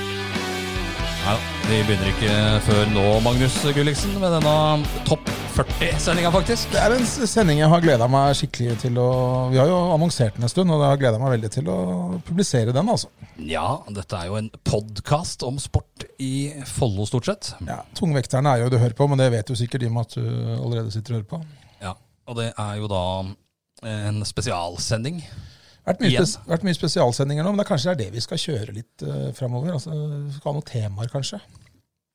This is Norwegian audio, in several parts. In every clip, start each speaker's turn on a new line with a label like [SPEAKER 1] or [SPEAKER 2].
[SPEAKER 1] Nei da, vi begynner ikke før nå, Magnus Gulliksen, med denne topp 40-sendinga, faktisk.
[SPEAKER 2] Det er en s- sending jeg har gleda meg skikkelig til å Vi har jo annonsert den en stund, og jeg har gleda meg veldig til å publisere den, altså.
[SPEAKER 1] Ja, dette er jo en podkast om sport i Follo, stort sett.
[SPEAKER 2] Ja, Tungvekterne er jo det du hører på, men det vet jo sikkert de med at du allerede sitter og hører på.
[SPEAKER 1] Ja, Og det er jo da en spesialsending.
[SPEAKER 2] Vært mye,
[SPEAKER 1] Igjen.
[SPEAKER 2] spes, vært mye spesialsendinger nå, men det er kanskje det er det vi skal kjøre litt uh, framover. Altså, vi skal ha noen temaer, kanskje.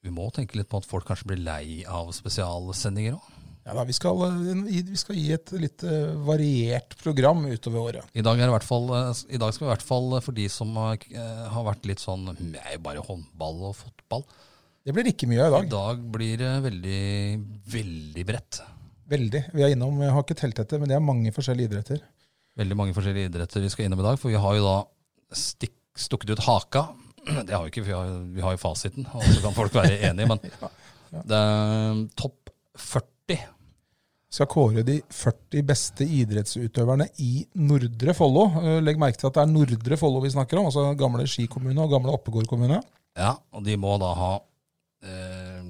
[SPEAKER 1] Vi må tenke litt på at folk kanskje blir lei av spesialsendinger òg.
[SPEAKER 2] Ja, da, vi, skal, eh, gi- vi skal gi et litt eh, variert program utover året.
[SPEAKER 1] I dag, er det i hvert fall, I dag skal vi i hvert fall for de som eh, har vært litt sånn "Hm, Jeg er jo bare håndball og fotball.
[SPEAKER 2] Det blir ikke mye i
[SPEAKER 1] I
[SPEAKER 2] dag.
[SPEAKER 1] dag blir det veldig, veldig bredt.
[SPEAKER 2] Veldig. Vi er innom, jeg har ikke telt etter, men det er mange forskjellige idretter.
[SPEAKER 1] veldig mange forskjellige idretter vi skal innom i dag. For vi har jo da stikk, stukket ut haka. Det har vi ikke, for vi har, vi har jo fasiten, og så kan folk være enige. Men det er topp 40.
[SPEAKER 2] skal kåre de 40 beste idrettsutøverne i Nordre Follo. Eh, Legg merke til at det er Nordre Follo vi snakker om, altså gamle Ski kommune og gamle Oppegård kommune.
[SPEAKER 1] Ja, og de må da ha eh,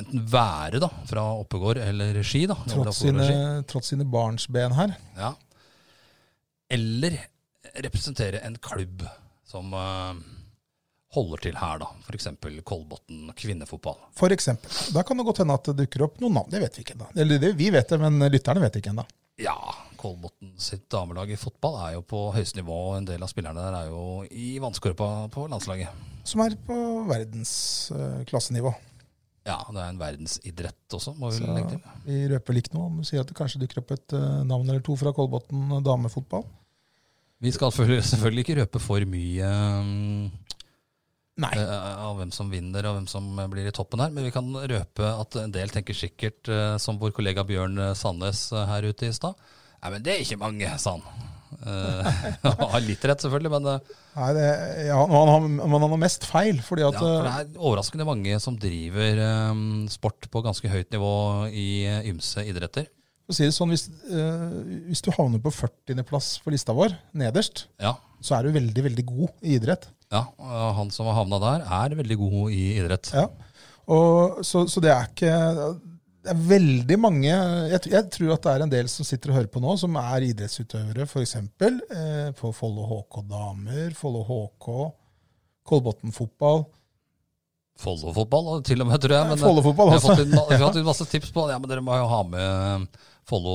[SPEAKER 1] enten være da, fra Oppegård eller Ski. da. eller
[SPEAKER 2] Tross
[SPEAKER 1] Oppegård og Ski.
[SPEAKER 2] sine, tross sine barnsben her.
[SPEAKER 1] Ja. Eller representere en klubb som eh, holder til her, da. F.eks. Kolbotn kvinnefotball.
[SPEAKER 2] For eksempel. Da kan det godt hende at det dukker opp noen navn. Det vet vi ikke ennå. Eller det, vi vet det, men lytterne vet ikke ennå.
[SPEAKER 1] Ja, Kolbotn sitt damelag i fotball er jo på høyeste nivå. og En del av spillerne der er jo i vannskorpa på landslaget.
[SPEAKER 2] Som er på eh, verdensklassenivå.
[SPEAKER 1] Ja, det er en verdensidrett også, må vi
[SPEAKER 2] Så
[SPEAKER 1] legge til.
[SPEAKER 2] vi røper likt noe om vi sier at det kanskje dukker opp et eh, navn eller to fra Kolbotn eh, damefotball.
[SPEAKER 1] Vi skal selvfølgelig- selvfølgelig ikke røpe for mye um,
[SPEAKER 2] Nei.
[SPEAKER 1] eh, av hvem som vinner og hvem som blir i toppen her, men vi kan røpe at en del tenker sikkert, eh, som vår kollega Bjørn Sandnes eh, her ute i stad Nei, men det er ikke mange, sa han. Eh, Han har litt rett, selvfølgelig, men eh,
[SPEAKER 2] Nei det, ja, men han har, men han har mest feil, fordi at
[SPEAKER 1] Ja, for
[SPEAKER 2] eh,
[SPEAKER 1] det er overraskende mange som driver eh, sport på ganske høyt nivå i eh, ymse idretter.
[SPEAKER 2] For å si det sånn, hvis, eh, hvis du havner på 40.-plass på lista vår, nederst,
[SPEAKER 1] Ja,
[SPEAKER 2] så er du veldig, veldig god i idrett.
[SPEAKER 1] ja og han som har havna der, er veldig god i idrett.
[SPEAKER 2] Ja. Og, så, så det er ikke Det er veldig mange jeg, tr- jeg tror at det er en del som sitter og hører på nå, som er idrettsutøvere, f.eks. Eh, på Follo HK damer, Follo HK, Kolbotn fotball.
[SPEAKER 1] Follo-fotball og til og med, tror jeg. Men eh,
[SPEAKER 2] Follo-fotball
[SPEAKER 1] jeg har
[SPEAKER 2] også.
[SPEAKER 1] fått inn, ma- vi har fått inn masse tips på ja, men dere må jo ha med ehm, Follo,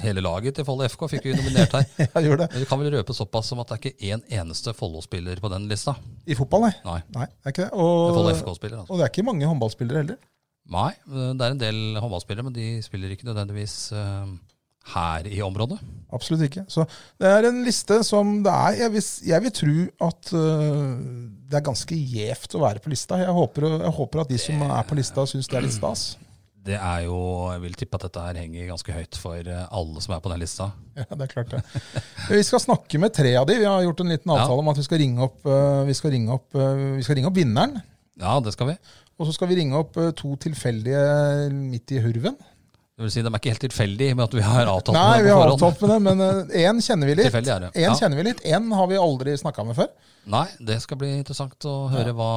[SPEAKER 1] hele laget til Follo FK, fikk vi nominert her.
[SPEAKER 2] Jeg gjør det.
[SPEAKER 1] Men vi kan vel røpe såpass som at det er ikke én eneste Follo-spiller på den lista.
[SPEAKER 2] I fotball, nei.
[SPEAKER 1] Nei.
[SPEAKER 2] Nei, det er ikke det.
[SPEAKER 1] Follo
[SPEAKER 2] Og,
[SPEAKER 1] FK-spiller, altså.
[SPEAKER 2] og det er ikke mange håndballspillere heller.
[SPEAKER 1] Nei, eh, det er en del håndballspillere, men de spiller ikke nødvendigvis eh, her i området.
[SPEAKER 2] Absolutt ikke. Så det er en liste som det er Jeg vil, jeg vil tro at øh, det er ganske gjevt å være på lista. Jeg håper, jeg håper at de som er på lista, syns det er litt stas.
[SPEAKER 1] Det er jo, Jeg vil tippe at dette her henger ganske høyt for eh, alle som er på den lista.
[SPEAKER 2] Ja, det er klart det. Vi skal snakke med tre av de. Vi har gjort en liten avtale om at vi skal ringe opp, øh, vi skal ringe opp, øh, vi skal ringe opp vinneren.
[SPEAKER 1] Ja, det skal vi.
[SPEAKER 2] Og så skal vi ringe opp øh, to tilfeldige midt i hurven.
[SPEAKER 1] Det vil si, De er ikke helt tilfeldige med at vi har avtalt
[SPEAKER 2] Nei,
[SPEAKER 1] det
[SPEAKER 2] vi
[SPEAKER 1] på
[SPEAKER 2] har
[SPEAKER 1] forhånd.
[SPEAKER 2] avtalt med det, men én kjenner vi litt.
[SPEAKER 1] Tilfeldig er det,
[SPEAKER 2] En
[SPEAKER 1] ja.
[SPEAKER 2] kjenner vi litt. En har vi aldri snakka med før.
[SPEAKER 1] Nei, Det skal bli interessant å høre hva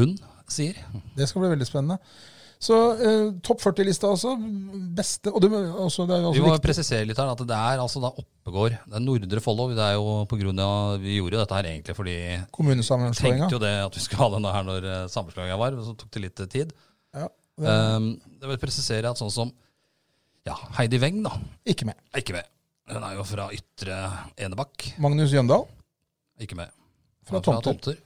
[SPEAKER 1] hun sier.
[SPEAKER 2] Det skal bli veldig spennende. Så eh, topp 40-lista også. Beste og det, må- også, det er jo
[SPEAKER 1] Vi
[SPEAKER 2] også
[SPEAKER 1] må
[SPEAKER 2] viktig.
[SPEAKER 1] presisere litt her at det er altså da Oppegård. Det er Nordre Follo. Det er jo på grunn av, Vi gjorde jo dette her egentlig fordi vi
[SPEAKER 2] Kommunesammenslåinga.
[SPEAKER 1] tenkte jo det at vi skulle ha denne her når eh, sammenslåingen var, men så tok det litt eh, tid.
[SPEAKER 2] Ja, det er
[SPEAKER 1] Um, jeg vil presisere at sånn som ja, Heidi Weng da,
[SPEAKER 2] ikke med.
[SPEAKER 1] er ikke med. Hun er jo fra Ytre Enebakk.
[SPEAKER 2] Magnus Jøndal.
[SPEAKER 1] Ikke med.
[SPEAKER 2] Fra
[SPEAKER 1] Ja,
[SPEAKER 2] tomter.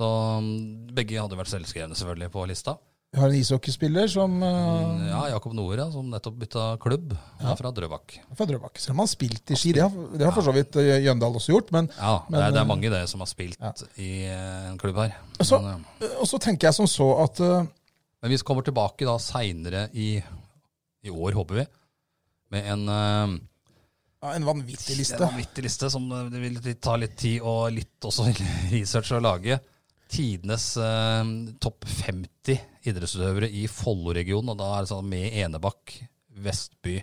[SPEAKER 1] Så um, begge hadde vært selvskrevne selvfølgelig på lista.
[SPEAKER 2] Vi har en ishockeyspiller som eh,
[SPEAKER 1] Ja, Jakob Noer, ja, som nettopp bytta klubb. Han er fra Drøbak.
[SPEAKER 2] fra Drøbak. Selv om han har spilt i ski, det har, det har for så vidt eh, Jøndal også gjort. Men
[SPEAKER 1] Ja,
[SPEAKER 2] Men,
[SPEAKER 1] det, er, det
[SPEAKER 2] eh,
[SPEAKER 1] er mange det som har spilt i eh, en klubb her.
[SPEAKER 2] Så-
[SPEAKER 1] Men, eh,
[SPEAKER 2] eh, og så tenker jeg som så at eh,
[SPEAKER 1] Men vi kommer tilbake da seinere i, i år, håper vi, med en, eh,
[SPEAKER 2] ja, En vanvittig
[SPEAKER 1] en
[SPEAKER 2] liste.
[SPEAKER 1] vanvittig liste som eh, det vil ta litt tid og litt også research å lage. Tidenes eh, topp 50 idrettsutøvere i Follo-regionen, og da er det sånn med Enebakk, Vestby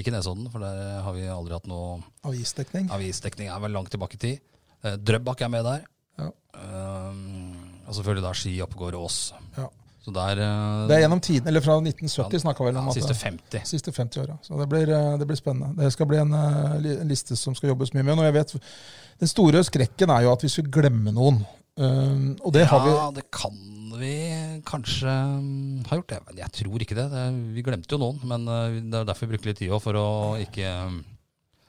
[SPEAKER 1] Ikke Nesodden, for der har vi aldri hatt noe
[SPEAKER 2] Avisdekning.
[SPEAKER 1] Avisdekning er vel langt tilbake i tid. Eh, Drøbak er med der.
[SPEAKER 2] Ja.
[SPEAKER 1] Eh, og selvfølgelig da Ski, Oppegård og Ås.
[SPEAKER 2] Ja.
[SPEAKER 1] Så der eh,
[SPEAKER 2] Det er gjennom tiden, eller fra 1970 snakka vel
[SPEAKER 1] ja,
[SPEAKER 2] om at
[SPEAKER 1] siste 50.
[SPEAKER 2] siste 50 åra. Så det blir, eh, det blir spennende. Det skal bli en, eh, li- en liste som skal jobbes mye med. Og jeg vet, den store skrekken er jo at vi skulle glemme noen. Um, og det har vi.
[SPEAKER 1] Ja, det kan vi kanskje mm, ha gjort. det, men Jeg tror ikke det. det vi glemte jo noen, men eh, det er derfor vi bruker litt tid òg, for å ikke mm,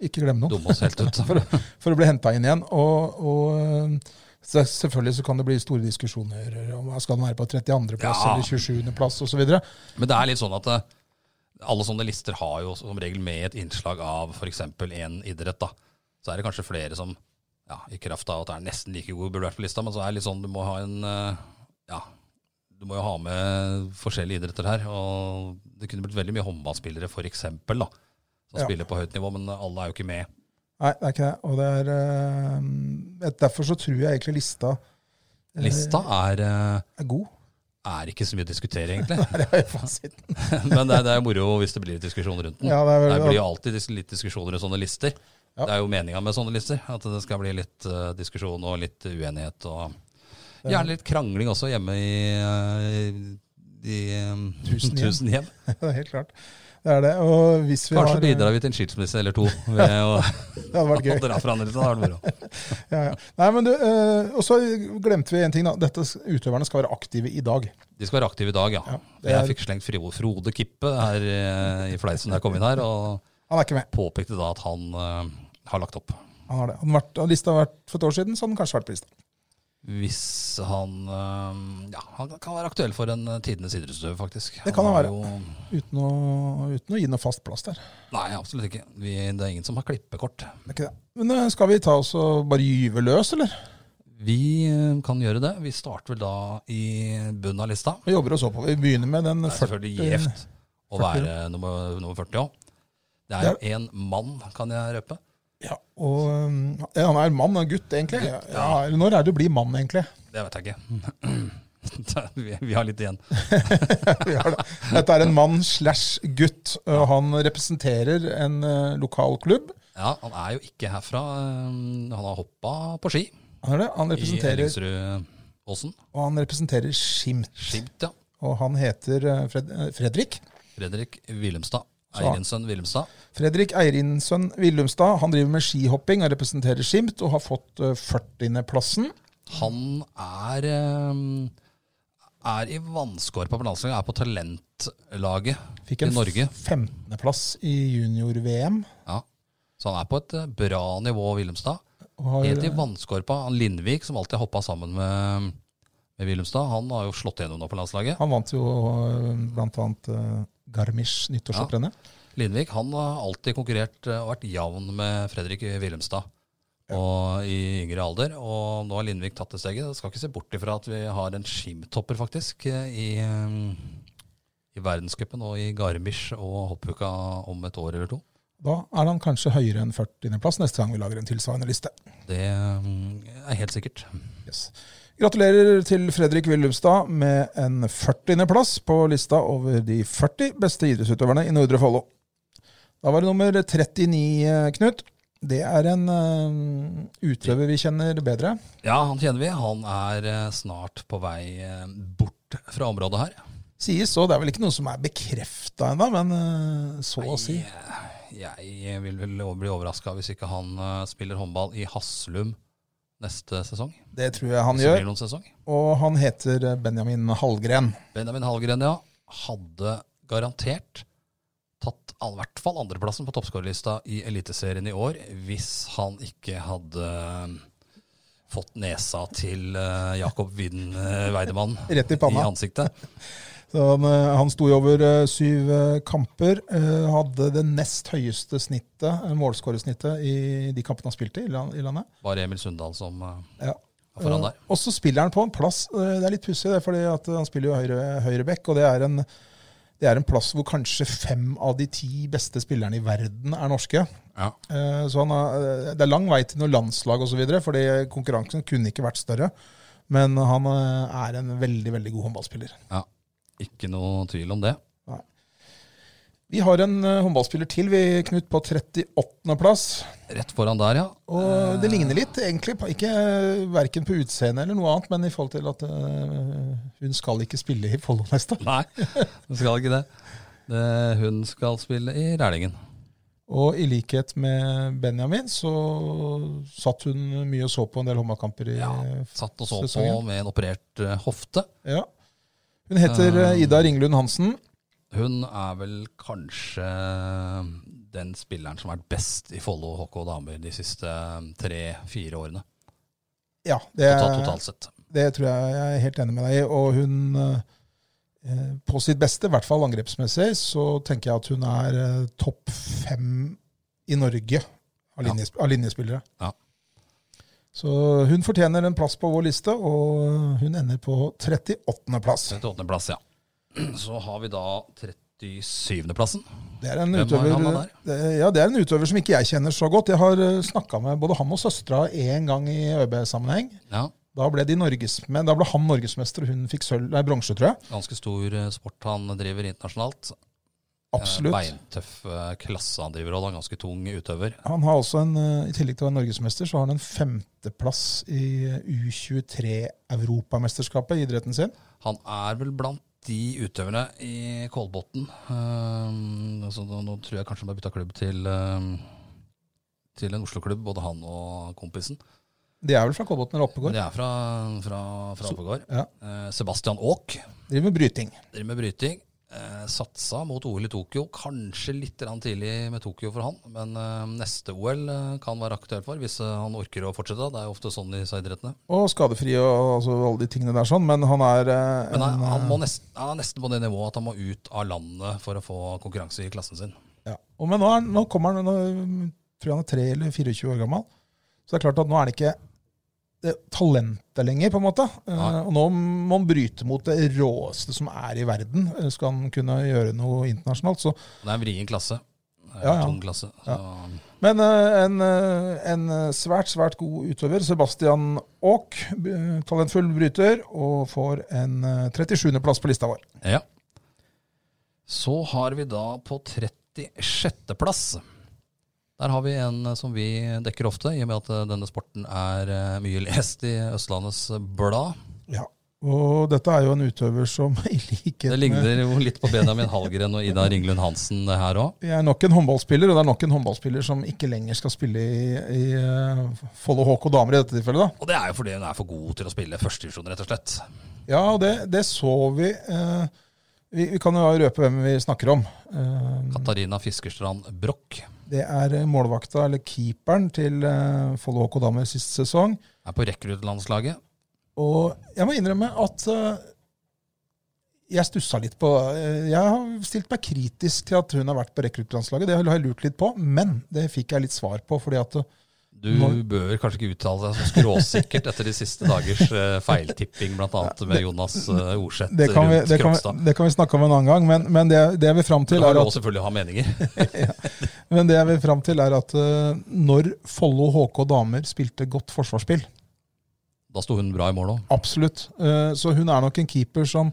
[SPEAKER 2] Ikke glemme noen.
[SPEAKER 1] dumme oss helt ut.
[SPEAKER 2] For, for å bli henta inn igjen. Og, og eh, så selvfølgelig så kan det bli store diskusjoner om skal den være på 32.-plass
[SPEAKER 1] Ja.
[SPEAKER 2] eller 27.-plass osv.
[SPEAKER 1] Men det er litt sånn at eh, alle sånne lister har jo som regel med et innslag av f.eks. en idrett. da. Så er det kanskje flere som ja, i kraft av at det er nesten like god, burde vært på lista, men så er det litt sånn du må ha en eh, ja, du må jo ha med forskjellige idretter her. og Det kunne blitt veldig mye håndballspillere for eksempel, da, som
[SPEAKER 2] Ja.
[SPEAKER 1] spiller på høyt nivå, men alle er jo ikke med.
[SPEAKER 2] Nei, det er ikke det. Og det er, eh, et- derfor så tror jeg egentlig lista eh,
[SPEAKER 1] Lista er, eh,
[SPEAKER 2] er god.
[SPEAKER 1] er ikke så mye å diskutere, egentlig.
[SPEAKER 2] Det er fasiten.
[SPEAKER 1] Men det er, det er moro hvis det blir litt diskusjon rundt den.
[SPEAKER 2] Ja, det er
[SPEAKER 1] det,
[SPEAKER 2] vel-
[SPEAKER 1] blir jo alltid dis- litt diskusjoner rundt sånne lister.
[SPEAKER 2] Ja.
[SPEAKER 1] Det er jo meninga med sånne lister, at det skal bli litt eh, diskusjon og litt uenighet. Og gjerne litt krangling også hjemme i, eh, i eh,
[SPEAKER 2] Tusen hjem.
[SPEAKER 1] tusen hjem.
[SPEAKER 2] Det er helt klart. Det er det. Og hvis vi
[SPEAKER 1] Kanskje
[SPEAKER 2] har, eh,
[SPEAKER 1] bidrar vi til en skilsmisse eller to ved å
[SPEAKER 2] Det hadde vært gøy.
[SPEAKER 1] dra fra andre. Det hadde vært moro.
[SPEAKER 2] Ja, ja. Nei, men du, eh, og så glemte vi en ting, da. Dette s- utøverne skal være aktive i dag.
[SPEAKER 1] De skal være aktive i dag, ja.
[SPEAKER 2] Ja, det er-
[SPEAKER 1] Jeg fikk slengt Fro- Frode Kippe her eh, i fleisen da jeg kom inn her, og
[SPEAKER 2] Han er ikke med.
[SPEAKER 1] påpekte da at han eh, har lagt opp.
[SPEAKER 2] Han har det. Han vært, han lista har vært for et år siden, så hadde han kanskje vært på lista.
[SPEAKER 1] Hvis han øhm, Ja, han kan være aktuell for en øh, tidenes idrettsutøver, faktisk.
[SPEAKER 2] Det kan han
[SPEAKER 1] har
[SPEAKER 2] være.
[SPEAKER 1] jo-
[SPEAKER 2] Uten å, uten å gi noe fast plass der.
[SPEAKER 1] Nei, absolutt ikke. Vi, det er ingen som har klippekort.
[SPEAKER 2] Det er ikke det. Men eh, skal vi ta oss og bare gyve løs, eller?
[SPEAKER 1] Vi øh, kan gjøre det. Vi starter vel da i bunnen av lista.
[SPEAKER 2] Vi jobber oss oppover. Vi begynner med den
[SPEAKER 1] Det er
[SPEAKER 2] 40
[SPEAKER 1] selvfølgelig gjevt å
[SPEAKER 2] 40.
[SPEAKER 1] være nummer, nummer 40 òg. Det er jo én mann, kan jeg røpe.
[SPEAKER 2] Ja, og eh, ja, han er mann, han er gutt, egentlig. Ja,
[SPEAKER 1] ja.
[SPEAKER 2] eller når er det du blir mann, egentlig?
[SPEAKER 1] Det vet jeg ikke. vi, vi har litt igjen.
[SPEAKER 2] Vi har det. Dette er en mann slash gutt. og Han representerer en eh, lokal klubb.
[SPEAKER 1] Ja, Han er jo ikke herfra. øhm, Han har hoppa på ski
[SPEAKER 2] Han, er det. han
[SPEAKER 1] i
[SPEAKER 2] representerer
[SPEAKER 1] Ellingsrudåsen.
[SPEAKER 2] Og han representerer Skimt.
[SPEAKER 1] Skimt, ja.
[SPEAKER 2] Og han heter eh, Fred eh, Fredrik.
[SPEAKER 1] Fredrik Wilhelmstad.
[SPEAKER 2] Så-
[SPEAKER 1] Eirinsson Wilhelmstad.
[SPEAKER 2] Fredrik Eirinsson Willumstad. Han driver med skihopping og representerer Skimt, og har fått eh, 40.-plassen.
[SPEAKER 1] Han er, eh, er i vannskorpa på landslaget, er på talentlaget
[SPEAKER 2] Fikk en
[SPEAKER 1] i Norge.
[SPEAKER 2] 15.-plass i junior-VM.
[SPEAKER 1] Ja. Så han er på et eh, bra nivå, Wilhelmstad.
[SPEAKER 2] og har-
[SPEAKER 1] Helt i vannskorpa. Han Lindvik, som alltid har hoppa sammen med, med Wilhelmstad, han har jo slått gjennom nå på landslaget.
[SPEAKER 2] Han vant jo eh, blant annet eh, Garmisch nyttårshopprennet.
[SPEAKER 1] Lindvik han har alltid konkurrert eh, og vært jevn med Fredrik Wilhelmstad. Og I yngre alder. Og nå har Lindvik tatt det steget. Jeg skal ikke se bort ifra at vi har en skimtopper, faktisk, eh, i, eh, i verdenscupen og i Garmisch og hoppuka om et år eller to.
[SPEAKER 2] Da er han kanskje høyere enn 40.-plass neste gang vi lager en tilsvarende liste.
[SPEAKER 1] Det eh, er helt sikkert.
[SPEAKER 2] Yes. Gratulerer til Fredrik Willumstad med en 40.-plass på lista over de 40 beste idrettsutøverne i Nordre Follo. Da var det nummer 39, eh, Knut. Det er en eh, utøver vi kjenner bedre.
[SPEAKER 1] Ja, han kjenner vi. Han er eh, snart på vei eh, bort fra området her.
[SPEAKER 2] Sies så, det er vel ikke noe som er bekrefta ennå, men eh, så å si.
[SPEAKER 1] Jeg, jeg vil vel bli overraska hvis ikke han eh, spiller håndball i Haslum neste sesong.
[SPEAKER 2] Det tror jeg han
[SPEAKER 1] Hvis det
[SPEAKER 2] gjør.
[SPEAKER 1] blir noen sesong.
[SPEAKER 2] Og han heter eh, Benjamin Hallgren.
[SPEAKER 1] Benjamin Hallgren, ja, hadde garantert tatt all- i hvert fall andreplassen på toppskårerlista i Eliteserien i år hvis han ikke hadde um, fått nesa til eh, uh, Jakob Widen eh, Weidemann
[SPEAKER 2] Rett i panna.
[SPEAKER 1] ansiktet.
[SPEAKER 2] Så han, eh, han sto jo over eh, syv eh, kamper. eh, Hadde det nest høyeste snittet, eh, målskåresnittet i de kampene han spilte i lan- i landet.
[SPEAKER 1] Bare Emil Sundal som eh,
[SPEAKER 2] Ja.
[SPEAKER 1] er foran der.
[SPEAKER 2] Eh, Og så spiller han på en plass eh, Det er litt pussig, det, er fordi at han spiller jo høyre, høyreback, og det er, en, det er en plass hvor kanskje fem av de ti beste spillerne i verden er norske.
[SPEAKER 1] Ja.
[SPEAKER 2] Eh, Så han har, eh, det er lang vei til noe landslag osv., fordi konkurransen kunne ikke vært større. Men han eh, er en veldig, veldig god håndballspiller.
[SPEAKER 1] ja. Ikke noe tvil om det.
[SPEAKER 2] Vi har en eh, håndballspiller til, vi, Knut, på 38.-plass.
[SPEAKER 1] Rett foran der, ja.
[SPEAKER 2] Og det ligner litt, egentlig. på- Ikke eh, Verken på utseende eller noe annet, men i forhold til at eh, hun skal ikke spille i Follo neste.
[SPEAKER 1] Nei, hun skal ikke det. det. Hun skal spille i Rælingen.
[SPEAKER 2] Og i likhet med Benjamin, så satt hun mye og så på en del håndballkamper i
[SPEAKER 1] Ja, Satt og så på
[SPEAKER 2] Sesongen.
[SPEAKER 1] med en operert eh, hofte.
[SPEAKER 2] Ja. Hun heter eh,
[SPEAKER 1] Eh,
[SPEAKER 2] Ida Ringlund Hansen.
[SPEAKER 1] Hun er vel kanskje den spilleren som har vært best i Follo HK damer de siste tre-fire årene.
[SPEAKER 2] Ja, det,
[SPEAKER 1] Totalt, totalt sett.
[SPEAKER 2] det tror jeg jeg er helt enig med deg i. Og hun eh, På sitt beste, i hvert fall angrepsmessig, så tenker jeg at hun er eh, topp fem i Norge av,
[SPEAKER 1] Ja.
[SPEAKER 2] linjes, av linjespillere.
[SPEAKER 1] Ja.
[SPEAKER 2] Så hun fortjener en plass på vår liste, og hun ender på 38.-plass.
[SPEAKER 1] 38. plass, ja. Så har vi da 37. plassen.
[SPEAKER 2] Det er, en
[SPEAKER 1] Hvem er
[SPEAKER 2] utøver,
[SPEAKER 1] han da der?
[SPEAKER 2] det, ja, det er en utøver som ikke jeg kjenner så godt. Jeg har snakka med både han og søstera én gang i ØB-sammenheng.
[SPEAKER 1] Ja,
[SPEAKER 2] Da ble, de norges, men da ble han norgesmester, og hun fikk sølv, nei, bronse, tror jeg.
[SPEAKER 1] Ganske stor eh, sport han driver internasjonalt. Eh,
[SPEAKER 2] Absolutt.
[SPEAKER 1] Beintøff eh, klasse han driver, og da ganske tung utøver.
[SPEAKER 2] Han har også en, eh, I tillegg til å være norgesmester, så har han en femteplass i eh, U23-europamesterskapet i idretten sin.
[SPEAKER 1] Han er vel blant de utøverne i Kolbotn eh, altså, nå, nå tror jeg kanskje han har bytta klubb til, eh, til en Oslo-klubb, både han og kompisen.
[SPEAKER 2] Det er vel fra Kolbotn eller
[SPEAKER 1] Men
[SPEAKER 2] Oppegård.
[SPEAKER 1] det er fra, fra, fra Oppegård.
[SPEAKER 2] Ja.
[SPEAKER 1] Eh, Sebastian Aak
[SPEAKER 2] Driver med bryting.
[SPEAKER 1] driver med bryting. Eh, satsa mot OL i Tokyo. Kanskje litt grann tidlig med Tokyo for han, men eh, neste OL eh, kan være aktuelt for, hvis eh, han orker å fortsette. Det er jo ofte sånn i disse idrettene.
[SPEAKER 2] Og skadefri og altså, alle de tingene der sånn, men han er eh,
[SPEAKER 1] Men han,
[SPEAKER 2] en,
[SPEAKER 1] han
[SPEAKER 2] eh,
[SPEAKER 1] må nesten, han er nesten på det nivået at han må ut av landet for å få konkurranse i klassen sin.
[SPEAKER 2] eh, Ja. Og men nå, er, nå kommer han, nå tror jeg han er 3 eller 24 år gammel. Så det er klart at nå er det ikke det talentet lenger, på en måte. Eh,
[SPEAKER 1] Nei.
[SPEAKER 2] og nå må han bryte mot det råeste som er i verden, eh, skal han kunne gjøre noe internasjonalt. Så.
[SPEAKER 1] Det er en vrien klasse. Det er
[SPEAKER 2] Ja,
[SPEAKER 1] en
[SPEAKER 2] ja.
[SPEAKER 1] Tung klasse. Så,
[SPEAKER 2] Men eh, en, eh, en svært, svært god utøver, Sebastian Aak, b- talentfull bryter, og får en eh, 37. plass på lista vår.
[SPEAKER 1] ja. Så har vi da på 36. plass Der har vi en som vi dekker ofte, i og med at denne sporten er eh, mye lest i Østlandets Blad.
[SPEAKER 2] Ja. Og dette er jo en utøver som i likhet
[SPEAKER 1] Det
[SPEAKER 2] med
[SPEAKER 1] ligner jo litt på Benjamin Hallgren og Ida Ringlund Hansen det her òg.
[SPEAKER 2] Vi er nok en håndballspiller, og det er nok en håndballspiller som ikke lenger skal spille i, i eh, Follo HK damer i dette tilfellet. da.
[SPEAKER 1] Og det er jo fordi hun er for god til å spille førstedivisjon, rett og slett.
[SPEAKER 2] Ja, og det, det så vi. eh, vi. Vi kan jo røpe hvem vi snakker om. Eh,
[SPEAKER 1] Katarina Fiskerstrand Broch
[SPEAKER 2] det er målvakta, eller keeperen, til eh, Follo HK damer sist sesong.
[SPEAKER 1] er på rekruttlandslaget.
[SPEAKER 2] Og jeg må innrømme at eh, jeg stussa litt på eh, Jeg har stilt meg kritisk til at hun har vært på rekruttlandslaget. Det har jeg lurt litt på, men det fikk jeg litt svar på. fordi at eh,
[SPEAKER 1] Du
[SPEAKER 2] Når-
[SPEAKER 1] bør kanskje ikke uttale deg så skråsikkert etter de siste dagers eh, feiltipping, bl.a. med Jonas eh, Orseth
[SPEAKER 2] det kan, vi,
[SPEAKER 1] rundt
[SPEAKER 2] det, kan vi,
[SPEAKER 1] Kropstad.
[SPEAKER 2] det kan vi snakke om en annen gang, men, men det, det jeg vil fram
[SPEAKER 1] Du
[SPEAKER 2] til,
[SPEAKER 1] kan
[SPEAKER 2] er
[SPEAKER 1] jo
[SPEAKER 2] at,
[SPEAKER 1] selvfølgelig ha meninger.
[SPEAKER 2] men det jeg vil fram til er at eh, når Follo HK damer spilte godt forsvarsspill,
[SPEAKER 1] Da sto hun bra i mål òg.
[SPEAKER 2] absolutt, eh, så hun er nok en keeper som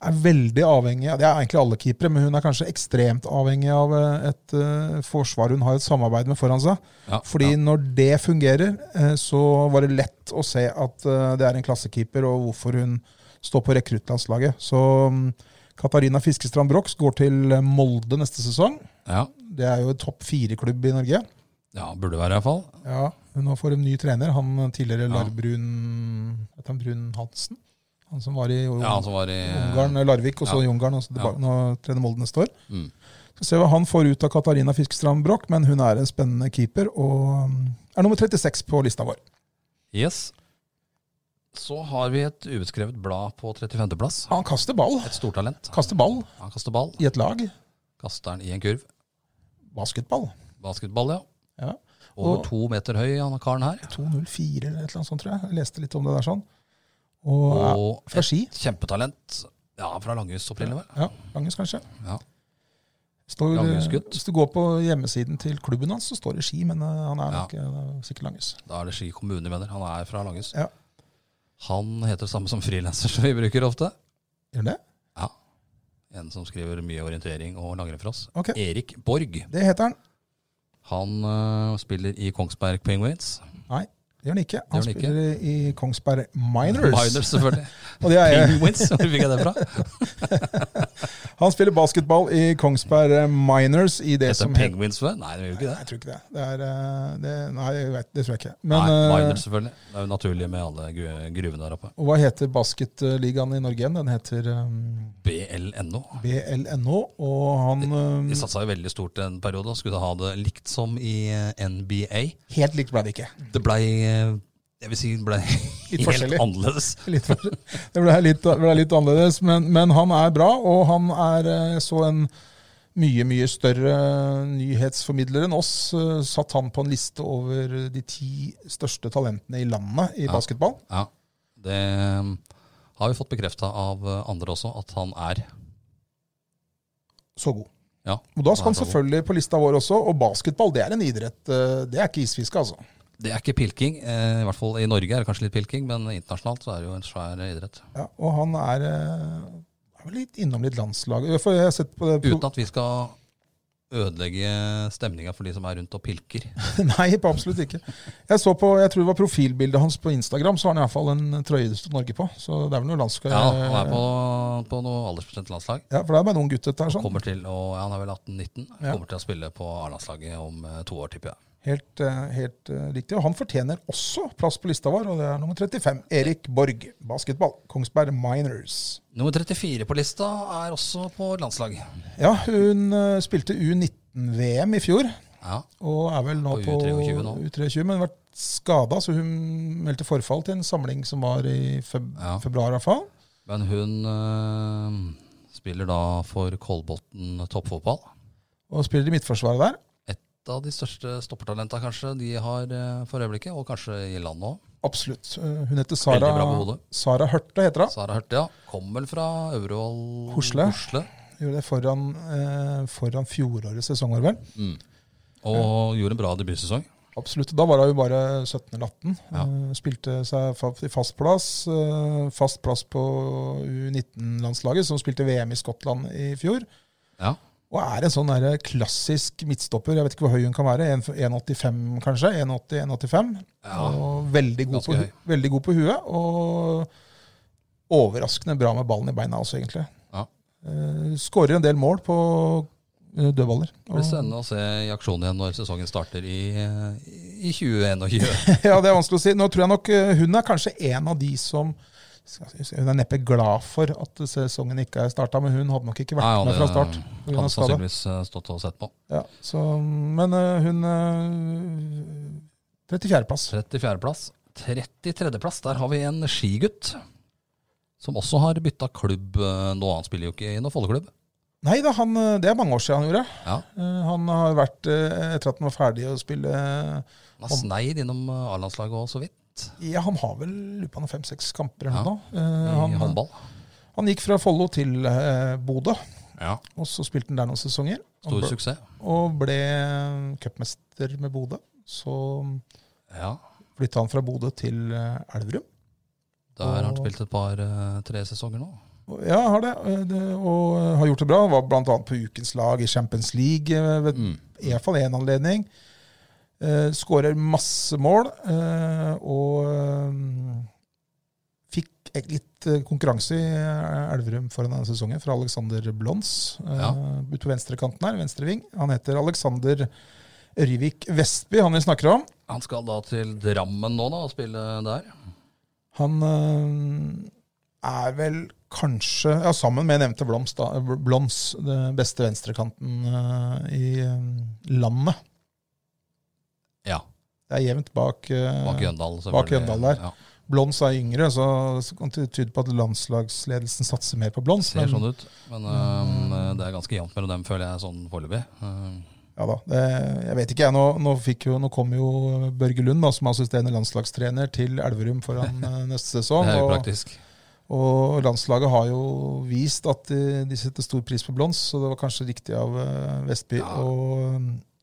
[SPEAKER 2] er veldig avhengig av, Det er egentlig alle keepere, men hun er kanskje ekstremt avhengig av eh, et eh, forsvar hun har et samarbeid med foran seg.
[SPEAKER 1] Ja,
[SPEAKER 2] Fordi
[SPEAKER 1] ja.
[SPEAKER 2] når det fungerer, eh, så var det lett å se at eh, det er en klassekeeper, og hvorfor hun står på rekruttlandslaget. Så mm, Katarina Fiskestrand Brox går til Molde neste sesong.
[SPEAKER 1] Ja.
[SPEAKER 2] Det er jo en topp fire-klubb i Norge.
[SPEAKER 1] ja, burde være i hvert fall.
[SPEAKER 2] Ja, hun nå får en ny trener, han tidligere
[SPEAKER 1] Ja.
[SPEAKER 2] Larbrun heter han Brun Hansen. Han som var i
[SPEAKER 1] Ja, han som var i
[SPEAKER 2] Ungarn, eh, Larvik, og så
[SPEAKER 1] Ja.
[SPEAKER 2] Ungarn, og så tilbake, nå trener Molde neste år.
[SPEAKER 1] Mm.
[SPEAKER 2] Skal se hva han får ut av Katarina Fiskestrand Broch, men hun er en spennende keeper og mm, er nummer 36 på lista vår.
[SPEAKER 1] Yes. Så har vi et ubeskrevet blad på 35.-plass.
[SPEAKER 2] Han kaster ball.
[SPEAKER 1] Et stortalent.
[SPEAKER 2] Kaster ball
[SPEAKER 1] Han kaster ball.
[SPEAKER 2] i et lag.
[SPEAKER 1] Kaster den i en kurv.
[SPEAKER 2] Basketball.
[SPEAKER 1] Basketball, ja.
[SPEAKER 2] Ja.
[SPEAKER 1] Over
[SPEAKER 2] Og-
[SPEAKER 1] to meter høy, han karen her.
[SPEAKER 2] 204 eller et eller annet sånt, tror jeg. Jeg leste litt om det der sånn. Og,
[SPEAKER 1] Og
[SPEAKER 2] fra Ski.
[SPEAKER 1] et kjempetalent. Ja, fra Langhus opprinnelig, vel.
[SPEAKER 2] Ja, Langhus, kanskje.
[SPEAKER 1] Ja.
[SPEAKER 2] Står,
[SPEAKER 1] Langhusgutt.
[SPEAKER 2] hvis du går på hjemmesiden til klubben hans, så står det Ski, men eh, han er
[SPEAKER 1] Ja.
[SPEAKER 2] nok eh, sikkert Langhus.
[SPEAKER 1] Da er det Ski kommune, jeg mener. Han er fra Langhus.
[SPEAKER 2] Ja.
[SPEAKER 1] Han heter det samme som frilanser som vi bruker ofte.
[SPEAKER 2] Gjør han det?
[SPEAKER 1] Ja. En som skriver mye orientering og langrenn for oss.
[SPEAKER 2] Ok.
[SPEAKER 1] Erik Borg.
[SPEAKER 2] Det heter han.
[SPEAKER 1] Han øh, spiller i Kongsberg Penguins.
[SPEAKER 2] Nei, det gjør han ikke. Han
[SPEAKER 1] Det gjør han ikke.
[SPEAKER 2] spiller i Kongsberg Miners.
[SPEAKER 1] Miners, selvfølgelig.
[SPEAKER 2] Og det er,
[SPEAKER 1] Penguins, hvor fikk jeg det fra?
[SPEAKER 2] han spiller basketball i Kongsberg eh, Miners i det
[SPEAKER 1] Heter
[SPEAKER 2] som
[SPEAKER 1] det Penguins før? Nei, det gjør jo ikke det.
[SPEAKER 2] Jeg tror ikke det. det, er, eh, det nei, jeg vet, det tror jeg ikke.
[SPEAKER 1] Nei,
[SPEAKER 2] Men, eh,
[SPEAKER 1] Miners, selvfølgelig. Det er jo naturlig med alle gru- gruvene der oppe.
[SPEAKER 2] og hva heter basketligaen i Norge igjen? Den heter eh,
[SPEAKER 1] BLNO.
[SPEAKER 2] BLNO, og han
[SPEAKER 1] De
[SPEAKER 2] eh,
[SPEAKER 1] satsa jo veldig stort en periode og skulle ha det likt som i eh, NBA.
[SPEAKER 2] Helt likt ble det ikke.
[SPEAKER 1] Det blei eh, Jeg vil si det blei helt
[SPEAKER 2] Mm. forskjellig.
[SPEAKER 1] annerledes.
[SPEAKER 2] Litt, for- det ble litt, ble litt annerledes, men, men han er bra, og han er eh, så en mye, mye større eh, nyhetsformidler enn oss. eh, Satt han på en liste over de ti største talentene i landet i
[SPEAKER 1] Ja.
[SPEAKER 2] basketball.
[SPEAKER 1] Ja, Det eh, har vi fått bekrefta av eh, andre også, at han er.
[SPEAKER 2] Så god.
[SPEAKER 1] Ja,
[SPEAKER 2] Og da skal
[SPEAKER 1] er
[SPEAKER 2] han
[SPEAKER 1] så god.
[SPEAKER 2] selvfølgelig på lista vår også, og basketball det er en idrett. eh, Det er ikke isfiske, altså.
[SPEAKER 1] Det er ikke pilking. eh, I hvert fall i Norge er det kanskje litt pilking, men internasjonalt så er det jo en svær idrett.
[SPEAKER 2] Ja, og han er, eh, er vel litt innom litt landslag. For jeg har sett på det
[SPEAKER 1] Uten at vi skal ødelegge stemninga for de som er rundt og pilker.
[SPEAKER 2] Nei, på absolutt ikke. Jeg så på, jeg tror det var profilbildet hans på Instagram, så har han iallfall en trøye det står Norge på. Så det er vel noe landskap
[SPEAKER 1] Ja, han er på, på noe aldersbestemt landslag.
[SPEAKER 2] Ja, for det er bare en ung gutt, dette her. sånn.
[SPEAKER 1] Kommer til å, ja, han er vel 18-19.
[SPEAKER 2] Ja.
[SPEAKER 1] Kommer til å spille på A-landslaget om eh, to år, tipper jeg.
[SPEAKER 2] Helt, eh, helt eh, riktig. Og han fortjener også plass på lista vår, og det er nummer 35. Erik Borg, basketball. Kongsberg Miners.
[SPEAKER 1] Nummer 34 på lista er også på landslag.
[SPEAKER 2] Ja, hun eh, spilte U19-VM i fjor,
[SPEAKER 1] Ja,
[SPEAKER 2] og er vel nå
[SPEAKER 1] På
[SPEAKER 2] på
[SPEAKER 1] U23 nå.
[SPEAKER 2] U23, men har vært skada, så hun meldte forfall til en samling som var i feb
[SPEAKER 1] Ja.
[SPEAKER 2] februar, i hvert fall.
[SPEAKER 1] Men hun eh, spiller da for Kolbotn toppfotball.
[SPEAKER 2] Og spiller i midtforsvaret der.
[SPEAKER 1] Et av de største stoppertalenta kanskje de har eh, for øyeblikket, og kanskje i landet òg.
[SPEAKER 2] Absolutt. Eh, Hun heter
[SPEAKER 1] Veldig bra med
[SPEAKER 2] Sara,
[SPEAKER 1] hodet.
[SPEAKER 2] Sara Hørte. heter hun.
[SPEAKER 1] Sara Hørte, ja. Kom vel fra Øvrevoll
[SPEAKER 2] Hosle. Gjorde det foran, eh, foran fjorårets sesonger, vel.
[SPEAKER 1] Mm. Og gjorde en bra debutsesong.
[SPEAKER 2] Absolutt. Da var hun bare 17 eller 18.
[SPEAKER 1] Ja.
[SPEAKER 2] Eh, Spilte seg fa i fast plass. eh, Fast plass på U19-landslaget, som spilte VM i Skottland i fjor.
[SPEAKER 1] Ja.
[SPEAKER 2] Og er en sånn der klassisk midtstopper. Jeg vet ikke hvor høy hun kan være. 1 1,85 kanskje? 1,80-1,85.
[SPEAKER 1] Ja.
[SPEAKER 2] Og veldig god, på,
[SPEAKER 1] Ganske høy.
[SPEAKER 2] hu- veldig god på huet, og overraskende bra med ballen i beina også, egentlig.
[SPEAKER 1] Ja.
[SPEAKER 2] Eh, Skårer en del mål på eh, dødballer.
[SPEAKER 1] Det blir spennende å se i aksjon igjen når sesongen starter i, eh, i 2021.
[SPEAKER 2] ja, det er vanskelig å si. Nå tror jeg nok eh, hun er kanskje en av de som skal jeg si, hun er neppe glad for at sesongen ikke er starta, men hun hadde nok ikke vært
[SPEAKER 1] Nei, han,
[SPEAKER 2] med fra
[SPEAKER 1] eh,
[SPEAKER 2] start. på grunn av
[SPEAKER 1] Hadde
[SPEAKER 2] skade.
[SPEAKER 1] sannsynligvis eh, stått og sett på.
[SPEAKER 2] Ja, så, men eh, hun eh, 34.-plass.
[SPEAKER 1] 34.-plass. 33.-plass, der har vi en skigutt. Som også har bytta klubb eh, nå. Han spiller jo ikke i noen Folleklubb.
[SPEAKER 2] Nei da, han, eh, det er mange år siden han gjorde.
[SPEAKER 1] Ja.
[SPEAKER 2] Eh, Han har vært, eh, etter at han var ferdig å spille eh,
[SPEAKER 1] Han har sneid innom eh, A-landslaget òg, så vidt.
[SPEAKER 2] Ja, han har vel lurer på om det er fem-seks kamper eller
[SPEAKER 1] Ja,
[SPEAKER 2] noe. Eh,
[SPEAKER 1] I
[SPEAKER 2] Han,
[SPEAKER 1] håndball.
[SPEAKER 2] han gikk fra Follo til eh, Bodø,
[SPEAKER 1] Ja.
[SPEAKER 2] og så spilte han der noen sesonger. Og
[SPEAKER 1] Stor
[SPEAKER 2] ble,
[SPEAKER 1] suksess.
[SPEAKER 2] og ble eh, cupmester med Bodø. Så
[SPEAKER 1] Ja.
[SPEAKER 2] flytta han fra Bodø til eh, Elverum.
[SPEAKER 1] Der har han spilt et par-tre sesonger nå.
[SPEAKER 2] Og- Ja, har det, eh, det, og eh, har gjort det bra. Han Var bl.a. på ukens lag i Champions League eh, ved
[SPEAKER 1] Mm.
[SPEAKER 2] i hvert fall én anledning. Eh, Skårer masse mål, eh, og eh, fikk ek- litt eh, konkurranse i eh, Elverum foran denne sesongen fra Alexander Blons eh,
[SPEAKER 1] Ja.
[SPEAKER 2] ute på venstrekanten her, venstreving. Han heter Alexander Ørvik Vestby, han vi snakker om.
[SPEAKER 1] Han skal da til Drammen nå da, og spille der.
[SPEAKER 2] Han eh, er vel kanskje, ja, sammen med nevnte Bloms, da, Bloms den beste venstrekanten eh, i eh, landet.
[SPEAKER 1] Ja,
[SPEAKER 2] Det er jevnt bak, eh,
[SPEAKER 1] Bak Jøndal.
[SPEAKER 2] Bak eh,
[SPEAKER 1] selvfølgelig.
[SPEAKER 2] Jøndal der.
[SPEAKER 1] Ja.
[SPEAKER 2] Blons er yngre, så, så kan det tyde på at landslagsledelsen satser mer på Blons.
[SPEAKER 1] Ser sånn ut. Men eh, det er ganske jevnt mellom dem, føler jeg, sånn foreløpig. Eh,
[SPEAKER 2] Ja da, det, jeg vet ikke. jeg. Nå, nå, fikk jo, nå kom jo Børge Lund, da, som er assisterende landslagstrener, til Elverum foran eh, neste sesong.
[SPEAKER 1] det er
[SPEAKER 2] og-
[SPEAKER 1] upraktisk.
[SPEAKER 2] Og landslaget har jo vist at eh, de setter stor pris på Blons, så det var kanskje riktig av eh, Vestby
[SPEAKER 1] Ja.
[SPEAKER 2] å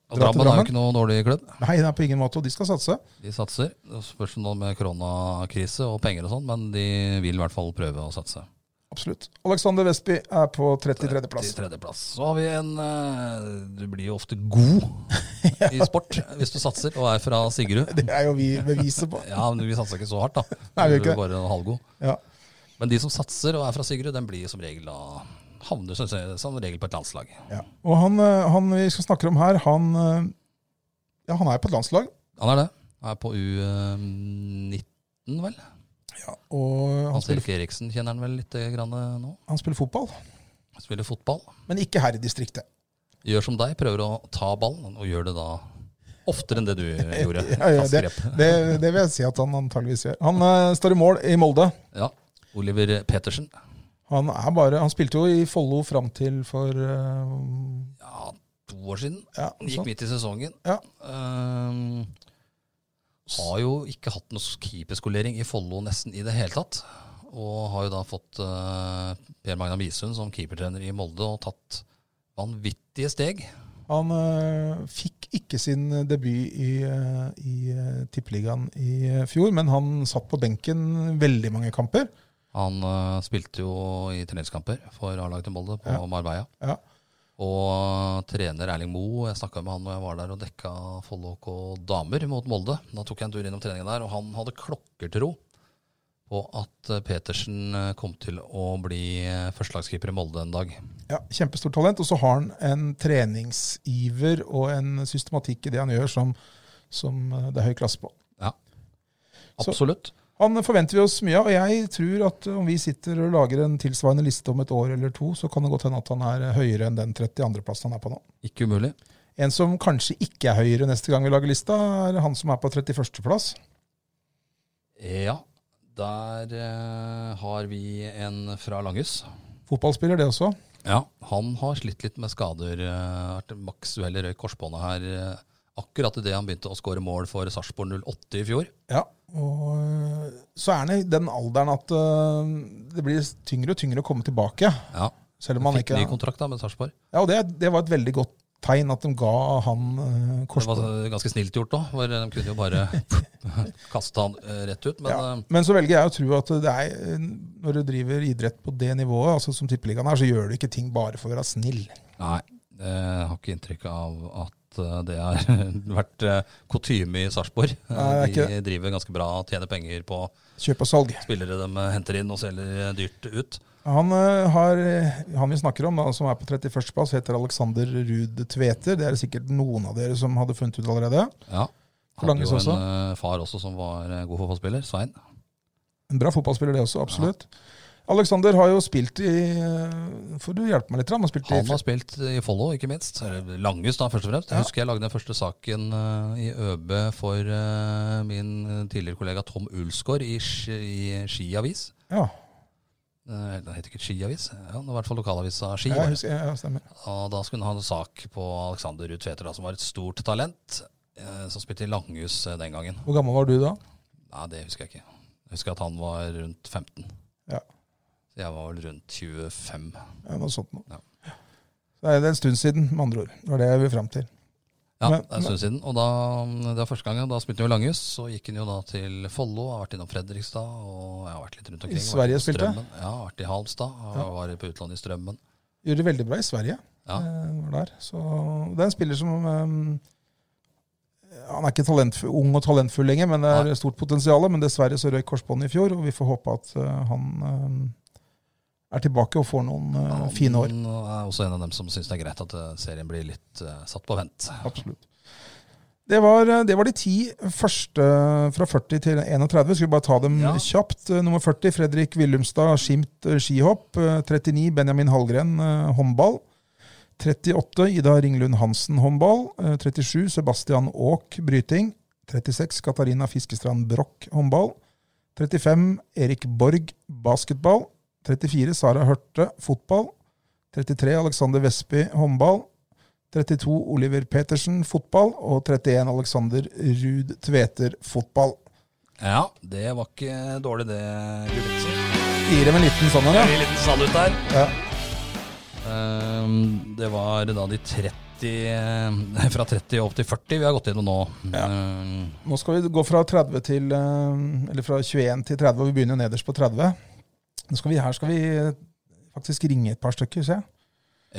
[SPEAKER 1] Og
[SPEAKER 2] dra
[SPEAKER 1] Drammen
[SPEAKER 2] til
[SPEAKER 1] er jo
[SPEAKER 2] Drammen.
[SPEAKER 1] ikke noe dårlig klubb.
[SPEAKER 2] Nei, det er på ingen måte, og de skal satse.
[SPEAKER 1] De satser. Det spørs om noe med koronakrise og penger og sånn, men de vil i hvert fall prøve å satse.
[SPEAKER 2] Absolutt. Alexander Vestby er på 33.-plass.
[SPEAKER 1] Til tredjeplass. Så har vi en eh, Du blir jo ofte god i sport hvis du satser, og er fra Sigrud.
[SPEAKER 2] Det er jo vi beviset på.
[SPEAKER 1] Ja, men vi satser ikke så hardt, da.
[SPEAKER 2] Nei, vi
[SPEAKER 1] Du
[SPEAKER 2] gjør ikke
[SPEAKER 1] er bare halvgod.
[SPEAKER 2] Ja.
[SPEAKER 1] Men de som satser og er fra Sigrud, den blir som regel da Havner som, som regel på et landslag.
[SPEAKER 2] Ja. Og han, eh, han vi skal snakke om her, han eh, Ja, han er på et landslag,
[SPEAKER 1] Han er det. Han er på U19, vel.
[SPEAKER 2] og han
[SPEAKER 1] Hans
[SPEAKER 2] spiller,
[SPEAKER 1] Erik Eriksen kjenner han vel litt grann nå.
[SPEAKER 2] han spiller fotball,
[SPEAKER 1] Spiller fotball.
[SPEAKER 2] men ikke her i distriktet.
[SPEAKER 1] Gjør som deg, prøver å ta ballen, og gjør det da oftere enn det du gjorde.
[SPEAKER 2] Ja, ja,
[SPEAKER 1] Fast grep.
[SPEAKER 2] Det, det vil jeg si at han antageligvis gjør. Han eh, står i mål i Molde.
[SPEAKER 1] Ja. Oliver Petersen.
[SPEAKER 2] Han, er bare, han spilte jo i Follo fram til for eh,
[SPEAKER 1] Ja, to år siden.
[SPEAKER 2] Ja,
[SPEAKER 1] Gikk
[SPEAKER 2] sånn.
[SPEAKER 1] midt i sesongen.
[SPEAKER 2] Ja.
[SPEAKER 1] Ehm, har jo ikke hatt noe keeperskolering i Follo nesten i det hele tatt. Og har jo da fått eh, Per Magnar Visund som keepertrener i Molde og tatt vanvittige steg.
[SPEAKER 2] Han eh, fikk ikke sin debut i, eh, i eh, Tippeligaen i eh, fjor, men han satt på benken veldig mange kamper.
[SPEAKER 1] Han eh, spilte jo i treningskamper for A-laget til Molde på
[SPEAKER 2] Ja.
[SPEAKER 1] Marbella.
[SPEAKER 2] Ja.
[SPEAKER 1] Og trener Erling Moe, jeg snakka med han når jeg var der og dekka Follo HK damer mot Molde. Da tok jeg en tur innom treningen der, og han hadde klokkertro på at eh, Petersen eh, kom til å bli eh, førstelagskeeper i Molde en dag.
[SPEAKER 2] Ja, Kjempestort talent. Og så har han en treningsiver og en systematikk i det han gjør, som, som eh, det er høy klasse på. Så-
[SPEAKER 1] Absolutt.
[SPEAKER 2] Han forventer vi oss mye av, og jeg tror at om vi sitter og lager en tilsvarende liste om et år eller to, så kan det godt hende at han er høyere enn den 32.-plassen han er på nå.
[SPEAKER 1] Ikke umulig.
[SPEAKER 2] En som kanskje ikke er høyere neste gang vi lager lista, er han som er på 31.-plass.
[SPEAKER 1] Ja, der eh, har vi en fra Langhus.
[SPEAKER 2] Fotballspiller, det også.
[SPEAKER 1] Ja, han har slitt litt med skader. eh, vært Max Uelle røyk korsbåndet her eh, akkurat idet han begynte å skåre mål for Sarpsborg 08 i fjor.
[SPEAKER 2] Ja, og øh, så er han i den alderen at øh, det blir tyngre og tyngre å komme tilbake.
[SPEAKER 1] Ja,
[SPEAKER 2] Selv om han
[SPEAKER 1] Fikk
[SPEAKER 2] ikke
[SPEAKER 1] ny kontrakt da med Sarpsborg.
[SPEAKER 2] Ja, og det, det var et veldig godt tegn at de ga han øh,
[SPEAKER 1] Det var
[SPEAKER 2] korsbånd.
[SPEAKER 1] ganske snilt gjort da, for de kunne jo bare kaste han eh, rett ut. Men
[SPEAKER 2] Ja.
[SPEAKER 1] eh,
[SPEAKER 2] Men så velger jeg å tro at det er, øh, når du driver idrett på det nivået, altså som tippeligaen er, så gjør du ikke ting bare for å være snill.
[SPEAKER 1] nei, jeg har ikke inntrykk av at eh, det har vært eh, kutyme i Sarpsborg. Eh,
[SPEAKER 2] Nei, det er
[SPEAKER 1] De driver ganske bra, tjener penger på
[SPEAKER 2] Kjøp og salg.
[SPEAKER 1] spillere de eh, henter inn og selger dyrt ut.
[SPEAKER 2] Han, øh, har, han vi snakker om, da, som er på 31. plass, heter Alexander Ruud Tveter. Det er det sikkert noen av dere som hadde funnet ut allerede.
[SPEAKER 1] Ja. Hadde
[SPEAKER 2] For Langhus
[SPEAKER 1] jo en
[SPEAKER 2] også?
[SPEAKER 1] eh, far også som var eh, god fotballspiller, Svein.
[SPEAKER 2] En bra fotballspiller, det også. Absolutt. Alexander har jo spilt i eh, Får du hjelpe meg litt? da? Han har spilt i
[SPEAKER 1] Han har spilt i Follo, ikke minst. Eller Langhus, da, først og fremst. Jeg
[SPEAKER 2] Ja.
[SPEAKER 1] husker jeg lagde den første saken eh, i ØB for eh, min tidligere kollega Tom Ulsgaard i, Ski- i Skiavis.
[SPEAKER 2] Ja,
[SPEAKER 1] Eh, Det heter ikke Skiavis, ja, det var i hvert fall lokalavisa Ski.
[SPEAKER 2] jeg husker, ja, stemmer.
[SPEAKER 1] Og da skulle han ha en sak på Alexander Ruud Tveter, da, som var et stort talent, eh, som spilte i Langhus eh, den gangen.
[SPEAKER 2] Hvor gammel var du da?
[SPEAKER 1] Nei, det husker jeg ikke. Jeg husker at han var rundt 15.
[SPEAKER 2] Ja.
[SPEAKER 1] Så jeg var vel rundt 25.
[SPEAKER 2] Ja, noe sånt noe.
[SPEAKER 1] Ja.
[SPEAKER 2] Det er det en stund siden, med andre ord. Det var det jeg vil fram til.
[SPEAKER 1] Ja,
[SPEAKER 2] Men-
[SPEAKER 1] det er en stund siden. Og da, det var første gangen. Da spilte han jo Langhus. Så gikk han jo da til Follo, har vært innom Fredrikstad og jeg har vært litt rundt omkring.
[SPEAKER 2] I Sverige
[SPEAKER 1] Vært på
[SPEAKER 2] spilte?
[SPEAKER 1] Strømmen. Ja, vært i Halmstad. og
[SPEAKER 2] Ja.
[SPEAKER 1] Var på utlandet i Strømmen.
[SPEAKER 2] Gjorde det veldig bra i Sverige.
[SPEAKER 1] Ja.
[SPEAKER 2] Eh, var der. Så det er en spiller som eh, Han er ikke talentfu- ung og talentfull lenger, men det er
[SPEAKER 1] Nei.
[SPEAKER 2] stort potensial. Men dessverre så røyk korsbåndet i fjor, og vi får håpe at eh, han eh, er tilbake og får noen eh, fine år.
[SPEAKER 1] Han er også en av dem som syns det er greit at eh, serien blir litt eh, satt på vent.
[SPEAKER 2] Absolutt. Det var, eh, det var de ti første fra 40 til 31. Skal vi bare ta dem
[SPEAKER 1] Ja.
[SPEAKER 2] kjapt? Eh, Nummer 40 Fredrik Willumstad, Skimt eh, skihopp. Eh, 39 Benjamin Hallgren, eh, håndball. 38 Ida Ringlund Hansen, håndball. Eh, 37 Sebastian Aak, bryting. 36 Katarina Fiskestrand Broch, håndball. 35 Erik Borg, basketball. 34 Sara Hørte, fotball. 33 Alexander Vestby, håndball. 32 Oliver Petersen, fotball. Og 31 Alexander Ruud Tveter, fotball.
[SPEAKER 1] Ja, det var ikke dårlig, det, Gulliksen.
[SPEAKER 2] Gir dem en liten sånn en,
[SPEAKER 1] Det
[SPEAKER 2] ja.
[SPEAKER 1] blir en liten salut der.
[SPEAKER 2] ja.
[SPEAKER 1] Ehm, Det var da de 30 eh, Fra 30 opp til 40 vi har gått gjennom nå.
[SPEAKER 2] Ja.
[SPEAKER 1] Ehm,
[SPEAKER 2] Nå skal vi gå fra 30 til eh, Eller fra 21 til 30, og vi begynner nederst på 30. Nå skal vi, her skal vi faktisk ringe et par stykker, ser jeg.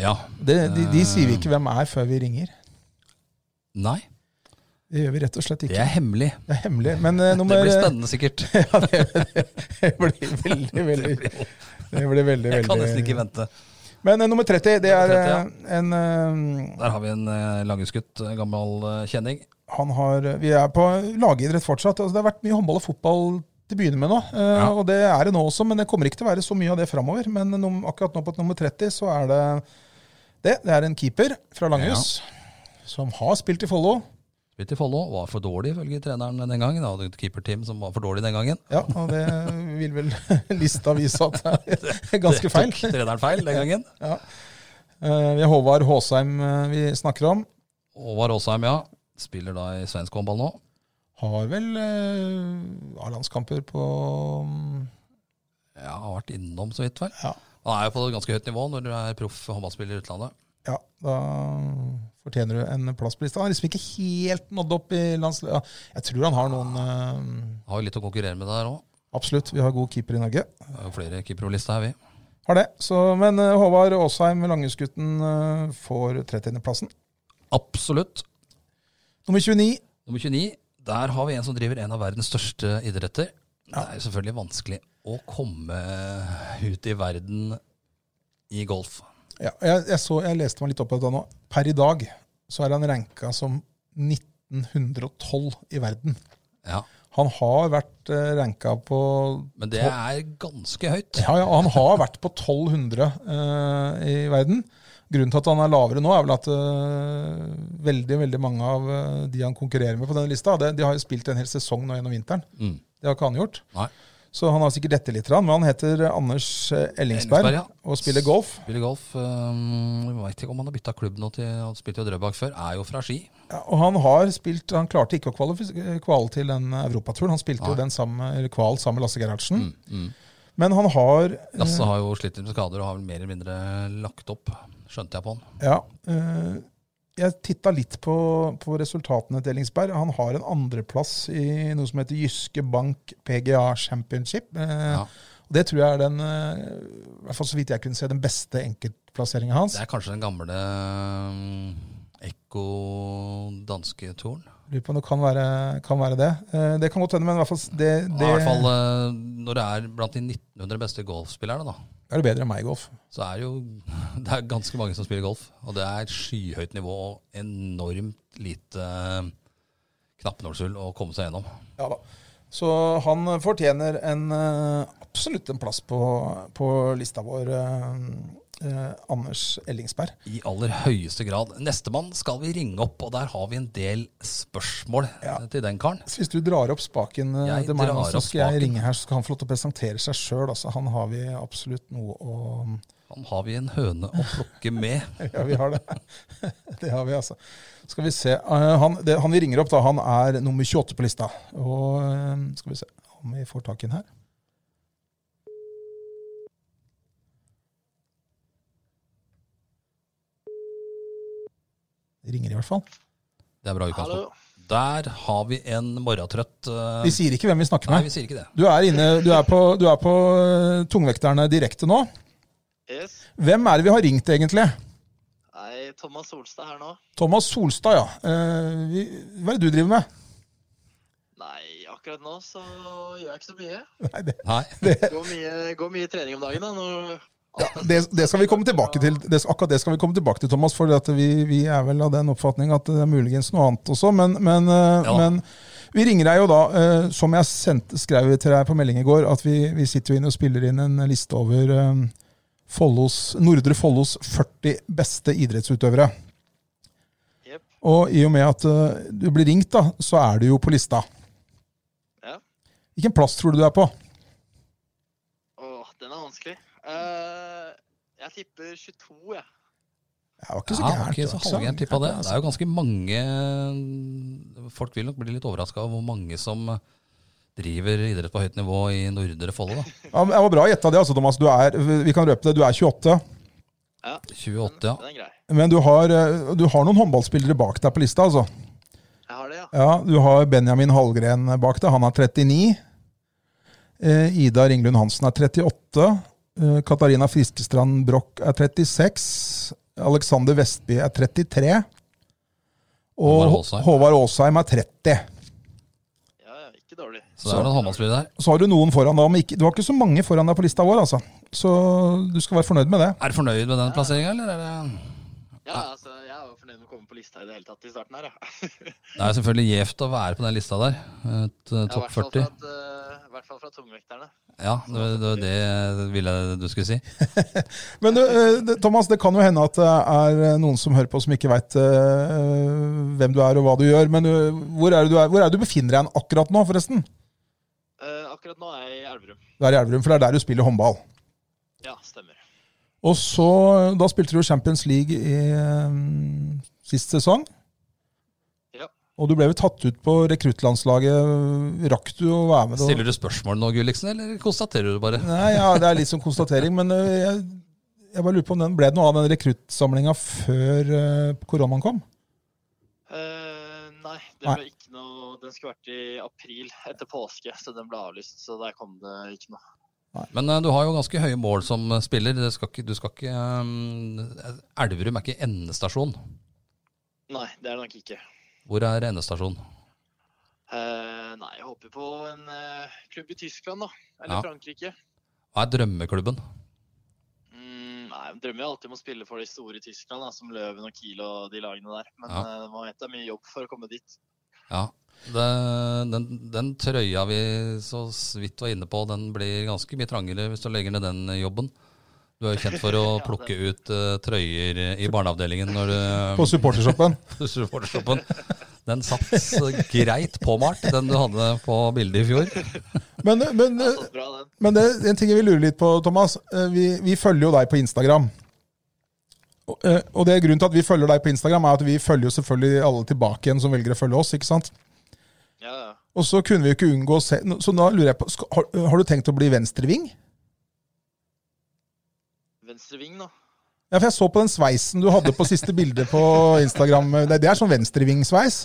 [SPEAKER 1] ja.
[SPEAKER 2] Det, de, de sier vi ikke hvem er før vi ringer.
[SPEAKER 1] Nei,
[SPEAKER 2] Det gjør vi rett og slett
[SPEAKER 1] det
[SPEAKER 2] ikke.
[SPEAKER 1] er hemmelig.
[SPEAKER 2] Det er hemmelig. Men eh,
[SPEAKER 1] Det
[SPEAKER 2] nummer
[SPEAKER 1] blir spennende sikkert.
[SPEAKER 2] Ja, det, det blir veldig, veldig
[SPEAKER 1] Det blir-
[SPEAKER 2] Det blir veldig,
[SPEAKER 1] Jeg kan nesten
[SPEAKER 2] veldig
[SPEAKER 1] ikke vente.
[SPEAKER 2] Men eh, nummer 30, det er eh,
[SPEAKER 1] 30,
[SPEAKER 2] en eh,
[SPEAKER 1] Der har vi en eh, langhusgutt, eh, gammel eh, kjenning.
[SPEAKER 2] Han har Vi er på lagidrett fortsatt. Altså, det har vært mye håndball og fotball til å begynne med nå. eh,
[SPEAKER 1] Ja.
[SPEAKER 2] Og det er det nå også, men det kommer ikke til å være så mye av det framover. Men num akkurat nå på nummer 30 så er det det. Det er en keeper fra Langhus som har spilt i Follo.
[SPEAKER 1] Spilte i Follo, var for dårlig ifølge treneren den gangen. Da hadde et keeperteam som var for dårlig den gangen.
[SPEAKER 2] Ja, og det vil vel lista vise at det er ganske feil.
[SPEAKER 1] Tok treneren feil den gangen.
[SPEAKER 2] Eh, Vi har Håvard Håsheim eh, vi snakker om.
[SPEAKER 1] Håvard Aasheim, ja. Spiller da i svensk håndball nå.
[SPEAKER 2] Har vel eh, A-landskamper på mm,
[SPEAKER 1] Ja, har vært innom så vidt, vel.
[SPEAKER 2] Ja.
[SPEAKER 1] Han er jo på et ganske høyt nivå når du er proff håndballspiller i utlandet.
[SPEAKER 2] Ja, da fortjener du en plass på lista. Han har liksom ikke helt nådd opp i landslaget. Ja, jeg tror han har noen eh,
[SPEAKER 1] Har jo litt å konkurrere med der òg.
[SPEAKER 2] Absolutt, vi har god keeper i Norge.
[SPEAKER 1] Flere keeperolister her, vi.
[SPEAKER 2] Har det. Så, men eh, Håvard Aasheim, Langhusgutten, eh, får 30.-plassen.
[SPEAKER 1] Absolutt.
[SPEAKER 2] Nummer 29.
[SPEAKER 1] Nummer 29. Der har vi en som driver en av verdens største idretter. Det er jo selvfølgelig vanskelig å komme ut i verden i golf.
[SPEAKER 2] Ja, jeg, jeg, så, jeg leste meg litt opp på dette nå. Per i dag så er han ranka som 1912 i verden.
[SPEAKER 1] Ja,
[SPEAKER 2] Han har vært eh, ranka på
[SPEAKER 1] Men det er ganske høyt.
[SPEAKER 2] Ja, ja, han har vært på 1200 eh, i verden. Grunnen til at han er lavere nå, er vel at eh, veldig veldig mange av eh, de han konkurrerer med på denne lista, det, de har jo spilt en hel sesong nå gjennom vinteren.
[SPEAKER 1] Mm.
[SPEAKER 2] Det har ikke han gjort.
[SPEAKER 1] Nei.
[SPEAKER 2] Så han har sikkert dette litt, men han heter Anders eh, Ellingsberg
[SPEAKER 1] Ellingsberg, ja.
[SPEAKER 2] og spiller golf.
[SPEAKER 1] Spiller golf. Um, Veit ikke om han har bytta klubb nå til Han spilte jo Drøbak før. Er jo fra Ski.
[SPEAKER 2] Ja, og han har spilt Han klarte ikke å kvalif- kvale til den europaturen. Han spilte
[SPEAKER 1] Nei.
[SPEAKER 2] jo den samme, eller kval sammen med Lasse Gerhardsen.
[SPEAKER 1] Mm, mm.
[SPEAKER 2] Men han har eh,
[SPEAKER 1] Lasse har jo slitt litt med skader og har vel mer eller mindre lagt opp, skjønte jeg på han.
[SPEAKER 2] Ja. eh, jeg titta litt på, på resultatene til Ellingsberg. Han har en andreplass i noe som heter Jyske Bank PGA Championship. Eh,
[SPEAKER 1] Ja.
[SPEAKER 2] og Det tror jeg er den, eh, i hvert fall så vidt jeg kunne se, den beste enkeltplasseringa hans.
[SPEAKER 1] Det er kanskje den gamle um, Ekko danske turen.
[SPEAKER 2] Lurer på om det kan være, kan være det. Eh, det kan godt hende, men i hvert fall s- det,
[SPEAKER 1] Ja,
[SPEAKER 2] det
[SPEAKER 1] I hvert fall eh, når det er blant de 1900 beste golfspillerne, da,
[SPEAKER 2] er det bedre enn meg i golf.
[SPEAKER 1] så er det jo det er ganske mange som spiller golf. Og det er et skyhøyt nivå og enormt lite eh, knappenålshull å komme seg gjennom.
[SPEAKER 2] Ja da. Så han fortjener en, eh, absolutt en plass på, på lista vår, eh, eh, Anders Ellingsberg.
[SPEAKER 1] I aller høyeste grad. Nestemann skal vi ringe opp, og der har vi en del spørsmål
[SPEAKER 2] Ja.
[SPEAKER 1] eh, til den karen.
[SPEAKER 2] Så hvis du drar opp spaken eh,
[SPEAKER 1] Jeg
[SPEAKER 2] til meg, nå,
[SPEAKER 1] drar
[SPEAKER 2] så
[SPEAKER 1] opp
[SPEAKER 2] skal jeg
[SPEAKER 1] spaken.
[SPEAKER 2] ringe her, så skal han få lov til å presentere seg sjøl. Altså, han har vi absolutt noe å
[SPEAKER 1] Han har vi en høne å plukke med.
[SPEAKER 2] Ja, vi har det. det har vi, altså. Skal vi se. Eh, Han, det, han vi ringer opp, da, han er nummer 28 på lista. Og eh, skal vi se om vi får tak i den her. Det ringer i hvert fall.
[SPEAKER 1] Det er bra utgangspunkt. Der har vi en morgentrøtt eh,
[SPEAKER 2] Vi sier ikke hvem vi snakker
[SPEAKER 1] Nei,
[SPEAKER 2] med.
[SPEAKER 1] vi sier ikke det.
[SPEAKER 2] Du er, inne, du er på, du er på eh, tungvekterne direkte nå.
[SPEAKER 3] Yes.
[SPEAKER 2] Hvem er det vi har ringt, egentlig?
[SPEAKER 3] Nei, Thomas Solstad her nå.
[SPEAKER 2] Thomas Solstad, ja. Eh, vi, hva er det du driver med?
[SPEAKER 3] Nei, akkurat nå så gjør jeg ikke så mye.
[SPEAKER 2] Nei, det,
[SPEAKER 1] Nei.
[SPEAKER 3] Går mye, går mye trening om dagen, da. Nå,
[SPEAKER 2] det, det skal vi komme tilbake til, det, akkurat det skal vi komme tilbake til, Thomas. For at vi, vi er vel av den oppfatning at det er muligens noe annet også. Men, men, eh,
[SPEAKER 1] Ja.
[SPEAKER 2] men vi ringer deg jo da, eh, som jeg sendte, skrev til deg på melding i går, at vi, vi sitter jo inne og spiller inn en liste over eh, Follos, Nordre Follos 40 beste idrettsutøvere.
[SPEAKER 3] Jep.
[SPEAKER 2] Og i og med at eh, du blir ringt, da, så er du jo på lista.
[SPEAKER 3] Ja.
[SPEAKER 2] Hvilken plass tror du du er på?
[SPEAKER 3] Åh, den er vanskelig. Eh, jeg tipper 22, jeg.
[SPEAKER 2] Jeg var ikke så
[SPEAKER 1] Ja,
[SPEAKER 2] gærent. altså.
[SPEAKER 1] ok,
[SPEAKER 2] det
[SPEAKER 1] så
[SPEAKER 2] var ikke så
[SPEAKER 1] halvgærent tippa det.
[SPEAKER 2] gærent,
[SPEAKER 1] Det er jo ganske mange Folk vil nok bli litt overraska over hvor mange som driver idrett på høyt nivå i Nordre Follo. da.
[SPEAKER 2] Ja, men jeg var bra gjetta det, altså, Thomas. Du er, vi kan røpe det. Du er 28.
[SPEAKER 3] Ja,
[SPEAKER 1] 28,
[SPEAKER 3] Den,
[SPEAKER 1] ja.
[SPEAKER 3] den er grei.
[SPEAKER 2] Men du har, eh, du har noen håndballspillere bak deg på lista, altså.
[SPEAKER 3] Jeg har det, ja.
[SPEAKER 2] Ja, du har Benjamin Hallgren bak deg. Han er 39. Eh, Ida Ringlund Hansen er 38. Eh, Katarina Fiskestrand Broch er 36. Alexander Vestby er 33. Og
[SPEAKER 1] Håvard Aasheim.
[SPEAKER 2] Håvard Aasheim er 30.
[SPEAKER 3] Ja, ja, Ikke dårlig.
[SPEAKER 1] Så der er det en håndballspiller der.
[SPEAKER 2] Så har du noen foran deg, men ikke, du har ikke så mange foran deg på lista vår, altså. Så du skal være fornøyd med det.
[SPEAKER 1] Er du fornøyd med den plasseringa, eller? Er det
[SPEAKER 3] Ja, altså, Jeg er jo fornøyd med å komme på lista i det hele tatt i starten her, ja.
[SPEAKER 1] det er jo selvfølgelig gjevt å være på den lista der. Et eh,
[SPEAKER 3] Ja,
[SPEAKER 1] topp
[SPEAKER 3] i hvert fall
[SPEAKER 1] 40.
[SPEAKER 3] fra at, eh, I hvert fall fra tungvekterne.
[SPEAKER 1] Ja, det var det, det ville jeg du skulle si.
[SPEAKER 2] Men du, eh, det- Thomas, det kan jo hende at det er eh, noen som hører på som ikke veit hvem du er og hva du gjør. Men eh, hvor er det du, er, hvor er det du befinner deg hen akkurat nå, forresten?
[SPEAKER 3] Eh, akkurat nå er jeg i Elverum.
[SPEAKER 2] Du er i Elverum, for det er der du spiller håndball.
[SPEAKER 3] Ja, stemmer.
[SPEAKER 2] Og så, Da spilte du Champions League i eh, sist sesong.
[SPEAKER 3] Ja.
[SPEAKER 2] Og du ble vel tatt ut på rekruttlandslaget. Rakk du å være med? da?
[SPEAKER 1] Stiller du spørsmål nå, Gulliksen, eller konstaterer du bare?
[SPEAKER 2] Nei, ja, Det er litt som konstatering, men eh, jeg, jeg bare lurer på om den ble det noe av den rekruttsamlinga før eh, koronaen kom?
[SPEAKER 3] Eh, nei, det
[SPEAKER 2] Nei.
[SPEAKER 3] ble ikke noe Den skulle vært i april, etter påske, så den ble avlyst. Så der kom det ikke noe.
[SPEAKER 1] Men eh, du har jo ganske høye mål som spiller. Det skal ikke, du skal ikke eh, Elverum er ikke endestasjon.
[SPEAKER 3] Nei, det er det nok ikke.
[SPEAKER 1] Hvor er endestasjon?
[SPEAKER 3] Eh, nei, jeg håper på en eh, klubb i Tyskland, da. Eller
[SPEAKER 1] Ja.
[SPEAKER 3] Frankrike.
[SPEAKER 1] Hva er drømmeklubben?
[SPEAKER 3] Mm, nei, jeg drømmer jo alltid om å spille for de store i Tyskland, da, som Løven og Kiel og de lagene der. Men
[SPEAKER 1] Ja.
[SPEAKER 3] eh, man vet det er mye jobb for å komme dit.
[SPEAKER 1] Ja, det, den, den trøya vi så så vidt var inne på, den blir ganske mye trangere hvis du legger ned den jobben. Du er jo kjent for å
[SPEAKER 3] Ja, det-
[SPEAKER 1] plukke ut eh, trøyer i barneavdelingen når
[SPEAKER 2] På
[SPEAKER 1] du
[SPEAKER 2] supportershoppen?
[SPEAKER 1] supportershoppen. Den satt så greit påmalt, den du hadde på bildet i fjor.
[SPEAKER 2] Men, eh, men,
[SPEAKER 3] Det har stått bra, den.
[SPEAKER 2] men det, en ting jeg vil lure litt på, Thomas. Eh, Vi, vi følger jo deg på Instagram. Og, eh, og det er grunnen til at vi følger deg på Instagram, er at vi følger jo selvfølgelig alle tilbake igjen som velger å følge oss. ikke sant?
[SPEAKER 3] Ja, ja.
[SPEAKER 2] Og så kunne vi jo ikke unngå å se Så da lurer jeg på, skal, har, har du tenkt å bli venstreving?
[SPEAKER 3] Venstre ving, nå.
[SPEAKER 2] Ja, for jeg så på den sveisen du hadde på siste bilde på Instagram. Det, det er sånn venstrevingsveis.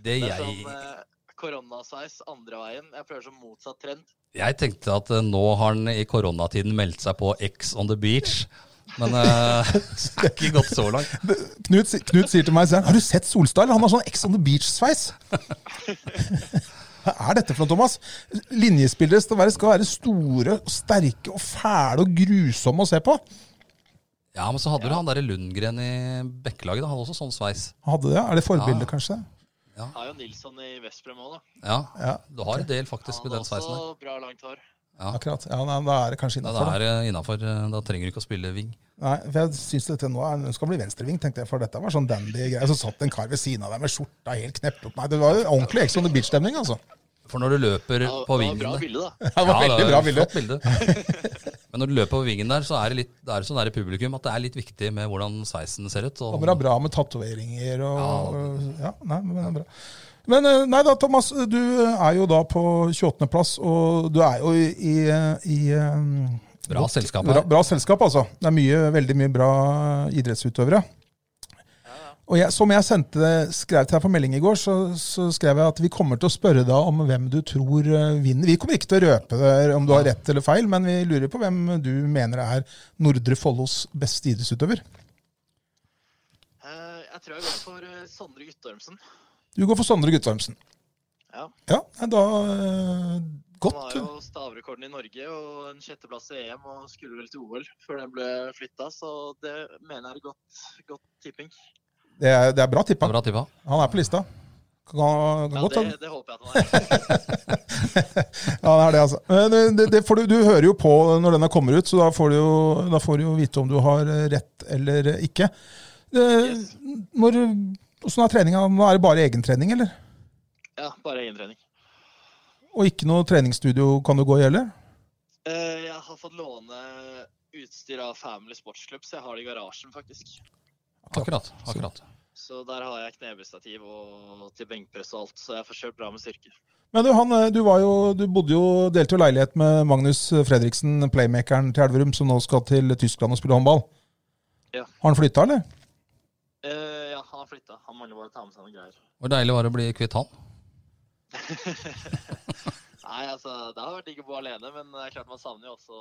[SPEAKER 1] Det
[SPEAKER 3] Det er
[SPEAKER 1] jeg,
[SPEAKER 3] sånn eh, koronasveis andre veien. Jeg prøver som motsatt trend.
[SPEAKER 1] jeg tenkte at eh, nå har han i koronatiden meldt seg på X on the beach, men eh, det er ikke gått så langt.
[SPEAKER 2] Knut, si- Knut sier til meg sier han, Har du sett Solstad? Han har sånn Ex on the Beach-sveis. Hva er dette for noe, Thomas? Linjespillere skal være, skal være store, og sterke og fæle og grusomme å se på.
[SPEAKER 1] Ja, men så hadde du han derre Lundgren i Bekkelaget, da. han hadde også sånn sveis.
[SPEAKER 2] Han Hadde det? Er det forbilde,
[SPEAKER 1] Ja.
[SPEAKER 2] kanskje?
[SPEAKER 3] Har jo Nilsson i Vestbrem òg, da.
[SPEAKER 1] Ja,
[SPEAKER 2] Ja.
[SPEAKER 1] du har en del
[SPEAKER 3] Han
[SPEAKER 1] faktisk med
[SPEAKER 3] hadde
[SPEAKER 1] den sveisen der.
[SPEAKER 3] også bra langt hår.
[SPEAKER 1] Ja.
[SPEAKER 2] Akkurat. Ja, nei, Da er det kanskje
[SPEAKER 1] Ja,
[SPEAKER 2] innafor.
[SPEAKER 1] det er eh, innafor. Da trenger du ikke å spille ving.
[SPEAKER 2] Nei, for jeg synes dette nå er, den skal bli venstreving, tenkte jeg, for dette var sånn dandy greier. Så satt en kar ved siden av deg med skjorta helt kneppet opp. Nei, det var jo ordentlig Ex on the Beach-stemning, altså.
[SPEAKER 1] For når du løper
[SPEAKER 3] Ja, det
[SPEAKER 1] på
[SPEAKER 3] var
[SPEAKER 1] vingen
[SPEAKER 3] bra
[SPEAKER 1] der-
[SPEAKER 3] bilde, da.
[SPEAKER 2] Det var
[SPEAKER 1] Ja,
[SPEAKER 2] veldig bra bilde.
[SPEAKER 1] flott bilde. Men når du løper på vingen der, så er det litt det er sånn der i publikum at det er litt viktig med hvordan sveisen ser ut.
[SPEAKER 2] Det
[SPEAKER 1] Og,
[SPEAKER 2] var bra, bra med tatoveringer og
[SPEAKER 1] Ja,
[SPEAKER 2] ja, nei, men det er bra. Men eh, nei da, Thomas, du eh, er jo da på 28. plass, og du er jo i, i, i eh,
[SPEAKER 1] bra selskap
[SPEAKER 2] bra,
[SPEAKER 1] her.
[SPEAKER 2] bra selskap, altså. Det er mye, veldig mye bra idrettsutøvere. Og jeg, som jeg sendte, skrev til deg på melding i går, så, så skrev jeg at vi kommer til å spørre deg om hvem du tror eh, vinner. Vi kommer ikke til å røpe det om du har rett eller feil, men vi lurer på hvem du mener er Nordre Follos beste idrettsutøver.
[SPEAKER 3] Eh, jeg tror jeg går for eh, Sondre Guttormsen.
[SPEAKER 2] Du går for Sondre Guttormsen.
[SPEAKER 3] Ja.
[SPEAKER 2] Ja, nei, da eh,
[SPEAKER 3] Han
[SPEAKER 2] Godt.
[SPEAKER 3] har jo stavrekorden i Norge og en sjetteplass i EM og skulle vel til OL før den ble flytta, så det mener jeg er godt, godt tipping.
[SPEAKER 2] Det er, det er bra tippa.
[SPEAKER 1] Bra tippa.
[SPEAKER 2] Han er på lista. Kan, kan
[SPEAKER 3] Ja,
[SPEAKER 2] godt,
[SPEAKER 3] det,
[SPEAKER 2] han.
[SPEAKER 3] det håper jeg at han er.
[SPEAKER 2] ja, det er det, altså. Men eh, det, det får du, du hører jo på når denne kommer ut, så da får du jo, da får du jo vite om du har eh, rett eller eh, ikke. Eh,
[SPEAKER 3] Yes.
[SPEAKER 2] Når, åssen er treninga? Nå er det bare egentrening, eller?
[SPEAKER 3] Ja, bare egentrening.
[SPEAKER 2] Og ikke noe treningsstudio kan du gå i heller?
[SPEAKER 3] Eh, Jeg har fått låne utstyr av Family Sportsklubb, så jeg har det i garasjen, faktisk.
[SPEAKER 1] Akkurat. akkurat.
[SPEAKER 3] Så der har jeg knebøystativ og til benkpress og alt, så jeg får kjørt bra med styrke.
[SPEAKER 2] Men du, han, eh, du, var jo, du bodde jo, delte jo leilighet med Magnus Fredriksen, playmakeren til Elverum, som nå skal til Tyskland og spille håndball.
[SPEAKER 3] Ja.
[SPEAKER 2] Har han flytta, eller?
[SPEAKER 3] Eh, ja, han har flytta. Han mangler bare å ta med seg noen greier.
[SPEAKER 1] Hvor deilig var det å bli kvitt han?
[SPEAKER 3] Nei, altså, det har vært digg å bo alene, men det er klart man savner jo også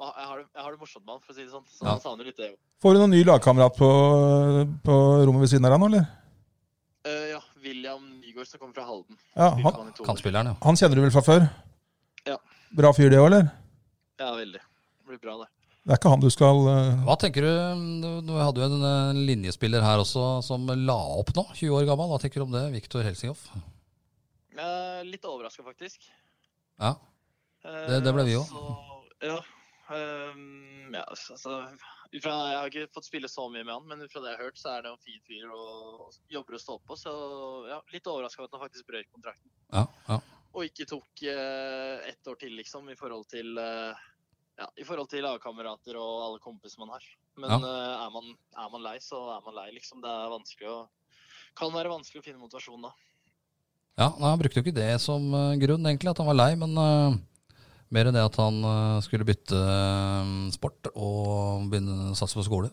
[SPEAKER 3] Man- Jeg har det, jeg har det morsomt med han, for å si det sånn. Så
[SPEAKER 1] Ja.
[SPEAKER 3] man savner litt det jo.
[SPEAKER 2] Får du noen ny lagkamerat på, på rommet ved siden av deg nå, eller?
[SPEAKER 3] Eh, ja, William Nygaard som kommer fra Halden.
[SPEAKER 2] Ja, han,
[SPEAKER 3] Fylkesmann i Toten.
[SPEAKER 1] Kantspilleren, ja.
[SPEAKER 2] han kjenner du vel fra før?
[SPEAKER 3] Ja.
[SPEAKER 2] Bra fyr det òg, eller?
[SPEAKER 3] Ja, veldig. Det blir bra, det.
[SPEAKER 2] Det er ikke han du skal eh,
[SPEAKER 1] Hva tenker du, mm, du- du hadde jo en eh, linjespiller her også som la opp nå, 20 år gammel. Hva tenker du om det, Viktor Helsinghoff?
[SPEAKER 3] Eh, litt overraska, faktisk.
[SPEAKER 1] Ja,
[SPEAKER 3] Eh,
[SPEAKER 1] Det- det ble vi
[SPEAKER 3] og
[SPEAKER 1] også.
[SPEAKER 3] så- Ja. ehm, ja, altså ut fra, Jeg har ikke fått spille så mye med han, men ut fra det jeg har hørt, så er det en fin fyr og, og jobber å stå på. Så ja, litt overraska over at han faktisk brøt kontrakten.
[SPEAKER 1] ja, ja.
[SPEAKER 3] Og ikke tok eh, ett år til, liksom, i forhold til eh, ja, i forhold til lagkamerater og alle kompiser man har. Men
[SPEAKER 1] Ja.
[SPEAKER 3] eh, er, man, er man lei, så er man lei, liksom. Det er vanskelig å Kan være vanskelig å finne motivasjon da.
[SPEAKER 1] Ja, nei, Han brukte jo ikke det som eh, grunn, egentlig, at han var lei, men eh, mer enn det at han eh, skulle bytte eh, sport og begynne å satse på skole.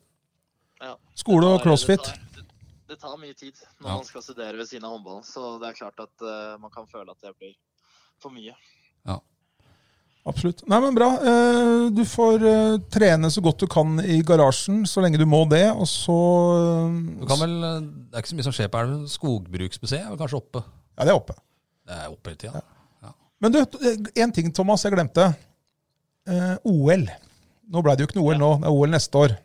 [SPEAKER 2] Skole og
[SPEAKER 3] tar-
[SPEAKER 2] crossfit.
[SPEAKER 3] Det tar, det tar mye tid når
[SPEAKER 1] Ja.
[SPEAKER 3] man skal studere ved siden av håndballen, så det er klart at eh, man kan føle at det blir for mye.
[SPEAKER 2] Absolutt. Nei, men bra. Eh, Du får eh, trene så godt du kan i garasjen, så lenge du må det, og så
[SPEAKER 1] Du kan vel, eh, Det er ikke så mye som skjer på elven. Skogbruksmuseet er vel kanskje oppe?
[SPEAKER 2] Ja, det er oppe.
[SPEAKER 1] Det er oppe hele tida.
[SPEAKER 2] Men du, én ting, Thomas, jeg glemte. Eh, OL. Nå ble det jo ikke noe OL nå, det er OL neste år.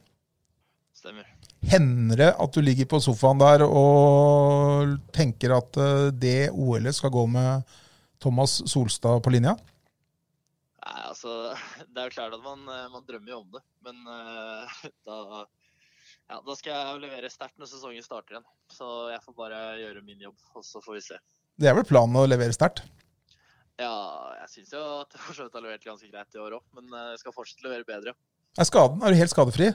[SPEAKER 3] Stemmer.
[SPEAKER 2] Hender det at du ligger på sofaen der og tenker at eh, det OL-et skal gå med Thomas Solstad på linja?
[SPEAKER 3] Nei, altså, det er jo klart at man, eh, man drømmer jo om det, men eh, da, ja, da skal jeg levere sterkt når sesongen starter igjen. Så jeg får bare gjøre min jobb, og så får vi se.
[SPEAKER 2] Det er vel planen å levere sterkt?
[SPEAKER 3] Ja, jeg syns jo at jeg for så vidt har levert ganske greit i år òg, men eh, jeg skal fortsette å levere bedre.
[SPEAKER 2] Er skaden er du helt skadefri?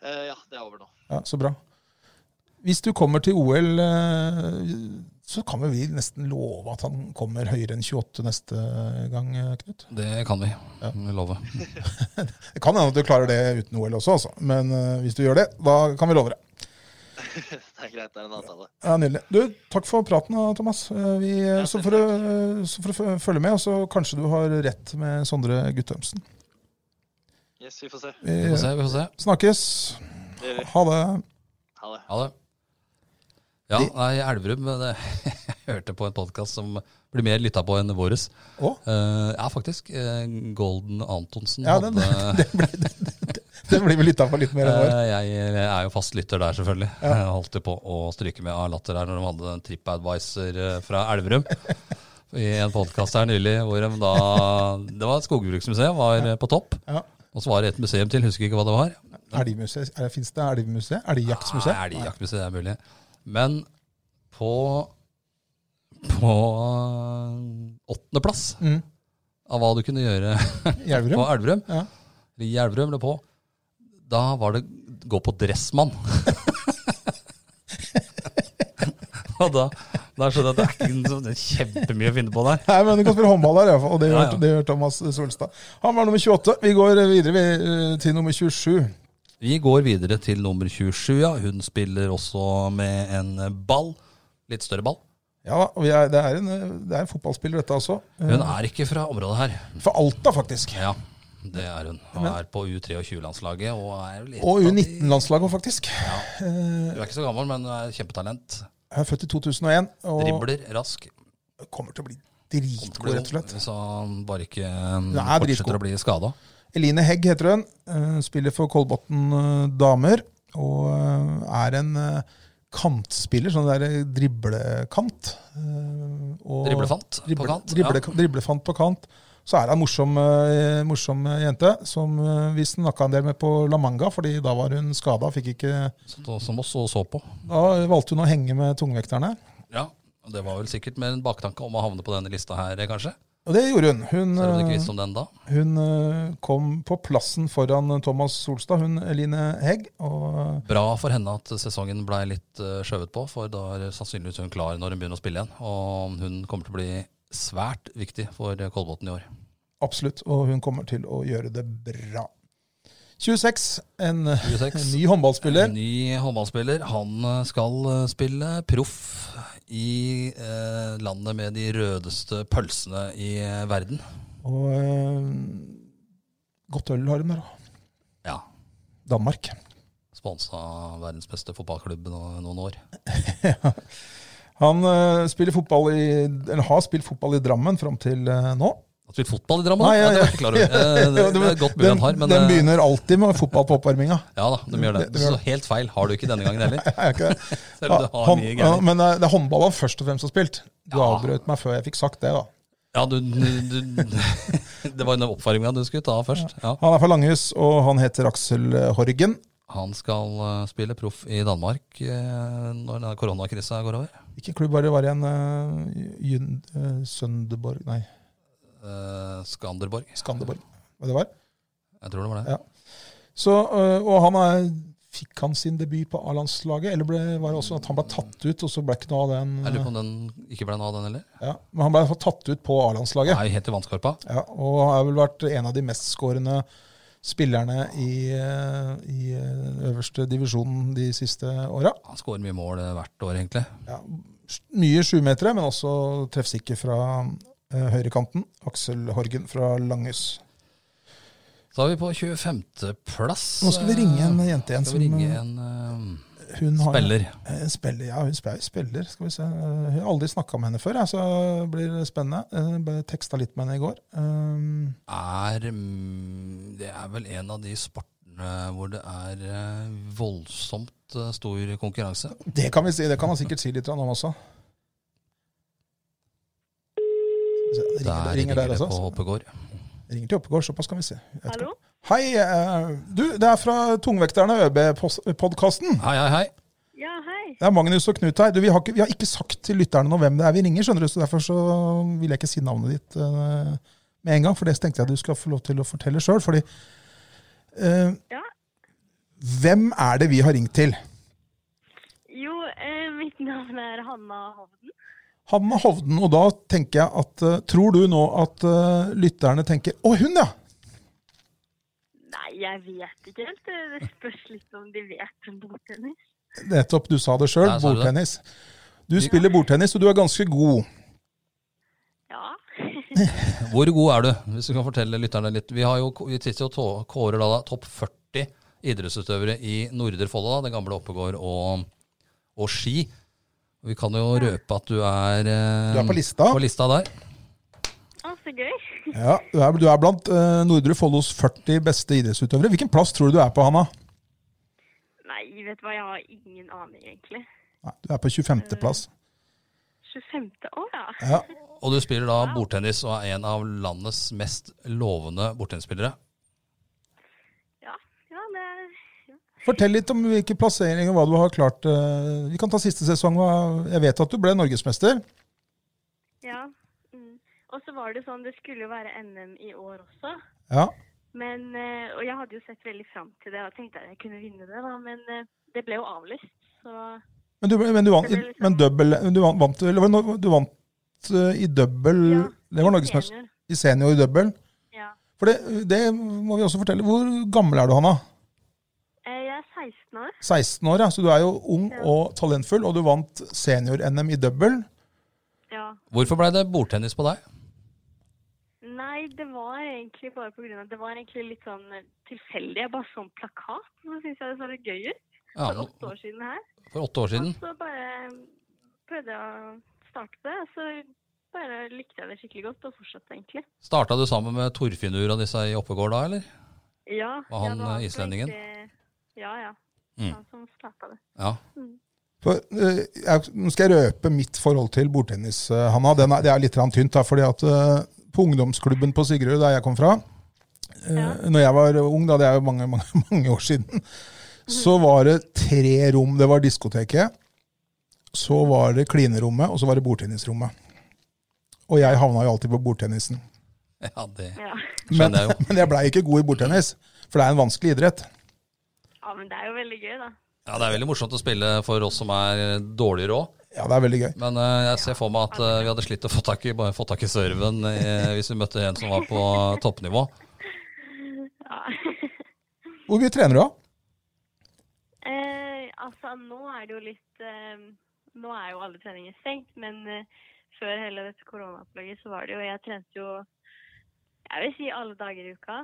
[SPEAKER 3] Eh, ja, det er over nå.
[SPEAKER 2] Ja, Så bra. Hvis du kommer til OL, eh, så kan vel vi nesten love at han kommer høyere enn 28 neste gang, eh, Knut?
[SPEAKER 1] Det kan vi vi love.
[SPEAKER 2] Det kan hende at du klarer det uten OL også, altså. Men eh, hvis du gjør det, da kan vi love det.
[SPEAKER 3] Det er greit, det er en avtale.
[SPEAKER 2] Ja, Nydelig. Du, takk for praten, da, Thomas. Eh, Vi, eh, så får du eh, så får du f- følge med, og så kanskje du har rett med Sondre Guttormsen.
[SPEAKER 3] Yes, vi får se.
[SPEAKER 2] Vi
[SPEAKER 1] Vi får se. vi får se.
[SPEAKER 2] snakkes.
[SPEAKER 3] Det gjør vi.
[SPEAKER 2] Ha det.
[SPEAKER 3] Ha det.
[SPEAKER 1] Ha det. Ja,
[SPEAKER 2] Det-
[SPEAKER 1] nei, Elverum eh, det, Jeg hørte på en podkast som blir mer lytta på enn våres.
[SPEAKER 2] Å?
[SPEAKER 1] Eh, ja, faktisk. eh, Golden Antonsen
[SPEAKER 2] Ja, den,
[SPEAKER 1] hadde
[SPEAKER 2] den, ble, den, den blir vi lytta på litt mer enn vår.
[SPEAKER 1] Eh, Jeg, jeg er jo fast lytter der, selvfølgelig. Jeg holdt jo på å stryke med av latter her når de hadde en TripAdvisor eh, fra Elverum. I en podkast her nylig hvor de da Det var et skogbruksmuseum, var eh, på topp.
[SPEAKER 2] Ja.
[SPEAKER 1] Og så var det et museum til, husker ikke hva det var.
[SPEAKER 2] Elgmuseet? Er det- Finnes det elgmuseet? Elgjaktmuseet?
[SPEAKER 1] Nei, Elgjaktmuseet er mulig. Men på På åttendeplass
[SPEAKER 2] Mm.
[SPEAKER 1] av hva du kunne gjøre
[SPEAKER 2] I Elverum?
[SPEAKER 1] på Elverum,
[SPEAKER 2] Ja.
[SPEAKER 1] eller i Elverum eller på, da var det gå på Dressmann. og da, da skjønner jeg at det er ikke en sånn- det er kjempemye å finne på der.
[SPEAKER 2] Nei, men du kan spille håndball der, i hvert fall, og det gjør,
[SPEAKER 1] Ja, ja.
[SPEAKER 2] det gjør Thomas Solstad. Han var nummer 28. Vi går videre vi, eh, til nummer 27.
[SPEAKER 1] Vi går videre til nummer 27. Ja. Hun spiller også med en ball. Litt større ball.
[SPEAKER 2] Ja da, og vi er, det, er en, eh, det er en fotballspiller, dette også. Eh,
[SPEAKER 1] Hun er ikke fra området her.
[SPEAKER 2] For Alta, faktisk.
[SPEAKER 1] Ja, det er hun. Hun er på U23-landslaget. Og er litt
[SPEAKER 2] Og
[SPEAKER 1] av de-
[SPEAKER 2] U19-landslaget, faktisk.
[SPEAKER 1] Hun er ikke så gammel, men hun er kjempetalent.
[SPEAKER 2] Jeg er født i 2001 og
[SPEAKER 1] Dribler, rask.
[SPEAKER 2] kommer til å bli dritgod, rett og slett.
[SPEAKER 1] Så han bare ikke um,
[SPEAKER 2] Hun er
[SPEAKER 1] fortsetter
[SPEAKER 2] dritgod.
[SPEAKER 1] å bli skada.
[SPEAKER 2] Eline Hegg heter hun. eh, Spiller for Kolbotn eh, damer. Og eh, er en eh, kantspiller, sånn der driblekant. eh, og-
[SPEAKER 1] Driblefant på
[SPEAKER 2] Drible,
[SPEAKER 1] kant.
[SPEAKER 2] Drible,
[SPEAKER 1] ja.
[SPEAKER 2] Driblefant på kant. Så er hun en morsom, eh, morsom jente, som eh, vi snakka en del med på La Manga, fordi da var hun skada. Fikk ikke
[SPEAKER 1] Så- Som oss og så på.
[SPEAKER 2] Da valgte hun å henge med tungvekterne.
[SPEAKER 1] Ja. Og Det var vel sikkert med en baktanke om å havne på denne lista her, eh, kanskje.
[SPEAKER 2] Og det gjorde hun. Hun,
[SPEAKER 1] Selv om du ikke visste om den da.
[SPEAKER 2] hun eh, kom på plassen foran Thomas Solstad, hun Eline Hegg. Og eh,
[SPEAKER 1] Bra for henne at sesongen blei litt eh, skjøvet på, for da er sannsynligvis hun klar når hun begynner å spille igjen. Og hun kommer til å bli svært viktig for eh, Kolbotn i år.
[SPEAKER 2] absolutt. Og hun kommer til å gjøre det bra. 26, en, eh, en
[SPEAKER 1] 26.
[SPEAKER 2] ny håndballspiller.
[SPEAKER 1] Ny håndballspiller. Han eh, skal eh, spille proff i eh, landet med de rødeste pølsene i eh, verden.
[SPEAKER 2] Og eh, godt øl har de der, da.
[SPEAKER 1] Ja.
[SPEAKER 2] Danmark.
[SPEAKER 1] Sponsa av verdens beste fotballklubb nå, noen år.
[SPEAKER 2] Han eh, spiller fotball i, eller har spilt fotball i Drammen fram til eh, nå.
[SPEAKER 1] Har spilt fotball i Drammen?
[SPEAKER 2] Nei,
[SPEAKER 1] da? ja, det
[SPEAKER 2] ja,
[SPEAKER 1] var jeg ikke klar over. Eh, det, det er et godt bud
[SPEAKER 2] den,
[SPEAKER 1] han har, men
[SPEAKER 2] den
[SPEAKER 1] eh,
[SPEAKER 2] begynner alltid med fotball på oppvarminga.
[SPEAKER 1] ja da, de gjør det.
[SPEAKER 2] Det- det gjør
[SPEAKER 1] Så helt feil har du ikke denne gangen heller.
[SPEAKER 2] Er jeg ikke det?
[SPEAKER 1] Selv om du har
[SPEAKER 2] Hånd-
[SPEAKER 1] mye
[SPEAKER 2] ja,
[SPEAKER 1] greier.
[SPEAKER 2] men eh, det er- det er håndball han først og fremst har spilt. Du
[SPEAKER 1] Ja.
[SPEAKER 2] avbrøt meg før jeg fikk sagt det, da.
[SPEAKER 1] Ja, du, du, du Det var den oppvarminga du skulle ta først. Ja.
[SPEAKER 2] Han er fra Langhus, og han heter Aksel eh, Horgen.
[SPEAKER 1] Han skal eh, spille proff i Danmark eh, når denne koronakrisa går over.
[SPEAKER 2] Ikke klubb, bare var igjen eh, Jyn- eh, Søndeborg Nei,
[SPEAKER 1] Eh, Skanderborg.
[SPEAKER 2] Skandeborg. Hva det var?
[SPEAKER 1] Jeg tror det var det.
[SPEAKER 2] Ja. Så, øh, og han er, fikk han sin debut på A-landslaget, eller ble, var det også at han ble tatt ut, og så ble ikke noe av den
[SPEAKER 1] Jeg lurer på
[SPEAKER 2] øh,
[SPEAKER 1] om den ikke ble noe av den heller.
[SPEAKER 2] ja. Men han ble i hvert fall tatt ut på
[SPEAKER 1] Det
[SPEAKER 2] A-landslaget,
[SPEAKER 1] er jo helt i vannskorpa.
[SPEAKER 2] ja, og har vel vært en av de mestskårende spillerne i, øh, i øh, øverste divisjonen de siste åra.
[SPEAKER 1] Han skårer mye mål eh, hvert år, egentlig.
[SPEAKER 2] Ja, s- mye sjumetere, men også treffsikker fra øh, høyrekanten. Aksel Horgen fra Langhus.
[SPEAKER 1] Så er vi på 25.-plass.
[SPEAKER 2] Nå skal vi ringe en jente igjen.
[SPEAKER 1] Skal vi ringe en eh,
[SPEAKER 2] hun har-
[SPEAKER 1] spiller?
[SPEAKER 2] Eh, Spiller, ja, hun spiller, spiller. Skal vi se. Eh, Jeg har aldri snakka med henne før, jeg, så det blir spennende. Eh, Bare teksta litt med henne i går. Um,
[SPEAKER 1] Er mm, Det er vel en av de sportene hvor det er eh, voldsomt eh, stor konkurranse.
[SPEAKER 2] Det kan vi si, det kan han sikkert si litt om også. Skal vi se, det Ringer,
[SPEAKER 1] Der
[SPEAKER 2] det ringer der
[SPEAKER 1] det på
[SPEAKER 2] også. altså.
[SPEAKER 1] Hoppegård.
[SPEAKER 2] Ringer til Oppegård, såpass kan vi se. Jeg vet ikke.
[SPEAKER 4] Hallo?
[SPEAKER 2] Hei, eh, du, det er fra Tungvekterne ØB-podkasten.
[SPEAKER 1] Hei, hei, hei.
[SPEAKER 4] Ja, hei.
[SPEAKER 2] Det er Magnus og Knut her. Du, vi, har ikke, vi har ikke sagt til lytterne noe hvem det er vi ringer, skjønner du, så derfor så vil jeg ikke si navnet ditt eh, med en gang, for det tenkte jeg du skal få lov til å fortelle sjøl. Fordi eh,
[SPEAKER 4] Ja.
[SPEAKER 2] Hvem er det vi har ringt til?
[SPEAKER 4] Jo, eh, mitt navn er Hanna Hovden.
[SPEAKER 2] Hanna Hovden, og da tenker jeg at eh, Tror du nå at eh, lytterne tenker Å, hun, ja!
[SPEAKER 4] Nei, jeg vet ikke helt. Eh, Det spørs litt om de vet om bordtennis.
[SPEAKER 2] Nettopp, du sa det sjøl.
[SPEAKER 1] Der sa du det.
[SPEAKER 2] Bordtennis. Du spiller bordtennis, og du er ganske god.
[SPEAKER 4] Ja.
[SPEAKER 1] Hvor god er du, hvis du kan fortelle lytterne litt? Vi, har jo, vi sitter jo og tå- kårer da, da topp 40 idrettsutøvere i Nordre Follo, da, det gamle Oppegård og, og Ski. Vi kan jo røpe at du er, eh,
[SPEAKER 2] Du er på lista.
[SPEAKER 1] på lista der.
[SPEAKER 4] Å, så gøy.
[SPEAKER 2] Ja, Du er, du er blant eh, Nordre Follos 40 beste idrettsutøvere. Hvilken plass tror du du er på, Hanna?
[SPEAKER 4] Nei, vet du hva, jeg har ingen aning, egentlig.
[SPEAKER 2] Nei, du er på 25.-plass.
[SPEAKER 4] 25. Å, ja.
[SPEAKER 2] Ja.
[SPEAKER 1] Og du spiller da bordtennis og er en av landets mest lovende bordtennisspillere.
[SPEAKER 4] Ja, ja det er...
[SPEAKER 2] Fortell litt om hvilke plasseringer og hva du har klart. eh, Vi kan ta siste sesong. hva- Jeg vet at du ble norgesmester.
[SPEAKER 4] Ja. Mm. Og så var det sånn, det skulle jo være NM i år også.
[SPEAKER 2] Ja.
[SPEAKER 4] Men, eh, og jeg hadde jo sett veldig fram til det, og tenkte at jeg kunne vinne det, da. Men eh, det ble jo avlyst, så...
[SPEAKER 2] Men du, men du vant,
[SPEAKER 4] Det ble liksom-
[SPEAKER 2] men double, du vant, vant, eller var det no- du vant eh, i double
[SPEAKER 4] Ja,
[SPEAKER 2] Det var norgesmester
[SPEAKER 4] senior.
[SPEAKER 2] i senior i double.
[SPEAKER 4] Ja.
[SPEAKER 2] For det, det må vi også fortelle. Hvor gammel er du, Hanna?
[SPEAKER 4] Eh, Jeg er 16 år.
[SPEAKER 2] 16 år, ja. Så du er jo ung
[SPEAKER 4] Ja.
[SPEAKER 2] og talentfull, og du vant senior-NM i double.
[SPEAKER 4] Ja.
[SPEAKER 1] Hvorfor ble det bordtennis på deg?
[SPEAKER 4] Nei, det var egentlig bare på grunn av Det var egentlig litt sånn eh, tilfeldig. Jeg bare så en plakat, så syns jeg det så litt gøy ut.
[SPEAKER 1] Ja,
[SPEAKER 4] For åtte år siden her.
[SPEAKER 1] for åtte år siden.
[SPEAKER 4] Og så bare eh, prøvde jeg å starte det, og så bare likte jeg det skikkelig godt og fortsatte egentlig.
[SPEAKER 1] Starta du sammen med Torfinnur og disse i Oppegård da, eller?
[SPEAKER 4] Ja.
[SPEAKER 1] Var han,
[SPEAKER 4] ja, det som
[SPEAKER 1] eh, islendingen?
[SPEAKER 4] egentlig- Ja, ja.
[SPEAKER 1] Mm.
[SPEAKER 4] Han som starta det.
[SPEAKER 1] Ja.
[SPEAKER 2] For, eh, jeg, nå skal jeg røpe mitt forhold til bordtennis, eh, Hanna. Den er, det er litt grann tynt. Da, fordi at eh, På ungdomsklubben på Sigrud, der jeg kom fra, eh,
[SPEAKER 4] Ja.
[SPEAKER 2] når jeg var ung, da, det er jo mange, mange, mange år siden, så var det tre rom. Det var diskoteket. Så var det klinerommet, og så var det bordtennisrommet. Og jeg havna jo alltid på bordtennisen.
[SPEAKER 1] Ja, det
[SPEAKER 4] Ja.
[SPEAKER 2] Men,
[SPEAKER 1] skjønner jeg jo.
[SPEAKER 2] men jeg blei ikke god i bordtennis, for det er en vanskelig idrett.
[SPEAKER 4] ja, men det er jo veldig gøy, da.
[SPEAKER 1] Ja, Det er veldig morsomt å spille for oss som er dårligere òg.
[SPEAKER 2] Ja, det er veldig gøy.
[SPEAKER 1] Men eh, jeg ser for meg at eh, vi hadde slitt å få tak i, bare få tak i serven eh, hvis vi møtte en som var på toppnivå.
[SPEAKER 4] Ja.
[SPEAKER 2] Hvor mye trener du, da?
[SPEAKER 4] eh, altså, nå er det jo litt eh, Nå er jo alle treninger stengt, men eh, før hele dette koronaopplegget så var det jo Jeg trente jo jeg vil si alle dager i uka.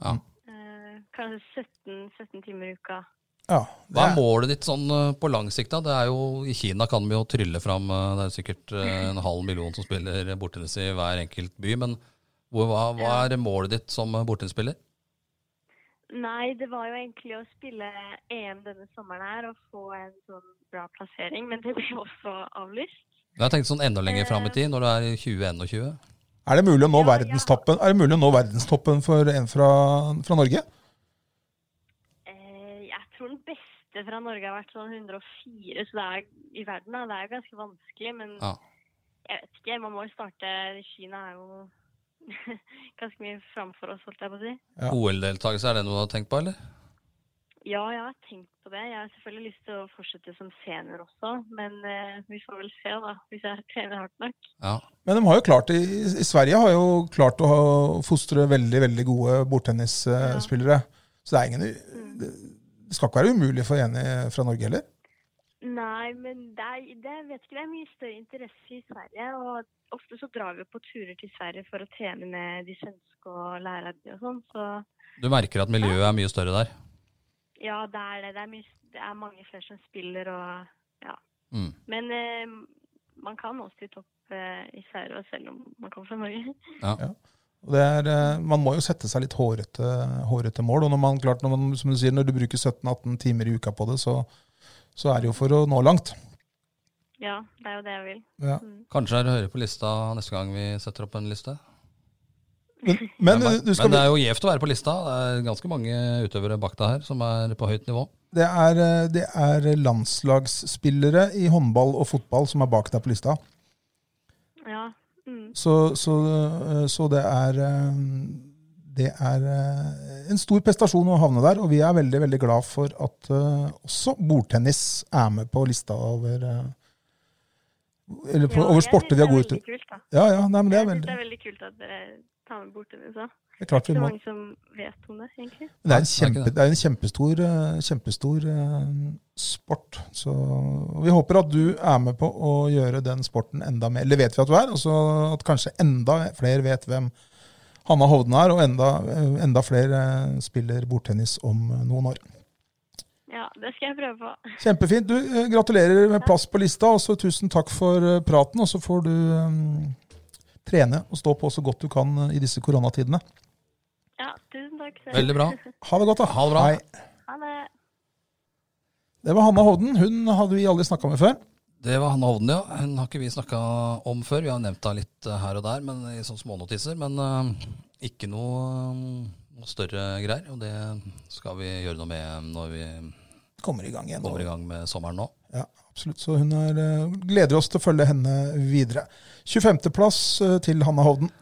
[SPEAKER 1] Ja.
[SPEAKER 4] Eh, kanskje 17, 17 timer i uka.
[SPEAKER 2] Ja,
[SPEAKER 1] Hva
[SPEAKER 2] det
[SPEAKER 1] er
[SPEAKER 2] er,
[SPEAKER 1] målet ditt sånn eh, på lang sikt? da? Det er jo, I Kina kan vi jo trylle fram eh, Det er sikkert eh, en halv million som spiller bordtennis i hver enkelt by. Men hvor, hva, hva er målet ditt som eh, bordtennisspiller?
[SPEAKER 4] Nei, det var jo egentlig å spille EM denne sommeren her og få en sånn bra plassering, men det ble jo også avlyst.
[SPEAKER 1] Jeg tenkte sånn enda lenger fram i tid, når du er i 2021.
[SPEAKER 2] er det mulig å nå
[SPEAKER 4] Ja, ja.
[SPEAKER 2] verdenstoppen, er det mulig å nå verdenstoppen for en fra, fra Norge?
[SPEAKER 4] Eh, jeg tror den beste fra Norge har vært sånn 104, så det er i verden, da. Det er jo ganske vanskelig, men
[SPEAKER 1] Ja.
[SPEAKER 4] jeg vet ikke. Man må jo starte Kina er jo ganske mye framfor oss, holdt jeg på å si.
[SPEAKER 2] Ja.
[SPEAKER 1] OL-deltakelse, er det noe du har tenkt på, eller?
[SPEAKER 4] Ja, jeg har tenkt på det. Jeg har selvfølgelig lyst til å fortsette som senior også, men eh, vi får vel se, da. Hvis jeg trener hardt nok.
[SPEAKER 1] Ja.
[SPEAKER 2] Men de har jo klart, i, i Sverige har jo klart å ha- fostre veldig veldig gode bordtennisspillere. Så det er ingen u- det, det skal ikke være umulig for en i- fra Norge heller.
[SPEAKER 4] Nei, men det er, det, jeg vet ikke, det er mye større interesse i Sverige. Og ofte så drar vi på turer til Sverige for å trene med de svenske og lærere og sånn. Så
[SPEAKER 1] Du merker at miljøet er mye større der.
[SPEAKER 4] ja, det er det. Det er, mye, det er mange flere som spiller og ja.
[SPEAKER 1] Mm.
[SPEAKER 4] Men eh, man kan også til topp eh, i Sverige, og selv om man kommer fra Norge.
[SPEAKER 2] Og det er, eh, man må jo sette seg litt hårete, hårete mål. Og når man, klart, når man, som du sier, når du bruker 17-18 timer i uka på det, så, så er det jo for å nå langt.
[SPEAKER 4] Ja, det er jo det jeg vil.
[SPEAKER 2] Ja.
[SPEAKER 1] Kanskje er det høyere på lista neste gang vi setter opp en liste?
[SPEAKER 2] Men, men,
[SPEAKER 1] Men,
[SPEAKER 2] du skal,
[SPEAKER 1] det er jo gjevt å være på lista. Det er ganske mange utøvere bak deg her som er på høyt nivå.
[SPEAKER 2] det, er, eh, det er landslagsspillere i håndball og fotball som er bak deg på lista.
[SPEAKER 4] Ja. Mm.
[SPEAKER 2] Så, så, øh, så det er øh, Det er øh, en stor prestasjon å havne der, og vi er veldig veldig glad for at øh, også bordtennis er med på lista over øh, eller på,
[SPEAKER 4] Ja,
[SPEAKER 2] over
[SPEAKER 4] jeg
[SPEAKER 2] sporter
[SPEAKER 4] synes
[SPEAKER 2] vi er gode
[SPEAKER 4] Det
[SPEAKER 2] til.
[SPEAKER 4] er veldig kult, da.
[SPEAKER 2] Ja, ja, nei, men det er,
[SPEAKER 4] Jeg synes
[SPEAKER 2] veldig,
[SPEAKER 4] det er veldig kult at dere tar med bortennis òg.
[SPEAKER 2] det er klart vi
[SPEAKER 4] Så
[SPEAKER 2] må.
[SPEAKER 4] mange som vet om det, egentlig.
[SPEAKER 2] Det
[SPEAKER 1] Nei,
[SPEAKER 2] er en,
[SPEAKER 1] det er
[SPEAKER 2] kjempe,
[SPEAKER 1] ikke det.
[SPEAKER 2] det er en kjempestor, øh, kjempestor øh, sport. Så vi håper at du er med på å gjøre den sporten enda mer. Eller vet vi at du er, og så at kanskje enda flere vet hvem Hanna Hovden er, og enda, øh, enda flere øh, spiller bordtennis om øh, noen år.
[SPEAKER 4] Ja, det skal jeg prøve på.
[SPEAKER 2] Kjempefint. Du, øh, gratulerer med plass på lista, og så tusen takk for øh, praten. Og så får du øh, trene og stå på så godt du kan øh, i disse koronatidene.
[SPEAKER 4] Ja, tusen takk. selv.
[SPEAKER 1] Veldig bra.
[SPEAKER 2] Ha det godt, da.
[SPEAKER 1] Ha det bra.
[SPEAKER 2] Hei.
[SPEAKER 4] Ha det.
[SPEAKER 2] Det var Hanna Hovden. Hun hadde vi aldri snakka med før.
[SPEAKER 1] Det var Hanne Hovden, ja. Hun har ikke vi snakka om før. Vi har nevnt henne litt eh, her og der, men i sånne smånotiser. Men eh, ikke noe, eh, noe større greier. Og det skal vi gjøre noe med når vi
[SPEAKER 2] kommer i gang igjen.
[SPEAKER 1] kommer i gang med sommeren nå.
[SPEAKER 2] Ja, absolutt. Så hun er, eh, gleder oss til å følge henne videre. 25.-plass eh, til Hanna Hovden.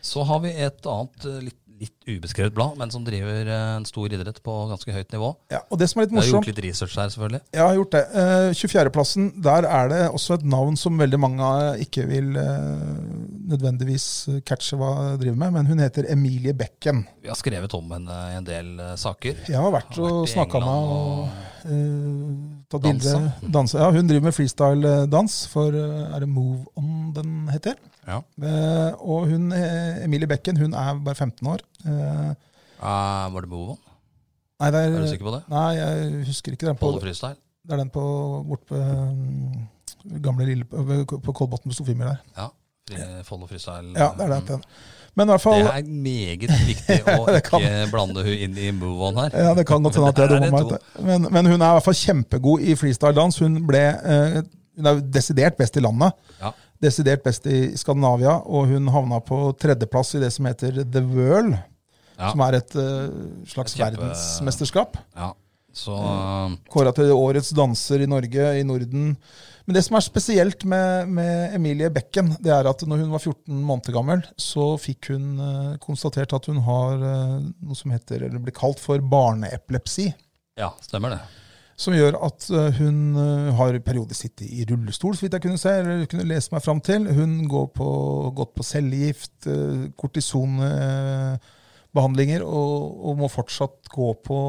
[SPEAKER 1] Så har vi et annet eh, litt, litt ubeskrevet blad, men som driver eh, en stor idrett på ganske høyt nivå.
[SPEAKER 2] Ja, og det som er litt
[SPEAKER 1] Vi har gjort
[SPEAKER 2] morsomt
[SPEAKER 1] litt research her, selvfølgelig.
[SPEAKER 2] Jeg har gjort det. Eh, 24.-plassen, der er det også et navn som veldig mange eh, ikke vil eh, nødvendigvis catche hva hun driver med, men hun heter Emilie Bekken.
[SPEAKER 1] Vi har skrevet om henne i en del eh, saker.
[SPEAKER 2] Jeg har vært
[SPEAKER 1] Har vært
[SPEAKER 2] og
[SPEAKER 1] i
[SPEAKER 2] snakka med
[SPEAKER 1] England
[SPEAKER 2] henne og eh, tatt bilde.
[SPEAKER 1] Dansa.
[SPEAKER 2] Dansa. Ja, hun driver med freestyle-dans for eh, Er det Move On den heter?
[SPEAKER 1] Ja.
[SPEAKER 2] Eh, og hun, eh, Emilie Bekken hun er bare 15 år. Eh,
[SPEAKER 1] Eh, var det Bovon?
[SPEAKER 2] nei, det er,
[SPEAKER 1] Er du sikker på det?
[SPEAKER 2] Nei, jeg husker ikke. Den på,
[SPEAKER 1] Polo freestyle?
[SPEAKER 2] det er den på bort på um, gamle Lille På på Kolbotn på Storfimmer der.
[SPEAKER 1] Ja. Fri- Follo freestyle. eh,
[SPEAKER 2] Ja, det er den. den. Men i hvert
[SPEAKER 1] Mm.
[SPEAKER 2] fall
[SPEAKER 1] Det er meget viktig å
[SPEAKER 2] det kan-
[SPEAKER 1] ikke blande hun inn i move on her.
[SPEAKER 2] Ja, det kan godt hende at jeg
[SPEAKER 1] Der er
[SPEAKER 2] dummer meg
[SPEAKER 1] det
[SPEAKER 2] ut. Men, men hun er i hvert fall kjempegod i freestyle-dans. Hun, ble, eh, hun er jo desidert best i landet.
[SPEAKER 1] Ja.
[SPEAKER 2] Desidert best i Skandinavia, og hun havna på tredjeplass i det som heter The World,
[SPEAKER 1] Ja.
[SPEAKER 2] som er et eh, slags
[SPEAKER 1] Et kjempe-
[SPEAKER 2] verdensmesterskap.
[SPEAKER 1] Ja. Så
[SPEAKER 2] Kåra til årets danser i Norge, i Norden. Men det som er spesielt med, med Emilie Bekken, det er at når hun var 14 måneder gammel, så fikk hun eh, konstatert at hun har eh, noe som heter, eller blir kalt for barneepilepsi.
[SPEAKER 1] ja, stemmer det.
[SPEAKER 2] Som gjør at eh, hun eh, har periodisk sittet i rullestol, så vidt jeg kunne se, eller kunne lese meg fram til. Hun går på, gått på cellegift, eh, kortisonbehandlinger, og, og må fortsatt gå på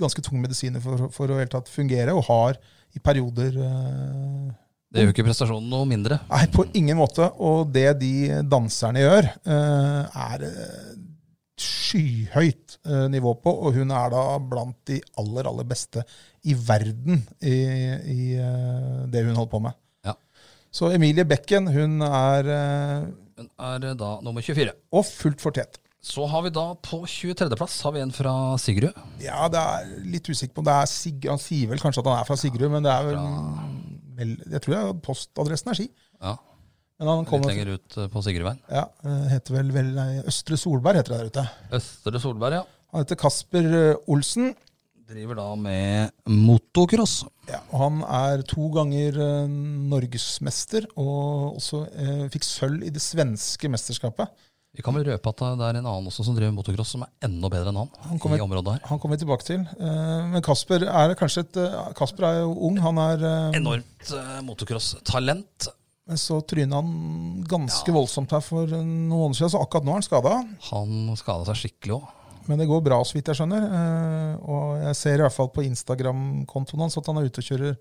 [SPEAKER 2] ganske tunge medisiner for, for å i det hele tatt fungere, og har i perioder eh,
[SPEAKER 1] Det gjør jo ikke prestasjonen noe mindre.
[SPEAKER 2] Nei, på ingen måte. Og det de danserne gjør, eh, er eh, skyhøyt eh, nivå på. Og hun er da blant de aller, aller beste i verden i, i eh, det hun holder på med.
[SPEAKER 1] Ja.
[SPEAKER 2] Så Emilie Bekken, hun er eh,
[SPEAKER 1] Hun er da nummer 24.
[SPEAKER 2] Og fullt fortjent.
[SPEAKER 1] Så har vi da på 23.-plass har vi en fra Sigrud.
[SPEAKER 2] Ja, det er litt usikker på om det er Sig Han sier vel kanskje at han er fra Sigrud, men det er vel, vel Jeg tror det er postadressen er Ski.
[SPEAKER 1] Ja,
[SPEAKER 2] Men han
[SPEAKER 1] Litt
[SPEAKER 2] kommer
[SPEAKER 1] lenger ut eh, på Sigrudveien.
[SPEAKER 2] ja, eh, heter vel, vel nei, Østre Solberg heter det der ute.
[SPEAKER 1] Østre Solberg, ja.
[SPEAKER 2] Han heter Kasper eh, Olsen.
[SPEAKER 1] Driver da med motocross.
[SPEAKER 2] Ja, og han er to ganger eh, norgesmester, og også eh, fikk sølv i det svenske mesterskapet.
[SPEAKER 1] Vi kan vel røpe at det er en annen også som driver motocross, som er enda bedre enn han.
[SPEAKER 2] Han kommer-
[SPEAKER 1] i området her.
[SPEAKER 2] Han kommer vi tilbake til. Eh, men Kasper er kanskje et eh, Kasper er jo ung. Han er eh,
[SPEAKER 1] Enormt eh, motocross-talent.
[SPEAKER 2] Men så tryna han ganske voldsomt her for eh, noen måneder siden, så akkurat nå er han skada.
[SPEAKER 1] Han skada seg skikkelig òg.
[SPEAKER 2] Men det går bra, så vidt jeg skjønner. Eh, og jeg ser i hvert fall på Instagram-kontoen hans at han er ute og kjører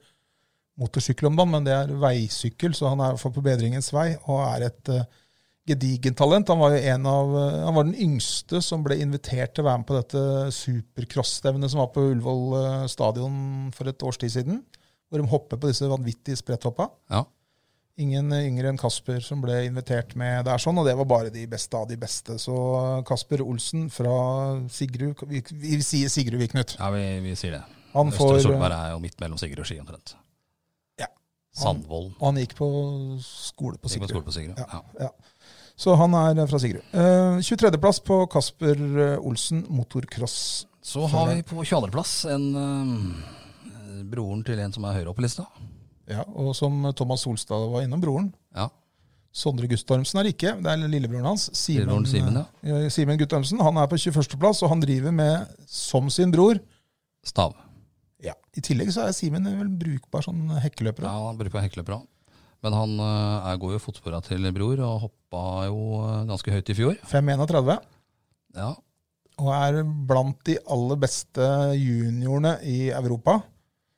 [SPEAKER 2] motorsykkel om dagen, men det er veisykkel, så han er i hvert fall på bedringens vei og er et eh, gedigent talent. Han var jo en av, eh, han var den yngste som ble invitert til å være med på dette supercross-stevnet som var på Ullevål eh, stadion for et års tid siden, hvor de hopper på disse vanvittige spretthoppa.
[SPEAKER 1] Ja.
[SPEAKER 2] Ingen yngre enn Kasper som ble invitert med der, sånn, og det var bare de beste av de beste. Så Kasper Olsen fra Sigrud Vi, vi sier Sigrud, vi, Knut.
[SPEAKER 1] Ja, vi, vi sier det.
[SPEAKER 2] Han,
[SPEAKER 1] Østre
[SPEAKER 2] får,
[SPEAKER 1] Solberg er jo midt mellom Sigurd og Ski, omtrent.
[SPEAKER 2] Ja.
[SPEAKER 1] Sandvolden.
[SPEAKER 2] han gikk på skole
[SPEAKER 1] Gikk
[SPEAKER 2] på
[SPEAKER 1] på
[SPEAKER 2] Sigrud.
[SPEAKER 1] skole på Sigurd. Ja.
[SPEAKER 2] Så han er fra Sigrud. Eh, 23.-plass på Kasper eh, Olsen motocross.
[SPEAKER 1] Så har vi på 22.-plass en eh, broren til en som er høyere oppe på lista.
[SPEAKER 2] Ja, og som Thomas Solstad var innom, broren.
[SPEAKER 1] Ja.
[SPEAKER 2] Sondre Guttormsen er det ikke, det er lillebroren hans.
[SPEAKER 1] Lillebroren Simen, ja.
[SPEAKER 2] eh, Simen Guttormsen. Han er på 21.-plass, og han driver med, som sin bror,
[SPEAKER 1] Stav.
[SPEAKER 2] Ja. I tillegg så er Simen vel brukbar sånn hekkeløper.
[SPEAKER 1] Ja,
[SPEAKER 2] da.
[SPEAKER 1] han bruker hekkeløper òg. Men han eh, er god i fotspora til bror, og hoppa jo eh, ganske høyt i fjor.
[SPEAKER 2] 5,31.
[SPEAKER 1] Ja.
[SPEAKER 2] Og er blant de aller beste juniorene i Europa.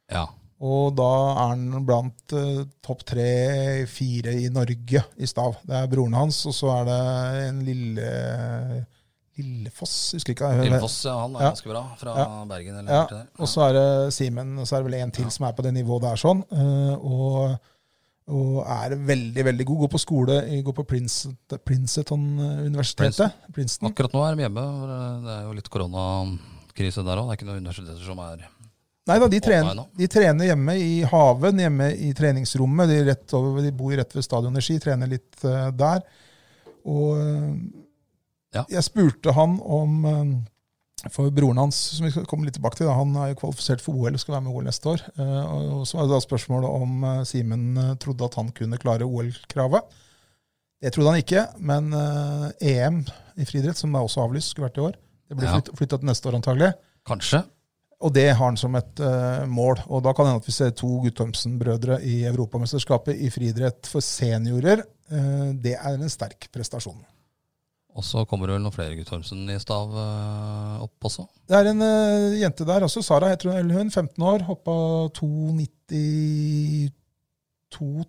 [SPEAKER 1] ja.
[SPEAKER 2] Og da er han blant eh, topp tre-fire i Norge i stav. Det er broren hans, og så er det en lille Lillefoss, husker ikke. jeg.
[SPEAKER 1] Lillefoss, ja, han er
[SPEAKER 2] eh, Ja.
[SPEAKER 1] ganske bra fra
[SPEAKER 2] Ja.
[SPEAKER 1] Bergen eller
[SPEAKER 2] Ja,
[SPEAKER 1] borti der.
[SPEAKER 2] og så er det Simen, og så er det vel en til som er på det nivået der sånn. eh, Og, og er veldig, veldig god. Går på skole, går på Princeton- Princeton-universitetet. Princeton.
[SPEAKER 1] Akkurat nå er de hjemme. for, eh, Det er jo litt koronakrise der òg. Det er ikke noen universiteter som er
[SPEAKER 2] Nei da, de
[SPEAKER 1] Online
[SPEAKER 2] trener,
[SPEAKER 1] nå.
[SPEAKER 2] de trener hjemme i haven, hjemme i treningsrommet. De, er rett over, de bor rett ved stadionet i Ski, trener litt eh, der. Og eh,
[SPEAKER 1] Ja.
[SPEAKER 2] jeg spurte han om eh, For broren hans, som vi skal komme litt tilbake til, da, han er jo kvalifisert for OL og skal være med i OL neste år. Eh, og- Og så var det da spørsmålet om eh, Simen eh, trodde at han kunne klare OL-kravet. Det trodde han ikke, men eh, EM i friidrett, som er også avlyst, skulle vært i år. Det blir
[SPEAKER 1] Ja.
[SPEAKER 2] flytt- flytta til neste år antagelig.
[SPEAKER 1] Kanskje.
[SPEAKER 2] Og det har han som et eh, mål. Og da kan det hende at vi ser to Guttormsen-brødre i Europamesterskapet i friidrett for seniorer. Eh, det er en sterk prestasjon.
[SPEAKER 1] Og så kommer det vel noen flere Guttormsen i stav eh, opp også.
[SPEAKER 2] Det er en eh, jente der også, Sara heter hun, eller hun, 15 år, hoppa 2,92,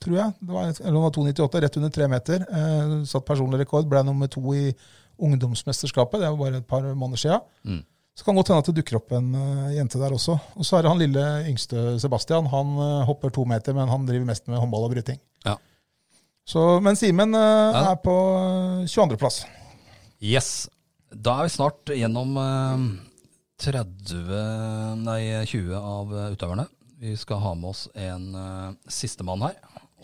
[SPEAKER 2] tror jeg. Det var, eller hun var 2,98, rett under tre meter. Eh, satt personlig rekord, ble nummer to i ungdomsmesterskapet, det var bare et par måneder sia.
[SPEAKER 1] Mm.
[SPEAKER 2] Så kan det godt hende at det dukker opp en eh, jente der også. Og så er det han lille yngste Sebastian. Han eh, hopper to meter, men han driver mest med håndball og bryting.
[SPEAKER 1] Ja.
[SPEAKER 2] Så, men Simen eh,
[SPEAKER 1] Ja.
[SPEAKER 2] er på eh, 22.-plass.
[SPEAKER 1] Yes. Da er vi snart gjennom eh, 30, nei 20 av eh, utøverne. Vi skal ha med oss en eh, sistemann her.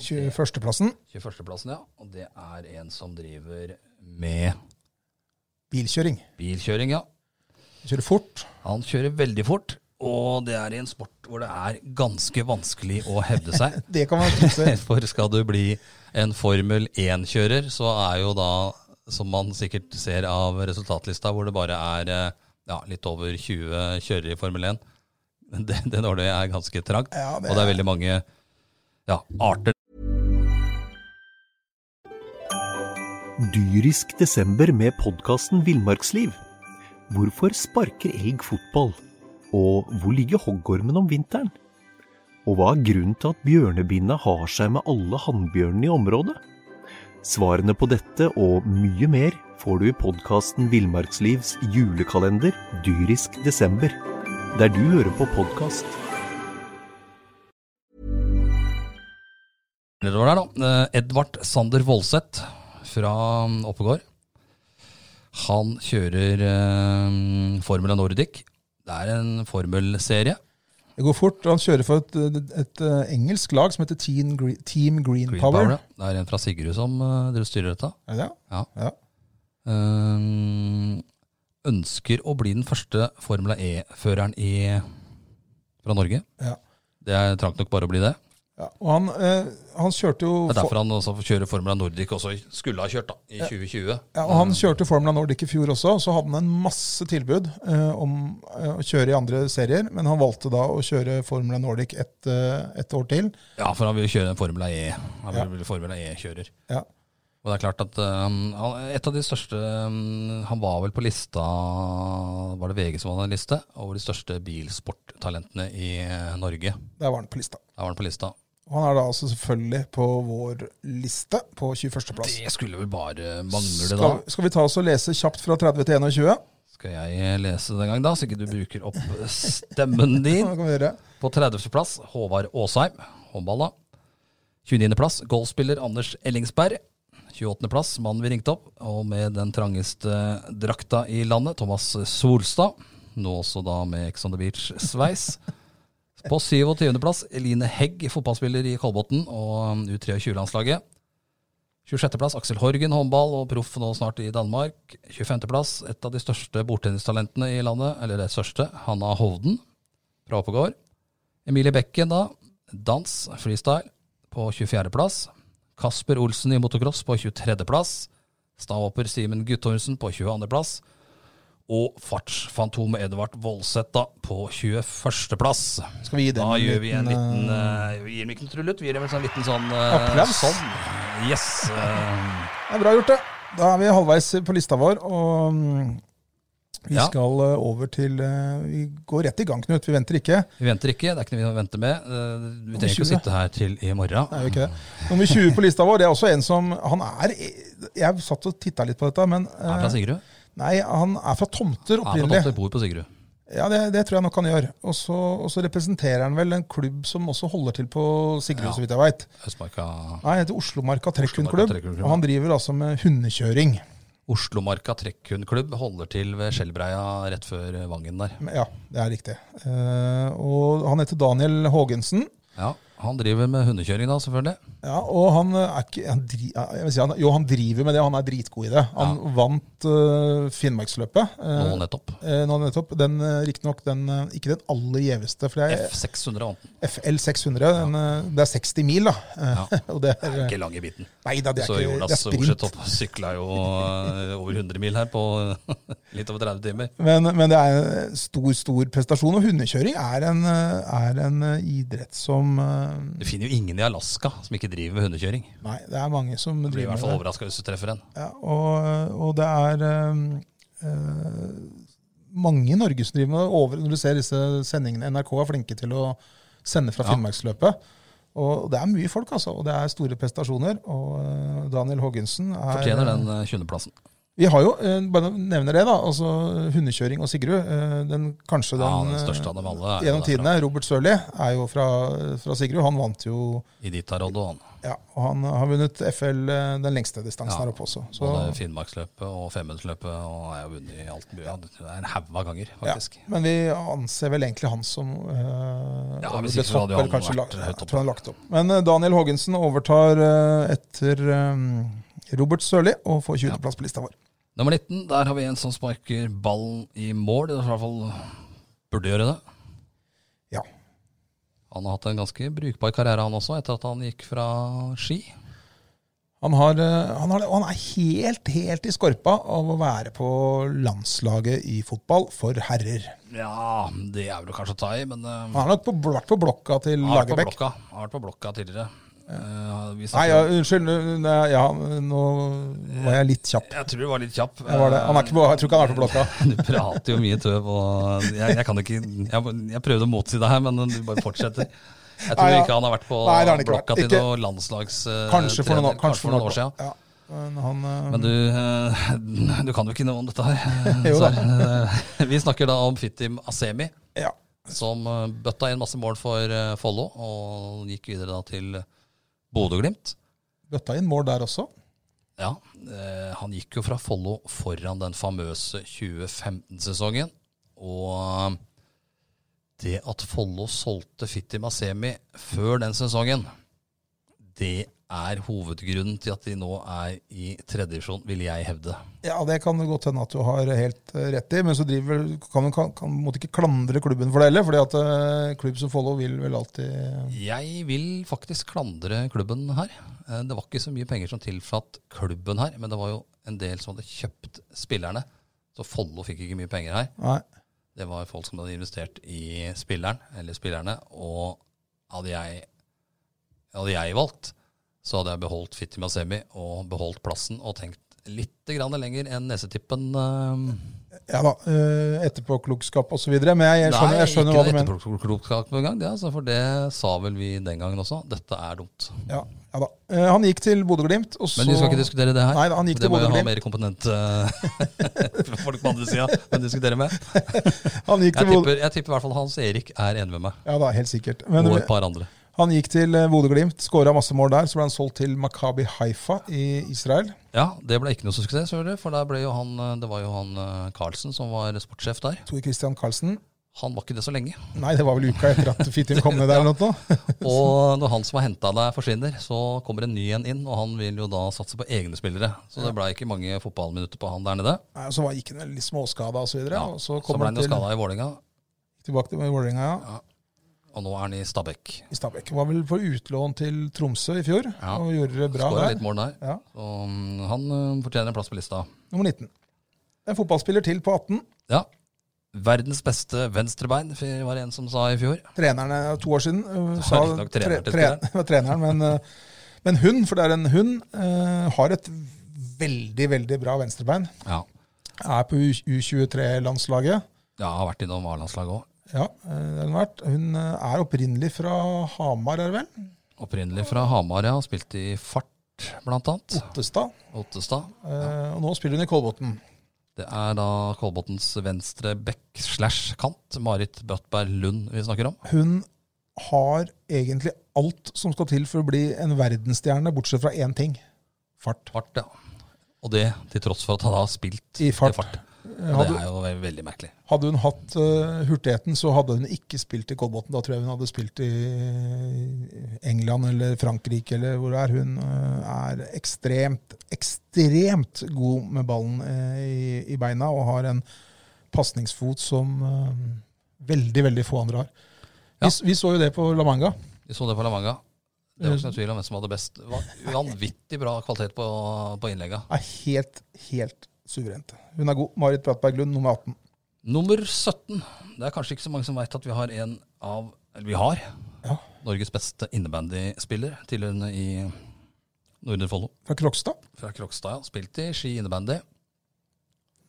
[SPEAKER 2] 21.-plassen,
[SPEAKER 1] 21.-plassen, ja. Og det er en som driver med
[SPEAKER 2] bilkjøring.
[SPEAKER 1] bilkjøring, ja.
[SPEAKER 2] Kjører fort.
[SPEAKER 1] Han kjører veldig fort, Og det er i en sport hvor det er ganske vanskelig å hevde seg.
[SPEAKER 2] Det kan man fikse.
[SPEAKER 1] For skal du bli en Formel 1-kjører, så er jo da, som man sikkert ser av resultatlista, hvor det bare er eh, ja, litt over 20 kjørere i Formel 1, det, det nåløyet er ganske trangt.
[SPEAKER 2] Ja, det
[SPEAKER 1] Og det er veldig mange ja, arter
[SPEAKER 5] Dyrisk desember med podkasten Villmarksliv. Hvorfor sparker elg fotball? Og hvor ligger hoggormen om vinteren? Og hva er grunnen til at bjørnebinna har seg med alle hannbjørnene i området? Svarene på dette og mye mer får du i podkasten Villmarkslivs julekalender Dyrisk desember, der du hører på podkast.
[SPEAKER 1] nedover der, da. Eh, Edvard Sander Voldseth fra mm, Oppegård. Han kjører eh, Formel Nordic. Det er en formelserie.
[SPEAKER 2] Det går fort. Han kjører for et, et, eh, engelsk lag som heter Teen Gre Team Green,
[SPEAKER 1] Green
[SPEAKER 2] Power.
[SPEAKER 1] Power. ja. Det er en fra Sigrud som eh, dere styrer dette.
[SPEAKER 2] Er det det?
[SPEAKER 1] Ja.
[SPEAKER 2] Ja.
[SPEAKER 1] Ehm, ønsker å bli den første Formel E-føreren i fra Norge.
[SPEAKER 2] Ja.
[SPEAKER 1] Det er trangt nok bare å bli det.
[SPEAKER 2] Ja, og han, eh, han kjørte jo
[SPEAKER 1] Det er derfor han også kjører Formel Nordic også skulle ha kjørt da, i 2020.
[SPEAKER 2] Ja, og Han kjørte Formula Nordic i fjor også, og så hadde han en masse tilbud eh, om eh, å kjøre i andre serier, men han valgte da å kjøre Formula Nordic ett eh, ett år til.
[SPEAKER 1] Ja, for han vil jo kjøre en Formel E. Han
[SPEAKER 2] Ja.
[SPEAKER 1] vil bli Formel E-kjører.
[SPEAKER 2] Ja.
[SPEAKER 1] Og det er klart at ehm, han, et av de største ehm, Han var vel på lista Var det VG som hadde en liste? Over de største bilsporttalentene i Norge. Der
[SPEAKER 2] Der var han på lista.
[SPEAKER 1] var han på lista.
[SPEAKER 2] Og han er da altså selvfølgelig på vår liste på 21.-plass.
[SPEAKER 1] Det skulle vel bare mangle, da.
[SPEAKER 2] Skal, skal vi ta oss og lese kjapt fra 30 til 21?
[SPEAKER 1] Skal jeg lese den gang, da, så ikke du bruker opp stemmen
[SPEAKER 2] Ja,
[SPEAKER 1] din?
[SPEAKER 2] det kan vi gjøre.
[SPEAKER 1] På 30.-plass Håvard Aasheim, håndball, da. 29.-plass golfspiller Anders Ellingsberg. 28.-plass mannen vi ringte opp, og med den trangeste drakta i landet, Thomas Solstad. Nå også da med Ex on the Beach-sveis. På 27.-plass Eline Hegg, fotballspiller i Kolbotn og U23-landslaget. 26.-plass Aksel Horgen, håndball og proff nå snart i Danmark. 25.-plass et av de største bordtennistalentene i landet, eller det største, Hanna Hovden fra Oppegård. Emilie Bekken, da. Dans, freestyle, på 24.-plass. Kasper Olsen i motocross på 23.-plass. Stavhopper Simen Guttormsen på 22.-plass. Og fartsfantomet Edvard Voldseth da, på 21.-plass.
[SPEAKER 2] Skal vi gi dem
[SPEAKER 1] Da gjør vi en liten
[SPEAKER 2] eh,
[SPEAKER 1] eh, Vi gir dem ikke en trullet, vi gir dem en sånn liten sånn eh,
[SPEAKER 2] Applaus.
[SPEAKER 1] Sånn. Yes. eh,
[SPEAKER 2] Det er bra gjort, det. Da er vi halvveis på lista vår, og mm, vi
[SPEAKER 1] Ja.
[SPEAKER 2] skal eh, over til eh, Vi går rett i gang, Knut. Vi venter ikke.
[SPEAKER 1] vi venter ikke, det er ikke noe vi venter med. Eh, vi trenger ikke å
[SPEAKER 2] 20.
[SPEAKER 1] sitte her til i morgen.
[SPEAKER 2] Nei, gjør ikke det. Nummer 20 på lista vår, det er også en som Han er Jeg satt og titta litt på dette, men
[SPEAKER 1] Er han fra
[SPEAKER 2] eh,
[SPEAKER 1] Sigrud?
[SPEAKER 2] Nei, han er fra
[SPEAKER 1] Er
[SPEAKER 2] Tomter
[SPEAKER 1] han fra
[SPEAKER 2] opprinnelig.
[SPEAKER 1] Tomter, bor på Sigrud.
[SPEAKER 2] Ja, det, det tror jeg nok han gjør. Og så og så representerer han vel en klubb som også holder til på Sigrud,
[SPEAKER 1] Ja.
[SPEAKER 2] så vidt jeg veit.
[SPEAKER 1] Østmarka
[SPEAKER 2] Nei, heter Oslomarka
[SPEAKER 1] Oslomarka
[SPEAKER 2] trekkhundklubb.
[SPEAKER 1] Trekkhundklubb, ja.
[SPEAKER 2] Og han driver altså med hundekjøring.
[SPEAKER 1] Oslomarka trekkhundklubb holder til ved Skjellbreia rett før Vangen der.
[SPEAKER 2] Men Ja, det er riktig. Eh, og han heter Daniel Haagensen.
[SPEAKER 1] Ja, Han driver med hundekjøring da, selvfølgelig.
[SPEAKER 2] Ja, og han eh, er ikke han dri, eh, jeg vil si han, Jo, han driver med det, og han er dritgod i det. Han vant eh, Finnmarksløpet. eh,
[SPEAKER 1] Nå nettopp.
[SPEAKER 2] Eh, nå nettopp. Den, eh, riktignok den, eh, ikke den aller gjeveste, for det er
[SPEAKER 1] F618.
[SPEAKER 2] FL 600. Den, eh, det er 60 mil, da. Eh,
[SPEAKER 1] Ja.
[SPEAKER 2] og det er,
[SPEAKER 1] Ikke lang i biten.
[SPEAKER 2] nei da, det er
[SPEAKER 1] Så
[SPEAKER 2] ikke det er
[SPEAKER 1] Jonas
[SPEAKER 2] sprint.
[SPEAKER 1] Orsetopp sykla jo eh, over 100 mil her på litt over 30 timer.
[SPEAKER 2] Men, men det er en stor, stor prestasjon. Og hundekjøring er en, eh, er en eh, idrett som eh,
[SPEAKER 1] Du finner jo ingen i Alaska som ikke driver med hundekjøring.
[SPEAKER 2] Nei, det er mange som
[SPEAKER 1] Du blir i
[SPEAKER 2] driver
[SPEAKER 1] hvert fall
[SPEAKER 2] med det.
[SPEAKER 1] overraska hvis du treffer en.
[SPEAKER 2] Ja, og, og det er eh, eh, mange i Norge som driver med det. Over, når du ser disse sendingene NRK er flinke til å sende fra
[SPEAKER 1] Ja.
[SPEAKER 2] Finnmarksløpet. Og det er mye folk, altså. Og det er store prestasjoner. Og eh, Daniel Haagensen er
[SPEAKER 1] Fortjener den eh, 20.-plassen.
[SPEAKER 2] Vi har jo, eh, bare nevner det, da. Altså hundekjøring og Sigrud. eh, den, kanskje
[SPEAKER 1] Ja,
[SPEAKER 2] den,
[SPEAKER 1] den største av dem alle.
[SPEAKER 2] eh, gjennom tidene. Robert Sørli er jo fra, fra Sigrud. Han vant jo
[SPEAKER 1] I ditt Harald og han.
[SPEAKER 2] Ja, og han har vunnet FL eh, den lengste distansen
[SPEAKER 1] Ja.
[SPEAKER 2] her oppe også. Så,
[SPEAKER 1] Både Finnmarksløpet og Femundsløpet og er jo vunnet i alt mulig. Ja, det er en haug av ganger,
[SPEAKER 2] ja.
[SPEAKER 1] faktisk.
[SPEAKER 2] Men vi anser vel egentlig han som eh,
[SPEAKER 1] Ja,
[SPEAKER 2] over
[SPEAKER 1] hvis
[SPEAKER 2] det
[SPEAKER 1] ikke så hadde
[SPEAKER 2] topp,
[SPEAKER 1] han
[SPEAKER 2] eller kanskje
[SPEAKER 1] vært eh,
[SPEAKER 2] lagt-
[SPEAKER 1] høyt
[SPEAKER 2] jeg
[SPEAKER 1] oppe.
[SPEAKER 2] tror han har lagt opp. Men eh, Daniel Haagensen overtar eh, etter eh, Robert Sørli og får 20.-plass på lista vår.
[SPEAKER 1] Nummer 19, der har vi en som sparker ballen i mål. I hvert fall burde gjøre det.
[SPEAKER 2] Ja.
[SPEAKER 1] Han har hatt en ganske brukbar karriere han også, etter at han gikk fra ski.
[SPEAKER 2] Han, har, eh, han, har, det, og han er helt, helt i skorpa av å være på landslaget i fotball for herrer.
[SPEAKER 1] Ja, det er vel kanskje å ta i, men eh,
[SPEAKER 2] Han har nok på, vært på blokka til
[SPEAKER 1] har vært på
[SPEAKER 2] Lagerbäck.
[SPEAKER 1] blokka, har vært på blokka tidligere. Eh, vi
[SPEAKER 2] Nei,
[SPEAKER 1] snakker-
[SPEAKER 2] ja, unnskyld. Nei, ja, nå var jeg litt kjapp.
[SPEAKER 1] Jeg tror du var litt kjapp. Eh,
[SPEAKER 2] Jeg, var det. Han er ikke på, jeg tror ikke han er på blokka.
[SPEAKER 1] Du prater jo mye tøv, og jeg, jeg kan ikke jeg, jeg prøvde å motsi deg her, men du bare fortsetter. Jeg tror
[SPEAKER 2] Nei, ja.
[SPEAKER 1] ikke han har vært på
[SPEAKER 2] Nei, det har han ikke vært.
[SPEAKER 1] blokka til
[SPEAKER 2] Ikke-
[SPEAKER 1] noe landslags... eh,
[SPEAKER 2] Kanskje for noen,
[SPEAKER 1] trener.
[SPEAKER 2] år- kanskje for noen år
[SPEAKER 1] siden.
[SPEAKER 2] siden. Ja. Men han, eh,
[SPEAKER 1] Men du, eh, du kan jo ikke noe om dette her. eh,
[SPEAKER 2] Jo da.
[SPEAKER 1] Sverre. Eh, Vi snakker da om Fittim Asemi,
[SPEAKER 2] ja.
[SPEAKER 1] som eh, bøtta inn masse mål for eh, Follo, og gikk videre da til Bodø-Glimt.
[SPEAKER 2] Bøtta inn mål der også.
[SPEAKER 1] Ja, eh, han gikk jo fra Follo foran den famøse 2015-sesongen. Og eh, det at Follo solgte Fitti Masemi før den sesongen, det er hovedgrunnen til at de nå er i tredjevisjon, vil jeg hevde.
[SPEAKER 2] Ja, det kan det godt hende at du har helt eh, rett i, men så driver, kan du kan, kan, måtte ikke klandre klubben for det heller. fordi at eh, klubb som Follo vil vel alltid
[SPEAKER 1] Jeg vil faktisk klandre klubben her. Eh, Det var ikke så mye penger som tilflatt klubben her, men det var jo en del som hadde kjøpt spillerne. Så Follo fikk ikke mye penger her.
[SPEAKER 2] Nei.
[SPEAKER 1] Det var folk som hadde investert i spilleren, eller spillerne, og hadde jeg, hadde jeg valgt, så hadde jeg beholdt Fitti Masemi og beholdt plassen og tenkt litt grann lenger enn nesetippen. eh,
[SPEAKER 2] Ja da, eh, etterpåklokskap osv. Men jeg, jeg skjønner, jeg skjønner
[SPEAKER 1] ikke
[SPEAKER 2] hva du mener.
[SPEAKER 1] etterpåklokskap noen gang, det, altså, for det sa vel vi den gangen også. Dette er dumt.
[SPEAKER 2] Ja, ja da. Eh, Han gikk til Bodø-Glimt, og så
[SPEAKER 1] Men vi skal ikke diskutere det her.
[SPEAKER 2] Nei, han gikk
[SPEAKER 1] det
[SPEAKER 2] til
[SPEAKER 1] må jo ha
[SPEAKER 2] Bodø-Glimt.
[SPEAKER 1] mer komponent eh, folk på andre sida å diskutere med.
[SPEAKER 2] Han gikk
[SPEAKER 1] Jeg
[SPEAKER 2] til Bodø
[SPEAKER 1] tipper, jeg tipper i hvert fall Hans Erik er enig med meg,
[SPEAKER 2] ja da, helt sikkert. Men eh,
[SPEAKER 1] og et par andre.
[SPEAKER 2] han gikk til eh, Bodø-Glimt, skåra masse mål der. Så ble han solgt til Makabi Haifa i Israel.
[SPEAKER 1] Ja, det ble ikke noe suksess, hører du, for der ble jo han, det var jo han eh, Carlsen som var sportssjef der.
[SPEAKER 2] Tor Christian Karlsen.
[SPEAKER 1] Han var ikke det så lenge.
[SPEAKER 2] Nei, det var vel uka etter at Fitin kom ned der. eller noe. sånt.
[SPEAKER 1] Og når han som har henta deg, forsvinner, så kommer en ny en inn, og han vil jo da satse på egne spillere. Så det ble ikke mange fotballminutter på han der nede.
[SPEAKER 2] Nei, og Så var- gikk han vel litt småskada osv.
[SPEAKER 1] Ja,
[SPEAKER 2] videre og så
[SPEAKER 1] så
[SPEAKER 2] kom
[SPEAKER 1] ble
[SPEAKER 2] han
[SPEAKER 1] han jo
[SPEAKER 2] til,
[SPEAKER 1] skada i Vålerenga,
[SPEAKER 2] tilbake til Vålerenga ja.
[SPEAKER 1] og nå er han i Stabæk.
[SPEAKER 2] i Stabæk. Var vel på utlån til Tromsø i fjor
[SPEAKER 1] Ja.
[SPEAKER 2] og gjorde det bra
[SPEAKER 1] Skåra
[SPEAKER 2] der.
[SPEAKER 1] litt mål der.
[SPEAKER 2] Ja,
[SPEAKER 1] Så mm, han eh, fortjener en plass på lista.
[SPEAKER 2] Nummer 19. En fotballspiller til på 18.
[SPEAKER 1] Ja. Verdens beste venstrebein, var det en som sa i fjor.
[SPEAKER 2] trenerne to år siden øh,
[SPEAKER 1] Det
[SPEAKER 2] sa
[SPEAKER 1] var riktignok trener til
[SPEAKER 2] tre, tre, var treneren, men, øh, men hun, for det er en hund, øh, har et veldig, veldig bra venstrebein.
[SPEAKER 1] Ja.
[SPEAKER 2] Er på U- U23-landslaget.
[SPEAKER 1] ja har vært innom A-landslaget òg.
[SPEAKER 2] Ja, øh, det har hun vært. Hun øh, er opprinnelig fra Hamar, er det vel?
[SPEAKER 1] Opprinnelig fra Hamar, ja. Spilte i Fart, blant annet.
[SPEAKER 2] Ottestad.
[SPEAKER 1] Ottestad.
[SPEAKER 2] Øh, Og nå spiller hun i Kolbotn.
[SPEAKER 1] Det er da Kolbotns venstre bekk slash kant, Marit Bøttberg Lund, vi snakker om.
[SPEAKER 2] Hun har egentlig alt som skal til for å bli en verdensstjerne, bortsett fra én ting. Fart.
[SPEAKER 1] Fart, ja. Og det til tross for at han har spilt
[SPEAKER 2] I fart. Eh,
[SPEAKER 1] Og
[SPEAKER 2] Hadde-
[SPEAKER 1] Det er jo ve- veldig merkelig.
[SPEAKER 2] Hadde hun hatt eh, hurtigheten, så hadde hun ikke spilt i Kolbotn. Da tror jeg hun hadde spilt i England eller Frankrike eller hvor det er. Hun eh, er ekstremt, ekstremt god med ballen eh, i, i beina og har en pasningsfot som eh, veldig, veldig få andre har.
[SPEAKER 1] Ja.
[SPEAKER 2] Vi, s- vi så jo det på La Manga.
[SPEAKER 1] Vi så det på La Manga. Det var ikke noen tvil om hvem som hadde best. Det var vanvittig bra kvalitet på, på innlegga.
[SPEAKER 2] Er helt, helt suverent. Hun er god. Marit Brattberg Lund, nummer 18.
[SPEAKER 1] Nummer 17. Det er kanskje ikke så mange som veit at vi har en av Eller vi har
[SPEAKER 2] Ja.
[SPEAKER 1] Norges beste innebandyspiller, tilhørende i Nordre Follo.
[SPEAKER 2] Fra Krokstad.
[SPEAKER 1] Fra Krokstad, ja. Spilt i Ski innebandy.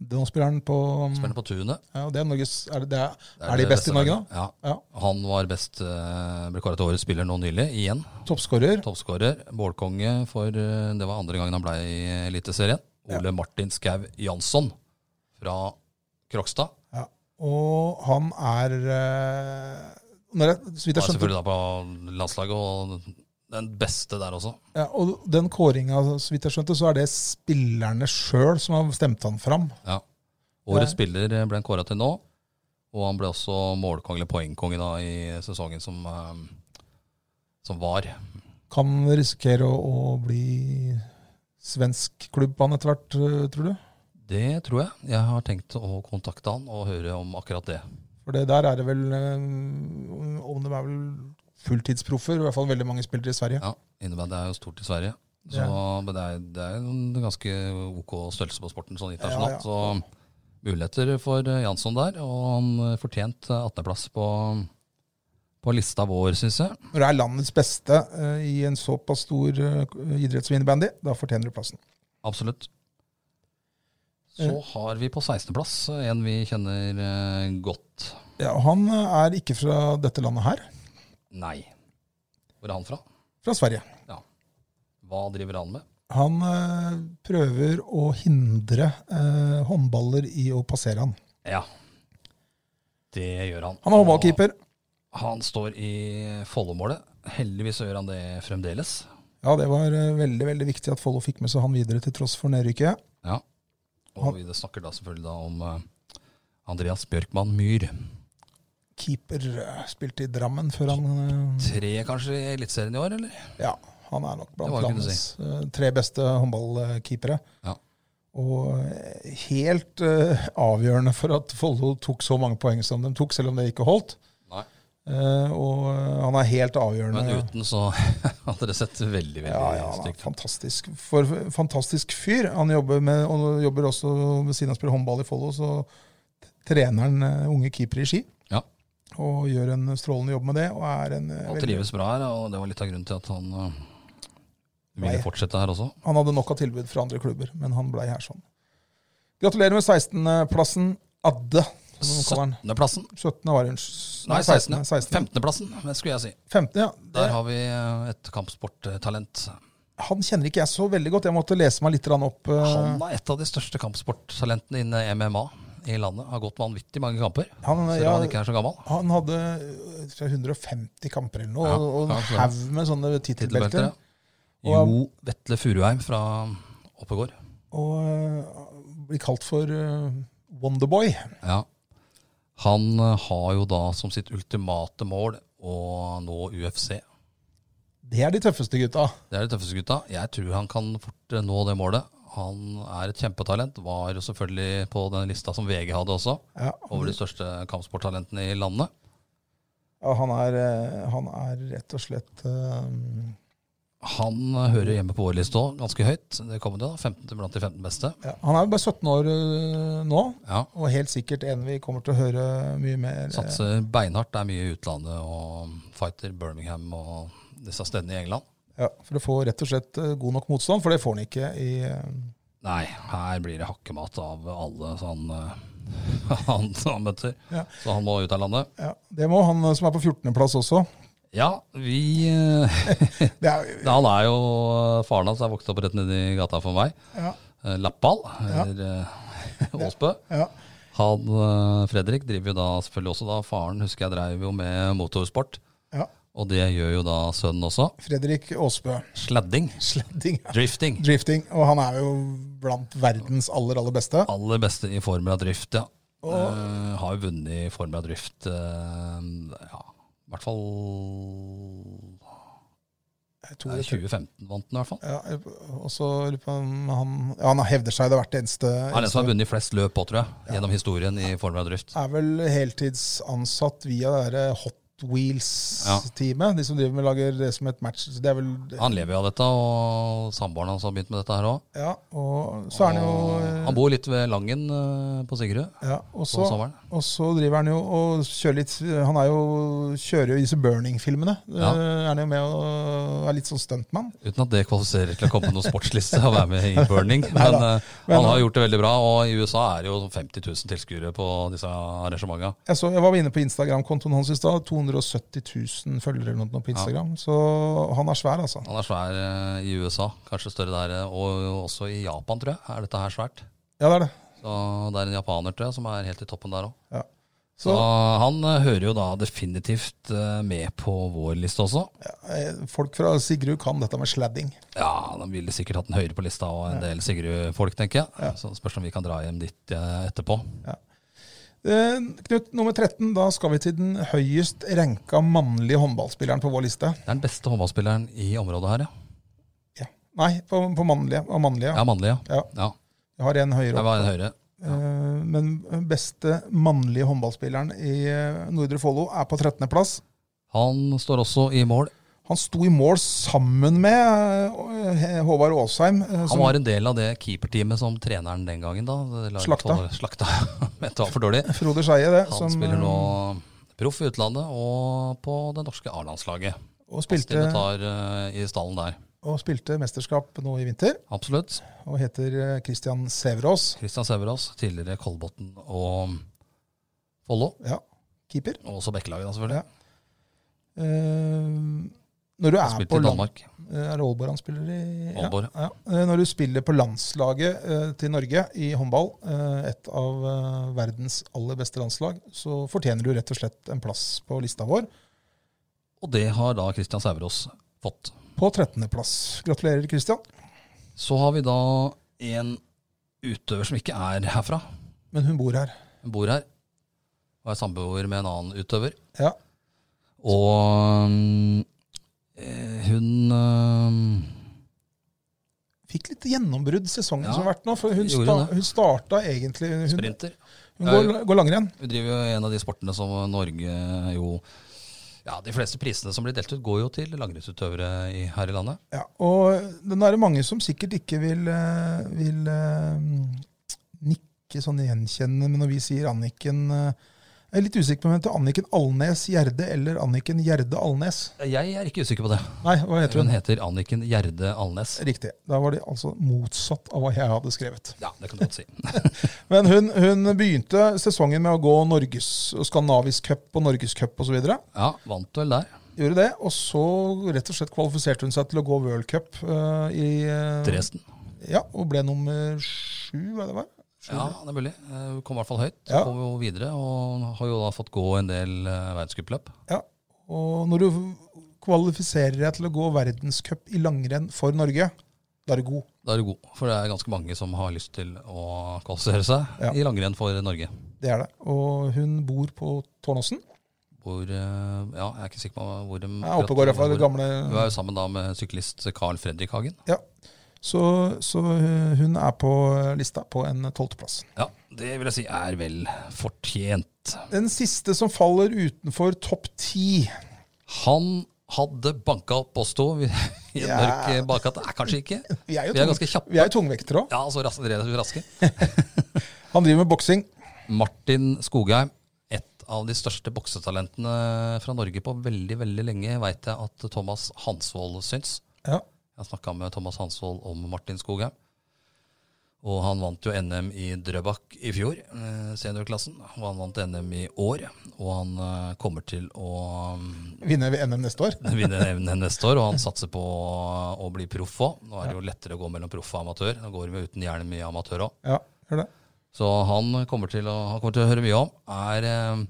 [SPEAKER 2] Nå spiller han på
[SPEAKER 1] Spiller på tunet.
[SPEAKER 2] ja, det er, Norges, er, det, det er, Mm. er de best i Norge, da?
[SPEAKER 1] Ja.
[SPEAKER 2] Ja.
[SPEAKER 1] Han var best, eh, ble kåret til årets spiller nå nylig, igjen.
[SPEAKER 2] Toppskårer.
[SPEAKER 1] Toppskårer. Målkonge for eh, Det var andre gangen han ble i Eliteserien. Ole Martin Skau Jansson fra Krokstad.
[SPEAKER 2] Ja. Og han er eh, når jeg, så vidt
[SPEAKER 1] Var
[SPEAKER 2] jeg skjønte,
[SPEAKER 1] selvfølgelig da på landslaget, og den beste der også.
[SPEAKER 2] ja, og den kåringa, så vidt jeg skjønte, så er det spillerne sjøl som har stemt han fram.
[SPEAKER 1] Ja. Årets spiller ble han kåra til nå, og han ble også målkonge eller poengkonge da i sesongen som, eh, som var.
[SPEAKER 2] Kan risikere å, å bli svensk klubb på han etter hvert, eh, tror du?
[SPEAKER 1] Det tror jeg. Jeg har tenkt å kontakte han og høre om akkurat det.
[SPEAKER 2] For det der er det vel eh, om de er vel fulltidsproffer. I hvert fall veldig mange spillere i Sverige.
[SPEAKER 1] Ja, innebandy er jo stort i Sverige. Så, Men det er, det er en ganske ok størrelse på sporten sånn internasjonalt. Så muligheter for eh, Jansson der, og han eh, fortjent eh, 18.-plass på, på lista vår, syns jeg.
[SPEAKER 2] Når du er landets beste eh, i en såpass stor eh, idrett som innebandy, da fortjener du plassen.
[SPEAKER 1] Absolutt. Så
[SPEAKER 2] Eh.
[SPEAKER 1] har vi på 16.-plass eh, en vi kjenner eh, godt.
[SPEAKER 2] Ja, og han eh, er ikke fra dette landet her,
[SPEAKER 1] Nei. Hvor er han fra?
[SPEAKER 2] fra Sverige.
[SPEAKER 1] Hva driver han med?
[SPEAKER 2] Han eh, prøver å hindre eh, håndballer i å passere han.
[SPEAKER 1] Ja, det gjør han.
[SPEAKER 2] Han er håndballkeeper.
[SPEAKER 1] Han står i Follo-målet. Heldigvis så gjør han det fremdeles.
[SPEAKER 2] Ja, det var eh, veldig veldig viktig at Follo fikk med seg han videre til tross for nedrykket.
[SPEAKER 1] Ja. Og vi snakker da selvfølgelig da om eh, Andreas Bjørkman Myhr.
[SPEAKER 2] Keeper eh, spilte i Drammen før han eh,
[SPEAKER 1] Tre kanskje i Eliteserien i år, eller?
[SPEAKER 2] Ja, han er nok
[SPEAKER 1] Det
[SPEAKER 2] blant
[SPEAKER 1] var det jeg kunne
[SPEAKER 2] landets eh, tre beste håndballkeepere.
[SPEAKER 1] Ja.
[SPEAKER 2] Og eh, helt eh, avgjørende for at Follo tok så mange poeng som de tok, selv om det ikke holdt.
[SPEAKER 1] Nei.
[SPEAKER 2] Eh, og eh, han er helt avgjørende.
[SPEAKER 1] Men uten så hadde det sett veldig, veldig
[SPEAKER 2] Ja, ja, han er
[SPEAKER 1] stygt ut.
[SPEAKER 2] fantastisk, for, fantastisk fyr. Han jobber, med, og jobber også ved siden av å spille håndball i Follo, så trener han eh, unge keepere i ski.
[SPEAKER 1] Ja.
[SPEAKER 2] Og gjør en strålende jobb med det. Og er en, eh,
[SPEAKER 1] Han
[SPEAKER 2] veldig,
[SPEAKER 1] trives bra her, og det var litt av grunnen til at han eh,
[SPEAKER 2] Nei.
[SPEAKER 1] ville fortsette her også.
[SPEAKER 2] han hadde nok av tilbud fra andre klubber, men han blei her sånn. Gratulerer med 16.-plassen. Adde, som de kaller han.
[SPEAKER 1] 17.-plassen.
[SPEAKER 2] 17. var hun.
[SPEAKER 1] Nei, 16.
[SPEAKER 2] 16.
[SPEAKER 1] 15.-plassen, det skulle jeg si.
[SPEAKER 2] 15, ja.
[SPEAKER 1] Der
[SPEAKER 2] Det,
[SPEAKER 1] har vi eh, et kampsporttalent.
[SPEAKER 2] han kjenner ikke jeg så veldig godt. Jeg måtte lese meg litt grann opp. eh,
[SPEAKER 1] Han er et av de største kampsporttalentene innen MMA i landet. Har gått vanvittig mange kamper,
[SPEAKER 2] han,
[SPEAKER 1] selv om han ikke er så gammel.
[SPEAKER 2] Han hadde øh, tror jeg, 150 kamper eller noe,
[SPEAKER 1] Ja,
[SPEAKER 2] og- og en
[SPEAKER 1] kanskje.
[SPEAKER 2] haug med sånne
[SPEAKER 1] Tittelbelter. ja.
[SPEAKER 2] tittelbelter. Og-
[SPEAKER 1] Jo Vetle Furuheim fra Oppegård.
[SPEAKER 2] Og øh, blir kalt for øh, Wonderboy.
[SPEAKER 1] Ja. Han eh, har jo da som sitt ultimate mål å nå UFC.
[SPEAKER 2] Det er de tøffeste gutta.
[SPEAKER 1] Det er de tøffeste gutta. Jeg tror han kan fort eh, nå det målet. Han er et kjempetalent. Var jo selvfølgelig på den lista som VG hadde også,
[SPEAKER 2] Ja,
[SPEAKER 1] over de største kampsporttalentene i landet.
[SPEAKER 2] ja, han, er, øh, han er rett og slett øh,
[SPEAKER 1] Han eh, hører hjemme på vår liste òg, ganske høyt. Det kommer det, da. 15, blant de 15 beste.
[SPEAKER 2] ja, Han er jo bare 17 år øh, nå,
[SPEAKER 1] Ja.
[SPEAKER 2] og helt sikkert en vi kommer til å høre mye mer. øh,
[SPEAKER 1] Satser beinhardt. Det er mye i utlandet og fighter Birmingham og disse stedene i England.
[SPEAKER 2] Ja, for å få rett og slett øh, god nok motstand, for det får han ikke i øh,
[SPEAKER 1] Nei, her blir det hakkemat av alle sånn eh, han, han møter.
[SPEAKER 2] Ja.
[SPEAKER 1] Så han må ut av landet.
[SPEAKER 2] ja, Det må han øh, som er på 14.-plass også.
[SPEAKER 1] Ja, vi eh,
[SPEAKER 2] Det er, jo-
[SPEAKER 1] Han er jo Faren hans er vokst opp rett nedi gata for meg.
[SPEAKER 2] ja,
[SPEAKER 1] Eh, Lappal, eller eh, Åsbø.
[SPEAKER 2] ja.
[SPEAKER 1] Han eh, Fredrik driver jo da selvfølgelig også da Faren husker jeg drev jo med motorsport.
[SPEAKER 2] Ja.
[SPEAKER 1] Og det gjør jo da sønnen også.
[SPEAKER 2] Fredrik Aasbø.
[SPEAKER 1] Sladding.
[SPEAKER 2] Sledding. ja.
[SPEAKER 1] Drifting.
[SPEAKER 2] drifting. Og han er jo blant verdens aller, aller beste.
[SPEAKER 1] aller beste i Formula Drift, ja. Eh, har jo vunnet Formula Drift eh, ja, i hvert fall
[SPEAKER 2] Jeg
[SPEAKER 1] nei,
[SPEAKER 2] tror det-
[SPEAKER 1] 2015 vant den, i hvert fall.
[SPEAKER 2] Ja, og så lurer jeg på om han Ja, han hevder seg det hvert eneste
[SPEAKER 1] Han er den som har vunnet flest løp òg, tror jeg, gjennom historien i Formula Drift.
[SPEAKER 2] Er vel heltidsansatt via det derre Hot Wheels-teamet. De som driver med lager det som et match. Det er vel
[SPEAKER 1] Han lever jo av dette, og samboeren hans har begynt med dette her òg.
[SPEAKER 2] Ja, og så er han jo
[SPEAKER 1] Han bor litt ved Langen eh, på Sigrud
[SPEAKER 2] ja, og,
[SPEAKER 1] på
[SPEAKER 2] så,
[SPEAKER 1] sommeren.
[SPEAKER 2] og så driver han jo og kjører litt Han er jo, kjører jo i disse Burning-filmene.
[SPEAKER 1] Ja.
[SPEAKER 2] Eh, Er han jo med og er litt sånn stuntmann.
[SPEAKER 1] Uten at det kvalifiserer til å komme på noen sportsliste og være med i burning. Men
[SPEAKER 2] Nei da.
[SPEAKER 1] eh,
[SPEAKER 2] Men-
[SPEAKER 1] han har gjort det veldig bra, og i USA er det jo 50 000 tilskuere på disse arrangementene.
[SPEAKER 2] Jeg, så, jeg var inne på Instagram-kontoen hans i stad. 270 000 følgere eller noe på Instagram. Så han er svær, altså.
[SPEAKER 1] Han er svær eh, i USA, kanskje større der, eh, og også i Japan, tror jeg. Er dette her svært?
[SPEAKER 2] Ja, det er det.
[SPEAKER 1] Så det er en japaner, tror jeg, som er helt i toppen der òg.
[SPEAKER 2] Ja.
[SPEAKER 1] Så
[SPEAKER 2] Så
[SPEAKER 1] han eh, hører jo da definitivt eh, med på vår liste også.
[SPEAKER 2] eh, folk fra Sigrud kan dette med sladding.
[SPEAKER 1] Ja, de ville sikkert hatt den høyere på lista og en del Sigrud-folk, tenker jeg. Så det spørs om vi kan dra hjem dit eh, etterpå.
[SPEAKER 2] Eh, Knut, nummer 13. Da skal vi til den høyest ranka mannlige håndballspilleren på vår liste.
[SPEAKER 1] Det er den beste håndballspilleren i området her, ja.
[SPEAKER 2] Ja. Nei, på, på mannlige. Av mannlige.
[SPEAKER 1] Ja, mannlig, ja.
[SPEAKER 2] Ja.
[SPEAKER 1] ja.
[SPEAKER 2] Jeg har en
[SPEAKER 1] Det
[SPEAKER 2] høyere opp.
[SPEAKER 1] var en høyre.
[SPEAKER 2] Eh, Men beste mannlige håndballspilleren i eh, Nordre Follo er på 13. plass.
[SPEAKER 1] Han står også i mål.
[SPEAKER 2] Han sto i mål sammen med eh, Håvard Aasheim. eh,
[SPEAKER 1] Han
[SPEAKER 2] som-
[SPEAKER 1] var en del av det keeperteamet som treneren den gangen da. det laget
[SPEAKER 2] Slakta.
[SPEAKER 1] var- Slakta. Vet du hva, for dårlig.
[SPEAKER 2] Frode Skeie, det.
[SPEAKER 1] Han
[SPEAKER 2] som,
[SPEAKER 1] spiller
[SPEAKER 2] eh,
[SPEAKER 1] nå proff i utlandet og på det norske A-landslaget.
[SPEAKER 2] og,
[SPEAKER 1] Stine
[SPEAKER 2] spilte,
[SPEAKER 1] tar eh, i stallen der.
[SPEAKER 2] og spilte mesterskap nå i vinter.
[SPEAKER 1] Absolutt.
[SPEAKER 2] Og heter eh, Christian Sæverås.
[SPEAKER 1] Kristian Sæverås, tidligere Kolbotn og Follo.
[SPEAKER 2] Ja, keeper.
[SPEAKER 1] Og også Bekkelaget, da, selvfølgelig.
[SPEAKER 2] Eh, når du er
[SPEAKER 1] Spilt
[SPEAKER 2] på
[SPEAKER 1] i
[SPEAKER 2] land,
[SPEAKER 1] Danmark.
[SPEAKER 2] Eh, Er det Aalborg han spiller i? Ja,
[SPEAKER 1] Aalborg.
[SPEAKER 2] Ja. Eh, Når du spiller på landslaget eh, til Norge i håndball, eh, et av eh, verdens aller beste landslag, så fortjener du rett og slett en plass på lista vår.
[SPEAKER 1] Og det har da Kristian Sæverås fått.
[SPEAKER 2] På 13.-plass. Gratulerer, Christian.
[SPEAKER 1] Så har vi da en utøver som ikke er herfra.
[SPEAKER 2] Men hun bor her.
[SPEAKER 1] Hun bor her og er samboer med en annen utøver.
[SPEAKER 2] Ja.
[SPEAKER 1] Og mm, eh, hun eh,
[SPEAKER 2] Fikk litt gjennombrudd sesongen
[SPEAKER 1] Ja.
[SPEAKER 2] som har vært nå. For hun,
[SPEAKER 1] Gjorde
[SPEAKER 2] sta
[SPEAKER 1] hun det?
[SPEAKER 2] hun starta egentlig Hun,
[SPEAKER 1] sprinter.
[SPEAKER 2] hun går, går langrenn.
[SPEAKER 1] Vi driver jo en av de sportene som Norge jo Ja, de fleste prisene som blir delt ut, går jo til langrennsutøvere i- her i landet.
[SPEAKER 2] Ja, og den er det mange som sikkert ikke vil, eh, vil eh, nikke sånn gjenkjennende, men når vi sier Anniken eh, Jeg er litt usikker på om hun heter Anniken Alnes Gjerde eller Anniken Gjerde Alnes.
[SPEAKER 1] Jeg er ikke usikker på det.
[SPEAKER 2] Nei, hva heter
[SPEAKER 1] Hun
[SPEAKER 2] hun?
[SPEAKER 1] heter Anniken Gjerde Alnes.
[SPEAKER 2] Riktig. Da var det altså motsatt av hva jeg hadde skrevet.
[SPEAKER 1] Ja, det kan du godt si.
[SPEAKER 2] Men hun, hun begynte sesongen med å gå Norges og Skandinavisk cup og Norgescup osv.
[SPEAKER 1] Ja, Vant vel der.
[SPEAKER 2] Gjorde det, og så rett og slett kvalifiserte hun seg til å gå World Cup eh, i eh,
[SPEAKER 1] Dresden.
[SPEAKER 2] Ja, og ble nummer sju, hva det var? Sju,
[SPEAKER 1] Ja, det er mulig. Eh, Hun kom i hvert fall høyt.
[SPEAKER 2] Ja.
[SPEAKER 1] Kom jo videre, og har jo da fått gå en del eh, verdenscupløp.
[SPEAKER 2] Ja, og når du kvalifiserer deg til å gå verdenscup i langrenn for Norge, da er du god.
[SPEAKER 1] Da er du god, for det er ganske mange som har lyst til å kvalifisere seg
[SPEAKER 2] Ja.
[SPEAKER 1] i langrenn for Norge.
[SPEAKER 2] Det er det. Og hun bor på Tårnåsen.
[SPEAKER 1] Hvor eh, Ja, jeg er ikke sikker på hvor de
[SPEAKER 2] Jeg oppgår iallfall det
[SPEAKER 1] hvor-
[SPEAKER 2] gamle
[SPEAKER 1] Hun er jo sammen da med syklist Carl Fredrik Hagen.
[SPEAKER 2] så, så hun er på lista på en tolvteplass.
[SPEAKER 1] Ja, det vil jeg si er vel fortjent.
[SPEAKER 2] Den siste som faller utenfor topp ti
[SPEAKER 1] Han hadde banka opp oss to i en
[SPEAKER 2] Ja.
[SPEAKER 1] mørk eh, bakgate. Nei, kanskje ikke.
[SPEAKER 2] Vi er jo
[SPEAKER 1] Vi er
[SPEAKER 2] tung-
[SPEAKER 1] ganske kjappe.
[SPEAKER 2] vi er jo tungvektere òg.
[SPEAKER 1] Ja, altså ras- relativt raske.
[SPEAKER 2] Han driver med boksing.
[SPEAKER 1] Martin Skogheim, et av de største boksetalentene fra Norge på veldig, veldig lenge, veit jeg at Thomas Hansvold syns.
[SPEAKER 2] Ja.
[SPEAKER 1] Jeg snakka med Thomas Hansvold om Martin Skogheim. Og han vant jo NM i Drøbak i fjor, eh, seniorklassen. Og han vant NM i år. Og han eh, kommer til å mm,
[SPEAKER 2] Vinner vi NM neste år?
[SPEAKER 1] vinne evnen neste år, og han satser på å bli proff òg. Nå er det jo lettere å gå mellom proff og amatør. Nå går vi uten hjelm i amatør òg.
[SPEAKER 2] Ja, gjør det.
[SPEAKER 1] Så han kommer, til å, han kommer til å høre mye om. Er eh,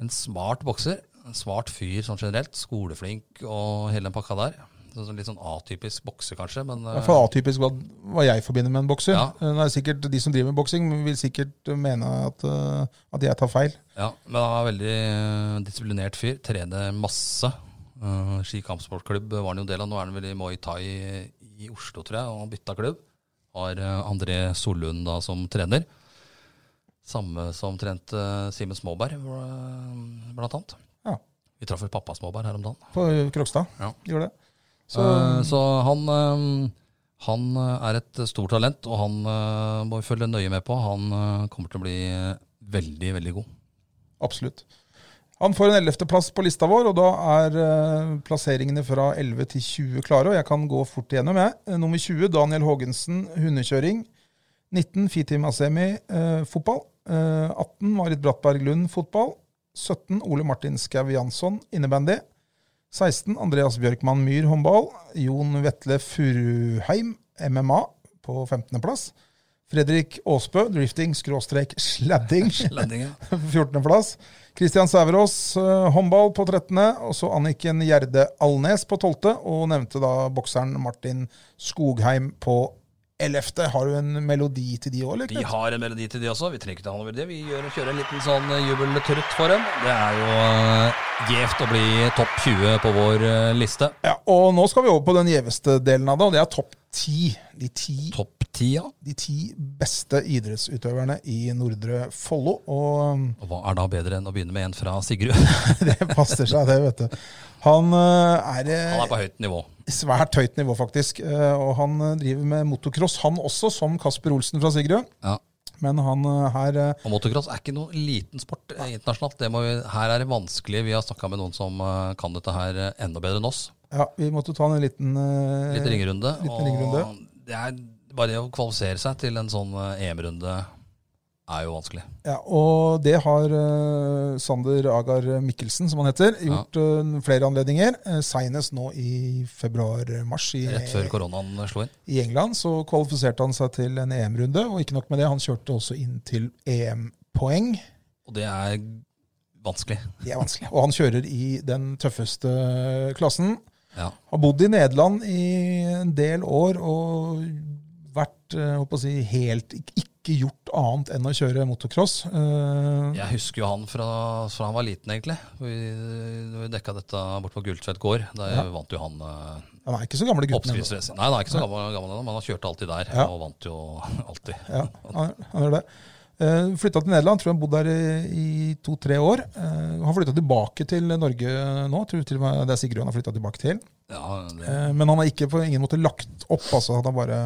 [SPEAKER 1] en smart bokser. En smart fyr sånn generelt. Skoleflink og hele den pakka der. Så, sånn litt sånn atypisk bokser, kanskje. Men
[SPEAKER 2] I
[SPEAKER 1] eh,
[SPEAKER 2] hvert fall atypisk hva, hva jeg forbinder med en bokser.
[SPEAKER 1] Ja.
[SPEAKER 2] Eh, Det er sikkert De som driver med boksing, vil sikkert mene at, eh, at jeg tar feil.
[SPEAKER 1] ja, men han er veldig eh, disiplinert fyr. Trener masse. Eh, Ski kampsportklubb var han jo del av. Nå er han vel i Muay Thai i Oslo, tror jeg, og han bytta klubb. Har eh, André Sollund da som trener. Samme som trente eh, Simen Småberg, eh, blant annet.
[SPEAKER 2] Ja.
[SPEAKER 1] Vi traff vel pappa Småberg her om dagen.
[SPEAKER 2] på Krokstad.
[SPEAKER 1] Ja.
[SPEAKER 2] Gjorde det. Så,
[SPEAKER 1] Så, så han, eh, han eh, er et stort talent, og han eh, må vi følge nøye med på. Han eh, kommer til å bli eh, veldig, veldig god.
[SPEAKER 2] absolutt. Han får en 11.-plass på lista vår, og da er eh, plasseringene fra 11 til 20 klare. Og jeg kan gå fort igjennom, jeg. Eh, Nummer 20, Daniel Haagensen, hundekjøring. 19, Fitim Asemi, eh, fotball. Eh, 18, Marit Brattberg Lund, fotball. 17, Ole Martin Skau Jansson, innebandy. 16, Andreas Bjørkmann Myhr, håndball. Jon Vetle Furuheim, MMA, på 15.-plass. Fredrik Aasbø, drifting, skråstrek, sladding.
[SPEAKER 1] Lendingen.
[SPEAKER 2] 14. plass. Kristian Sæverås, eh, håndball på 13., og så Anniken Gjerde Alnes på 12., og nevnte da bokseren Martin Skogheim på 11. Har du en melodi til de òg, eller?
[SPEAKER 1] Vi
[SPEAKER 2] Knut?
[SPEAKER 1] har en melodi til de også. Vi trenger ikke ta han over det. Vi gjør, kjører en liten sånn eh, jubeltrutt for dem. Det er jo eh, gjevt å bli topp 20 på vår eh, liste.
[SPEAKER 2] Ja, og nå skal vi over på den gjeveste delen av det, og det er topp ti, de ti,
[SPEAKER 1] Topp ti, ja.
[SPEAKER 2] de ti beste idrettsutøverne i Nordre Follo. Og um,
[SPEAKER 1] Og hva er da bedre enn å begynne med en fra Sigrud?
[SPEAKER 2] det passer seg, det, vet du. Han eh, er eh,
[SPEAKER 1] Han er på høyt nivå.
[SPEAKER 2] svært høyt nivå, faktisk. Eh, Og han eh, driver med motocross, han også, som Kasper Olsen fra Sigrud.
[SPEAKER 1] Ja.
[SPEAKER 2] Men han eh, her eh,
[SPEAKER 1] Og motocross er ikke noen liten sport eh, internasjonalt. Det må vi, her er det vanskelig. Vi har snakka med noen som eh, kan dette her eh, enda bedre enn oss.
[SPEAKER 2] Ja, vi måtte ta en liten eh,
[SPEAKER 1] Litt ringerunde.
[SPEAKER 2] liten
[SPEAKER 1] og
[SPEAKER 2] ringerunde.
[SPEAKER 1] det er bare det å kvalifisere seg til en sånn eh, EM-runde er jo vanskelig.
[SPEAKER 2] Ja, og det har eh, Sander Agar Mikkelsen, som han heter, gjort eh, flere anledninger. Uh, Seinest nå i februar-mars i,
[SPEAKER 1] Rett før koronaen slo inn.
[SPEAKER 2] i England. Så kvalifiserte han seg til en EM-runde, og ikke nok med det, han kjørte også inn til EM-poeng.
[SPEAKER 1] Og det er vanskelig.
[SPEAKER 2] Det er vanskelig. Og han kjører i den tøffeste klassen.
[SPEAKER 1] Ja.
[SPEAKER 2] Har bodd i Nederland i en del år og vært eh, håper å si, helt ik- ikke gjort annet enn å kjøre motocross. Eh,
[SPEAKER 1] Jeg husker jo han fra, fra han var liten, egentlig. Vi, vi dekka dette borte på Gultvedt gård. Der
[SPEAKER 2] Ja.
[SPEAKER 1] vant jo han eh,
[SPEAKER 2] Han er ikke så gamle gutten. ennå.
[SPEAKER 1] oppskriftsracing. Nei, han er ikke så gammel, gammel ennå, men han kjørte alltid der.
[SPEAKER 2] Ja.
[SPEAKER 1] Og vant jo alltid.
[SPEAKER 2] Ja, han, han gjør det. Uh, flytta til Nederland, tror han bodde der i, i to-tre år. Eh, har flytta tilbake til Norge nå, tror til og med det er Sigrun han har flytta tilbake til.
[SPEAKER 1] Ja, det,
[SPEAKER 2] Eh, men han har ikke på ingen måte lagt opp, altså. Han har bare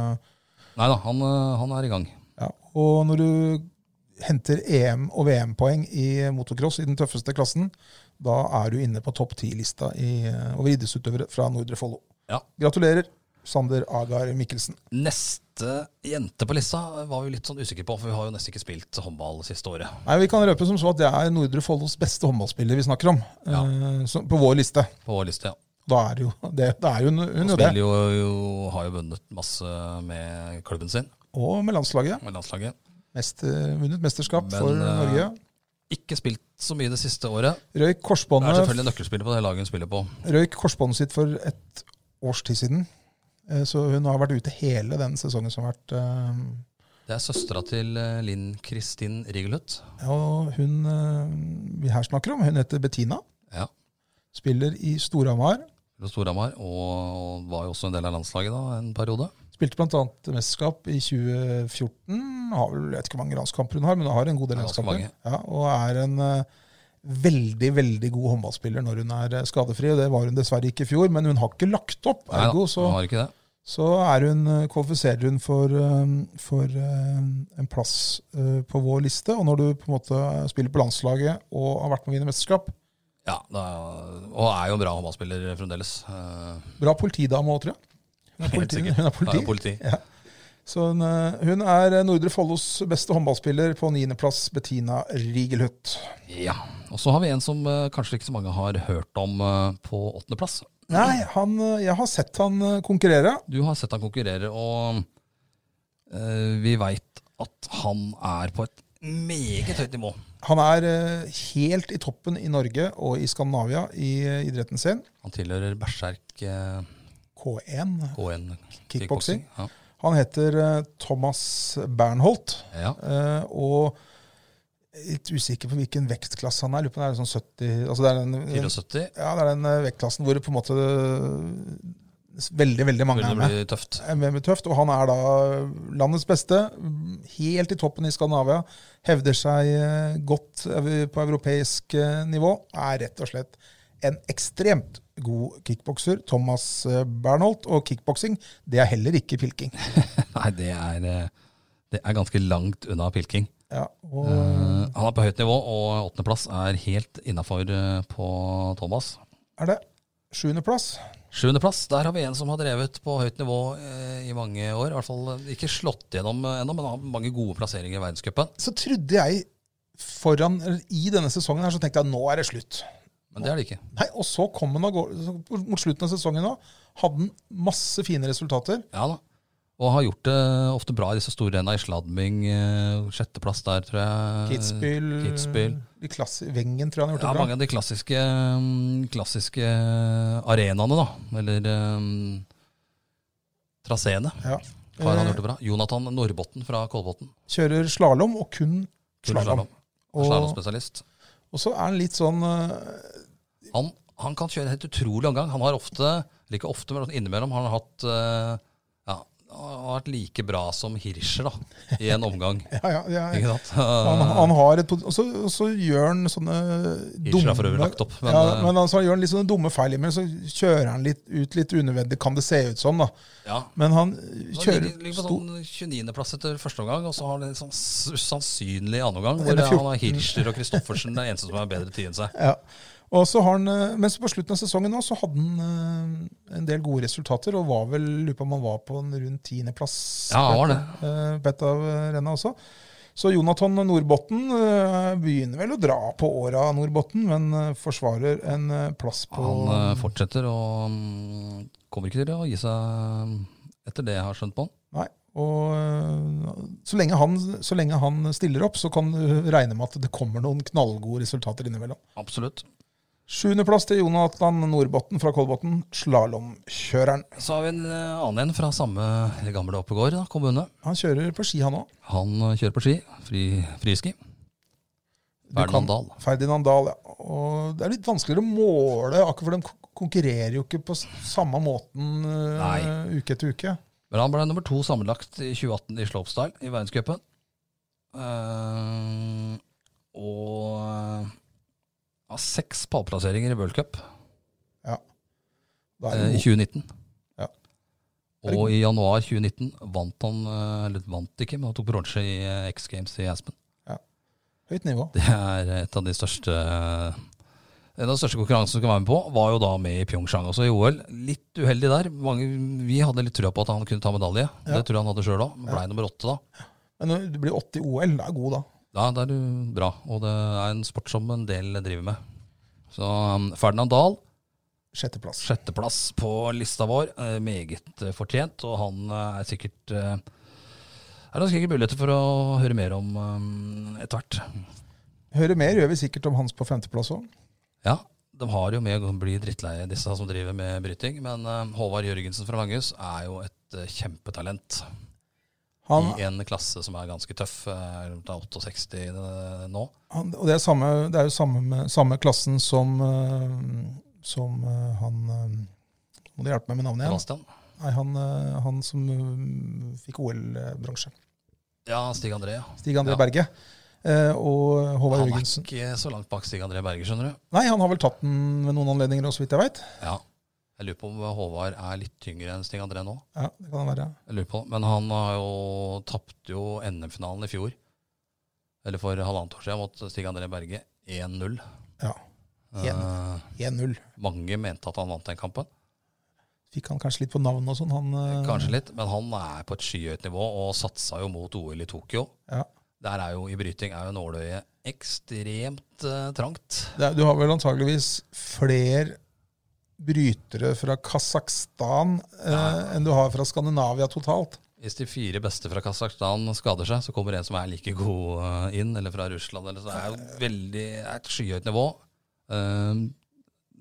[SPEAKER 1] Nei da, han, eh, han er i gang.
[SPEAKER 2] ja. Og når du henter EM- og VM-poeng i motocross i den tøffeste klassen, da er du inne på topp ti-lista i, eh, over idrettsutøvere fra Nordre Follo.
[SPEAKER 1] Ja.
[SPEAKER 2] Gratulerer, Sander Agar Mikkelsen.
[SPEAKER 1] Neste jente på lista var vi litt sånn usikre på, for vi har jo nesten ikke spilt håndball siste året
[SPEAKER 2] Nei, Vi kan røpe som så at det er Nordre Follos beste håndballspiller vi snakker om,
[SPEAKER 1] Ja.
[SPEAKER 2] eh, som- på vår liste.
[SPEAKER 1] på vår liste. ja.
[SPEAKER 2] Da er det jo det. Da er jo hun, hun
[SPEAKER 1] Hun
[SPEAKER 2] jo det.
[SPEAKER 1] spiller jo, jo, har jo vunnet masse med klubben sin,
[SPEAKER 2] Og med landslaget.
[SPEAKER 1] med landslaget.
[SPEAKER 2] Mester, vunnet mesterskap
[SPEAKER 1] Men,
[SPEAKER 2] for
[SPEAKER 1] eh,
[SPEAKER 2] Norge.
[SPEAKER 1] Ikke spilt så mye det siste året.
[SPEAKER 2] Røyk
[SPEAKER 1] Hun er
[SPEAKER 2] korsbåndet,
[SPEAKER 1] selvfølgelig nøkkelspiller på det laget hun spiller på.
[SPEAKER 2] røyk korsbåndet sitt for et års tid siden. Eh, Så hun har vært ute hele den sesongen som har vært. eh,
[SPEAKER 1] Det er søstera til eh, Linn Kristin Rigelhut.
[SPEAKER 2] Og hun eh, vi her snakker om, hun heter Bettina.
[SPEAKER 1] Ja.
[SPEAKER 2] Spiller i Storhamar.
[SPEAKER 1] fra Storhamar, og var jo også en del av landslaget da, en periode.
[SPEAKER 2] Spilte bl.a. mesterskap i 2014. Har vel, jeg vet ikke hvor mange landskamper hun har, men hun har en god del
[SPEAKER 1] Ja, ganske
[SPEAKER 2] landskamper.
[SPEAKER 1] mange.
[SPEAKER 2] Ja, og er en eh, veldig veldig god håndballspiller når hun er eh, skadefri. og Det var hun dessverre ikke i fjor, men hun har ikke lagt opp.
[SPEAKER 1] Nei da,
[SPEAKER 2] Ergo så,
[SPEAKER 1] hun har ikke det.
[SPEAKER 2] så er hun, eh, kvalifiserer hun for, eh, for eh, en plass eh, på vår liste. Og når du på en måte spiller på landslaget og har vært med å vinne mesterskap
[SPEAKER 1] Ja, da, og er jo en bra håndballspiller fremdeles. Eh,
[SPEAKER 2] Bra politidame òg, tror jeg. Hun er
[SPEAKER 1] Helt
[SPEAKER 2] politi.
[SPEAKER 1] sikkert.
[SPEAKER 2] Hun er
[SPEAKER 1] da er
[SPEAKER 2] politi.
[SPEAKER 1] jo politi.
[SPEAKER 2] Så hun, eh, hun er Nordre Follos beste håndballspiller på niendeplass, Bettina Rigelhut.
[SPEAKER 1] Ja, og så har vi en som eh, kanskje ikke så mange har hørt om eh, på åttendeplass.
[SPEAKER 2] Nei, han, eh, jeg har sett han eh, konkurrere.
[SPEAKER 1] Du har sett han konkurrere, og eh, vi veit at han er på et meget høyt nivå.
[SPEAKER 2] Han er eh, helt i toppen i Norge og i Skandinavia i eh, idretten sin.
[SPEAKER 1] Han tilhører Berserk eh,
[SPEAKER 2] K1.
[SPEAKER 1] K1
[SPEAKER 2] Kickboksing.
[SPEAKER 1] Ja.
[SPEAKER 2] Han heter eh, Thomas Bernholt.
[SPEAKER 1] ja.
[SPEAKER 2] eh, og litt usikker på hvilken vektklasse han er. Lurer på om det er sånn 70 altså det er den,
[SPEAKER 1] 74.
[SPEAKER 2] Ja, det er den eh, vektklassen hvor det på en måte eh, veldig, veldig mange
[SPEAKER 1] Ville
[SPEAKER 2] er
[SPEAKER 1] det
[SPEAKER 2] med.
[SPEAKER 1] bli tøft.
[SPEAKER 2] er med med tøft, og han er da landets beste. Helt i toppen i Skandinavia. Hevder seg eh, godt eh, på europeisk eh, nivå. Er rett og slett en ekstremt god kickbokser. Thomas eh, Bernholt. Og kickboksing, det er heller ikke pilking.
[SPEAKER 1] Nei, det er, eh, det er ganske langt unna pilking.
[SPEAKER 2] Ja, og
[SPEAKER 1] Eh, han er på høyt nivå, og åttendeplass er helt innafor eh, på Thomas.
[SPEAKER 2] er det sjuendeplass.
[SPEAKER 1] Sjuendeplass, der har vi en som har drevet på høyt nivå eh, i mange år. I hvert fall eh, ikke slått gjennom eh, ennå, men har mange gode plasseringer i verdenscupen.
[SPEAKER 2] Så trodde jeg foran, eller i denne sesongen her, så tenkte jeg nå er det slutt.
[SPEAKER 1] Men det er det ikke.
[SPEAKER 2] Nei, Og så kom han av gårde så mot slutten av sesongen nå. Hadde han masse fine resultater.
[SPEAKER 1] Ja da. Og har gjort det eh, ofte bra i disse store renna i sladming. eh, Sjetteplass der, tror jeg.
[SPEAKER 2] Kitzbühel,
[SPEAKER 1] Eh, Kitzbühel.
[SPEAKER 2] de klasse, Wengen tror jeg han har gjort
[SPEAKER 1] Ja,
[SPEAKER 2] det bra.
[SPEAKER 1] mange av de klassiske, mm, klassiske arenaene, da. Eller um, traseene.
[SPEAKER 2] Ja.
[SPEAKER 1] Har han
[SPEAKER 2] Eh,
[SPEAKER 1] gjort det bra? Jonathan Norrbotten fra Kolbotn.
[SPEAKER 2] Kjører slalåm, og kun
[SPEAKER 1] Kun
[SPEAKER 2] slalåm.
[SPEAKER 1] slalom.
[SPEAKER 2] Og,
[SPEAKER 1] Slalomspesialist.
[SPEAKER 2] og så er han litt sånn eh,
[SPEAKER 1] Han, han sånn kan kjøre en helt utrolig omgang. Han har ofte, eller ikke ofte, men innimellom har han hatt eh, ja, har vært like bra som Hirscher da, i en omgang.
[SPEAKER 2] Ja, ja, ja.
[SPEAKER 1] Ikke sant?
[SPEAKER 2] Han,
[SPEAKER 1] Eh.
[SPEAKER 2] han har et pot- Og så, og så gjør han sånne
[SPEAKER 1] Hirscher
[SPEAKER 2] dumme
[SPEAKER 1] er for øvrig lagt opp, men,
[SPEAKER 2] men, ja,
[SPEAKER 1] eh,
[SPEAKER 2] men altså, han gjør litt sånne dumme feil innimellom. Så kjører han litt ut litt unødvendig, kan det se ut som, da.
[SPEAKER 1] Eh, Ja.
[SPEAKER 2] Men han eh,
[SPEAKER 1] Han
[SPEAKER 2] kjører
[SPEAKER 1] ligger, ligger på
[SPEAKER 2] stor-
[SPEAKER 1] sånn 29.-plass etter første omgang, og så har han en sånn s- sannsynlig annen omgang, hvor
[SPEAKER 2] Eller
[SPEAKER 1] han har Hirscher og Kristoffersen, det eneste som har bedre tid enn seg.
[SPEAKER 2] Ja. Og så har han, eh, mens på slutten av sesongen nå, så hadde han eh, en del gode resultater, og var vel, lurer på om han var på en rundt tiendeplass
[SPEAKER 1] Ja, han var det.
[SPEAKER 2] bedt av rennet også. Så Jonathan Nordbotten eh, begynner vel å dra på åra, Nordbotten, men eh, forsvarer en eh, plass på
[SPEAKER 1] Han eh, fortsetter og mm, kommer ikke til å gi seg etter det jeg har skjønt på han.
[SPEAKER 2] Nei. Og eh, så lenge, han, så lenge han stiller opp, så kan du regne med at det kommer noen knallgode resultater innimellom.
[SPEAKER 1] Absolutt.
[SPEAKER 2] Sjuendeplass til Jonathan Nordbotten fra Kolbotn, slalåmkjøreren.
[SPEAKER 1] Så har vi en eh, annen en fra samme eller gamle Oppegård da, kommune.
[SPEAKER 2] Han kjører på ski, han òg.
[SPEAKER 1] Han eh, kjører på ski, fri, friski.
[SPEAKER 2] Du kan-
[SPEAKER 1] Ferdinand Dahl.
[SPEAKER 2] Ferdinand Dahl, ja. Og det er litt vanskeligere å måle, akkurat for de kon- konkurrerer jo ikke på s- samme måten eh, uke etter uke.
[SPEAKER 1] Men han ble nummer to sammenlagt i 2018 i slopestyle i verdenscupen. Eh, og eh, har seks pallplasseringer i World Cup
[SPEAKER 2] Da
[SPEAKER 1] eh,
[SPEAKER 2] er
[SPEAKER 1] i
[SPEAKER 2] det jo-
[SPEAKER 1] 2019.
[SPEAKER 2] oh. Ja.
[SPEAKER 1] Og i januar 2019 vant han eh, Eller vant ikke, men han tok bronse i eh, X Games i Aspen.
[SPEAKER 2] høyt nivå.
[SPEAKER 1] Det er et av de største en av de største konkurransene du kan være med på, var jo da med i Pyeongchang også, i OL. Litt uheldig der. Mange, vi hadde litt trua på at han kunne ta medalje.
[SPEAKER 2] Ja.
[SPEAKER 1] Det tror jeg han hadde sjøl òg. Blei nummer åtte, da.
[SPEAKER 2] Men når du blir 80 i OL, da er god, da.
[SPEAKER 1] Ja, da er du bra. Og det er en sport som en del driver med. Så um, Ferdinand Dahl,
[SPEAKER 2] Sjetteplass.
[SPEAKER 1] sjetteplass på lista vår. Eh, meget eh, fortjent, og han eh, er sikkert eh, er det sikkert muligheter for å høre mer om eh, etter hvert.
[SPEAKER 2] Hører mer gjør vi sikkert om hans på femteplass òg.
[SPEAKER 1] Ja, de har jo med å bli drittleie, disse som driver med bryting. Men eh, Håvard Jørgensen fra Langhus er jo et eh, kjempetalent
[SPEAKER 2] Han,
[SPEAKER 1] i en klasse som er ganske tøff. eh, Rundt av 68 eh, nå.
[SPEAKER 2] han, og det er, samme, det er jo samme, med, samme klassen som, eh, som eh, han eh, Må du hjelpe meg med navnet igjen?
[SPEAKER 1] Sebastian.
[SPEAKER 2] Nei, han, eh, han som eh, fikk OL-bransje.
[SPEAKER 1] Ja, Stig André. ja.
[SPEAKER 2] Stig André
[SPEAKER 1] Ja.
[SPEAKER 2] Berge. Eh, og Håvard
[SPEAKER 1] Han er
[SPEAKER 2] Jørgensen.
[SPEAKER 1] ikke så langt bak Stig André Berger, skjønner du.
[SPEAKER 2] Nei, han har vel tatt den ved noen anledninger, også, så vidt jeg veit.
[SPEAKER 1] Ja. Jeg lurer på om Håvard er litt tyngre enn Stig André nå.
[SPEAKER 2] Ja, det kan være.
[SPEAKER 1] Jeg lurer på, Men han har jo tapte jo NM-finalen i fjor. Eller for halvannet år siden mot Stig André Berge 1-0.
[SPEAKER 2] Ja. E
[SPEAKER 1] Eh,
[SPEAKER 2] 1-0.
[SPEAKER 1] mange mente at han vant den kampen.
[SPEAKER 2] Fikk han kanskje litt på navnet og sånn, han eh,
[SPEAKER 1] Kanskje litt, men han er på et skyhøyt nivå og satsa jo mot OL i Tokyo.
[SPEAKER 2] Ja.
[SPEAKER 1] Der er jo i bryting er jo nåløyet ekstremt eh, trangt.
[SPEAKER 2] Det er, du har vel antageligvis flere brytere fra Kasakhstan eh, enn du har fra Skandinavia totalt.
[SPEAKER 1] Hvis de fire beste fra Kasakhstan skader seg, så kommer en som er like god eh, inn, eller fra Russland. Eller så det er jo veldig det er et skyhøyt nivå. Eh,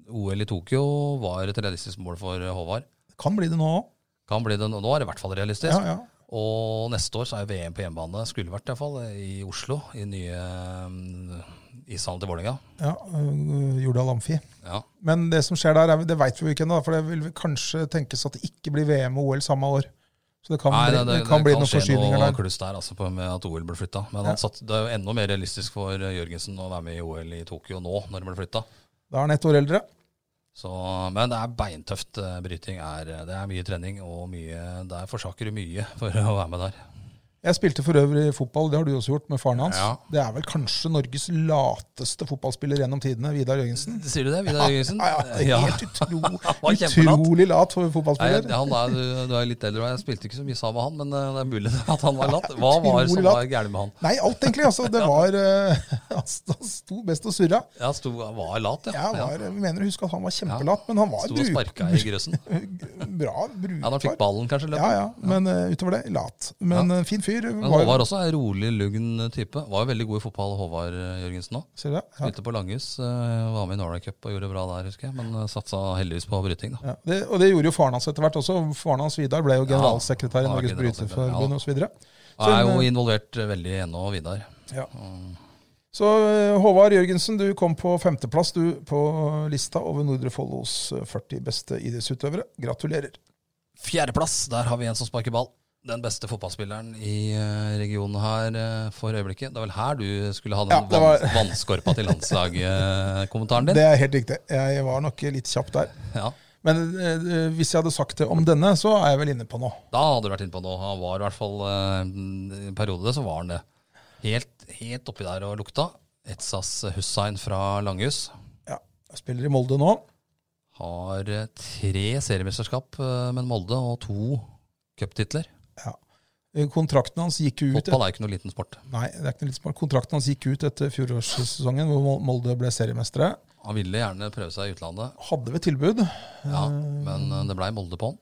[SPEAKER 1] OL i Tokyo var et realistisk mål for eh, Håvard.
[SPEAKER 2] Det kan bli det nå òg.
[SPEAKER 1] Kan bli det, nå er det i hvert fall realistisk.
[SPEAKER 2] Ja, ja.
[SPEAKER 1] Og neste år så er jo VM på hjemmebane, skulle vært i hvert fall, eh, i Oslo. I nye um, ishallen til Vålerenga.
[SPEAKER 2] ja eh, Jordal Amfi.
[SPEAKER 1] Ja.
[SPEAKER 2] Men det som skjer der, er, det veit vi jo ikke ennå, for det vil kanskje tenkes at det ikke blir VM og OL samme år. Så det kan
[SPEAKER 1] Nei,
[SPEAKER 2] bli,
[SPEAKER 1] det, det,
[SPEAKER 2] det kan bli noen
[SPEAKER 1] skje
[SPEAKER 2] forskyvninger
[SPEAKER 1] noe
[SPEAKER 2] der.
[SPEAKER 1] kluss der altså, på, med at OL ble flytta. Men
[SPEAKER 2] Ja.
[SPEAKER 1] han satt, det er jo enda mer realistisk for eh, Jørgensen å være med i OL i Tokyo nå, når det ble flytta.
[SPEAKER 2] Da er han ett år eldre.
[SPEAKER 1] Så, men det er beintøft. eh, Bryting er, det er mye trening, og mye, der forsaker du mye for å være med der.
[SPEAKER 2] Jeg spilte for øvrig fotball, det har du også gjort, med faren hans.
[SPEAKER 1] Ja.
[SPEAKER 2] Det er vel kanskje Norges lateste fotballspiller gjennom tidene, Vidar Jørgensen.
[SPEAKER 1] Sier du det, Vidar Jørgensen?
[SPEAKER 2] Ja, ja, det er helt
[SPEAKER 1] Mm. var
[SPEAKER 2] utro,
[SPEAKER 1] kjempelat.
[SPEAKER 2] utrolig lat for
[SPEAKER 1] Nei, jeg-
[SPEAKER 2] fotballspiller.
[SPEAKER 1] han er, du- du er litt eldre, og jeg spilte ikke så mye sammen med han, men eh, det er mulig at han var latt. Hva var det som
[SPEAKER 2] Utrolig latt.
[SPEAKER 1] var gærent med han?
[SPEAKER 2] Nei, alt egentlig. altså. Det var eh, altså, Han sto best og surra.
[SPEAKER 1] Ja, sto, var lat, ja.
[SPEAKER 2] Jeg
[SPEAKER 1] ja.
[SPEAKER 2] var, jeg mener å huske at han var kjempelat, men han var
[SPEAKER 1] Sto og sparka i grøssen.
[SPEAKER 2] bruk, bra
[SPEAKER 1] Ja, da fikk
[SPEAKER 2] brukbar.
[SPEAKER 1] ballen kanskje
[SPEAKER 2] Ja,
[SPEAKER 1] løpet.
[SPEAKER 2] ja, Men eh, utover det, lat. Men eh, fin fyr.
[SPEAKER 1] Men
[SPEAKER 2] var-
[SPEAKER 1] Håvard også er en rolig, lugn type. Var jo veldig god i fotball, Håvard eh, Jørgensen òg.
[SPEAKER 2] Ser du det? Ja.
[SPEAKER 1] Spilte på Langhus, eh, var med i Norway Cup og gjorde det bra der, husker jeg. Men eh, satsa heldigvis på bryting, da.
[SPEAKER 2] Ja, det, og det gjorde jo faren hans etter hvert også. Faren hans Vidar ble jo generalsekretær
[SPEAKER 1] han
[SPEAKER 2] i
[SPEAKER 1] var
[SPEAKER 2] Norges
[SPEAKER 1] generalsekretær,
[SPEAKER 2] Bryterforbund
[SPEAKER 1] ja.
[SPEAKER 2] osv. Så, videre.
[SPEAKER 1] Og er jo
[SPEAKER 2] Så,
[SPEAKER 1] involvert eh, veldig ennå, Vidar.
[SPEAKER 2] ja. så eh, Håvard Jørgensen, du kom på femteplass du på lista over Nordre Follos 40 beste idrettsutøvere. Gratulerer.
[SPEAKER 1] Fjerdeplass, der har vi en som sparker ball. den beste fotballspilleren i eh, regionen her eh, for øyeblikket. Det er vel her du skulle ha den
[SPEAKER 2] Ja, det var-
[SPEAKER 1] vann- vannskorpa til landslaget-kommentaren din?
[SPEAKER 2] Det er helt riktig. Jeg var nok litt kjapp der.
[SPEAKER 1] Ja,
[SPEAKER 2] Men eh, hvis jeg hadde sagt det om denne, så er jeg vel inne på noe.
[SPEAKER 1] Da hadde du vært inne på noe. Han var i hvert fall eh, en periode, det, så var han det. Helt, helt oppi der og lukta. Etsas Hussein fra Langhus.
[SPEAKER 2] Ja, jeg spiller i Molde nå.
[SPEAKER 1] Har eh, tre seriemesterskap eh, med Molde og to cuptitler.
[SPEAKER 2] Ja. Eh, Kontrakten hans gikk jo ut
[SPEAKER 1] Fotball er jo ikke noe liten sport.
[SPEAKER 2] Nei, det er ikke noe litt smart. Kontrakten hans gikk ut etter fjorårssesongen, hvor Mol- Molde ble seriemestere.
[SPEAKER 1] Han ville gjerne prøve seg i utlandet,
[SPEAKER 2] Hadde ved tilbud,
[SPEAKER 1] ja, men eh, det blei Molde på han.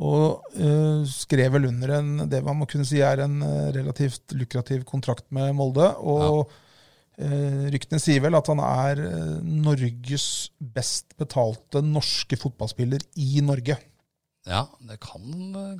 [SPEAKER 2] og eh, skrev vel under en, det man må kunne si er en eh, relativt lukrativ kontrakt med Molde. Og eh, ryktene sier vel at han er eh, Norges best betalte norske fotballspiller i Norge.
[SPEAKER 1] Ja, det kan,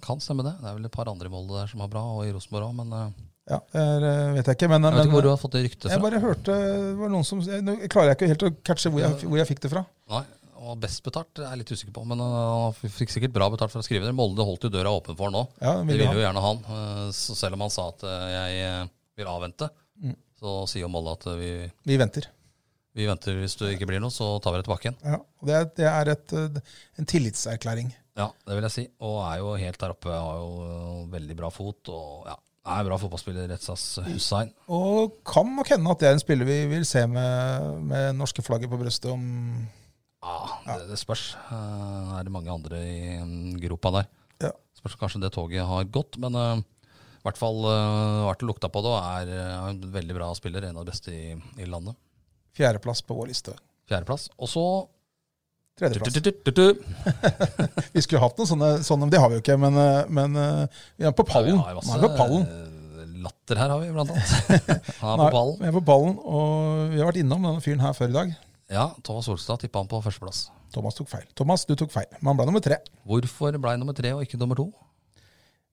[SPEAKER 1] kan stemme det. Det er vel et par andre i Molde der som har bra, og i Rosenborg òg, men eh,
[SPEAKER 2] Ja, det er, eh, vet jeg ikke, men,
[SPEAKER 1] jeg vet
[SPEAKER 2] men
[SPEAKER 1] ikke hvor du har fått det ryktet
[SPEAKER 2] jeg
[SPEAKER 1] fra.
[SPEAKER 2] bare hørte det var noen som, jeg, Nå klarer jeg ikke helt å catche hvor jeg, hvor jeg fikk det fra.
[SPEAKER 1] Nei, og best betalt er jeg litt usikker på, men eh, han fikk sikkert bra betalt for å skrive det. Molde holdt jo døra åpen for han nå.
[SPEAKER 2] Ja,
[SPEAKER 1] Det
[SPEAKER 2] vil
[SPEAKER 1] ville
[SPEAKER 2] ha.
[SPEAKER 1] jo gjerne han. eh, Så selv om han sa at eh, jeg eh, vil avvente,
[SPEAKER 2] Mm.
[SPEAKER 1] så sier jo Molde at eh, vi,
[SPEAKER 2] Vi venter.
[SPEAKER 1] vi venter hvis det ikke blir noe, så tar vi det tilbake igjen.
[SPEAKER 2] Ja, og det er, det er et, eh, en tillitserklæring.
[SPEAKER 1] Ja, det vil jeg si. Og er jo helt der oppe. Har jo eh, veldig bra fot. Og ja, er bra fotballspiller, Retsas Hussein.
[SPEAKER 2] Og kan nok hende at det er en spiller vi vil se med, med norske flagget på brystet om
[SPEAKER 1] Ja, det, det spørs. Eh, Er det mange andre i mm, gropa der?
[SPEAKER 2] Ja.
[SPEAKER 1] Spørs om kanskje det toget har gått, men eh, i hvert fall eh, vært og lukta på det, og er eh, en veldig bra spiller. En av de beste i, i landet.
[SPEAKER 2] fjerdeplass på vår liste.
[SPEAKER 1] Fjerdeplass. Og så
[SPEAKER 2] Tredjeplass. Vi skulle hatt noen sånne, sånne men det har vi jo ikke. Men, eh, men eh, vi er på pallen.
[SPEAKER 1] Ja, vi har
[SPEAKER 2] Man er på pallen.
[SPEAKER 1] eh, Latter her har vi, blant annet. Han er på ballen.
[SPEAKER 2] Vi er på pallen, og vi har vært innom denne fyren her før i dag.
[SPEAKER 1] Ja, Thomas Olstad tippa han på førsteplass.
[SPEAKER 2] Thomas tok feil. Thomas, du tok feil. Men han ble nummer tre.
[SPEAKER 1] Hvorfor ble han nummer tre og ikke nummer to?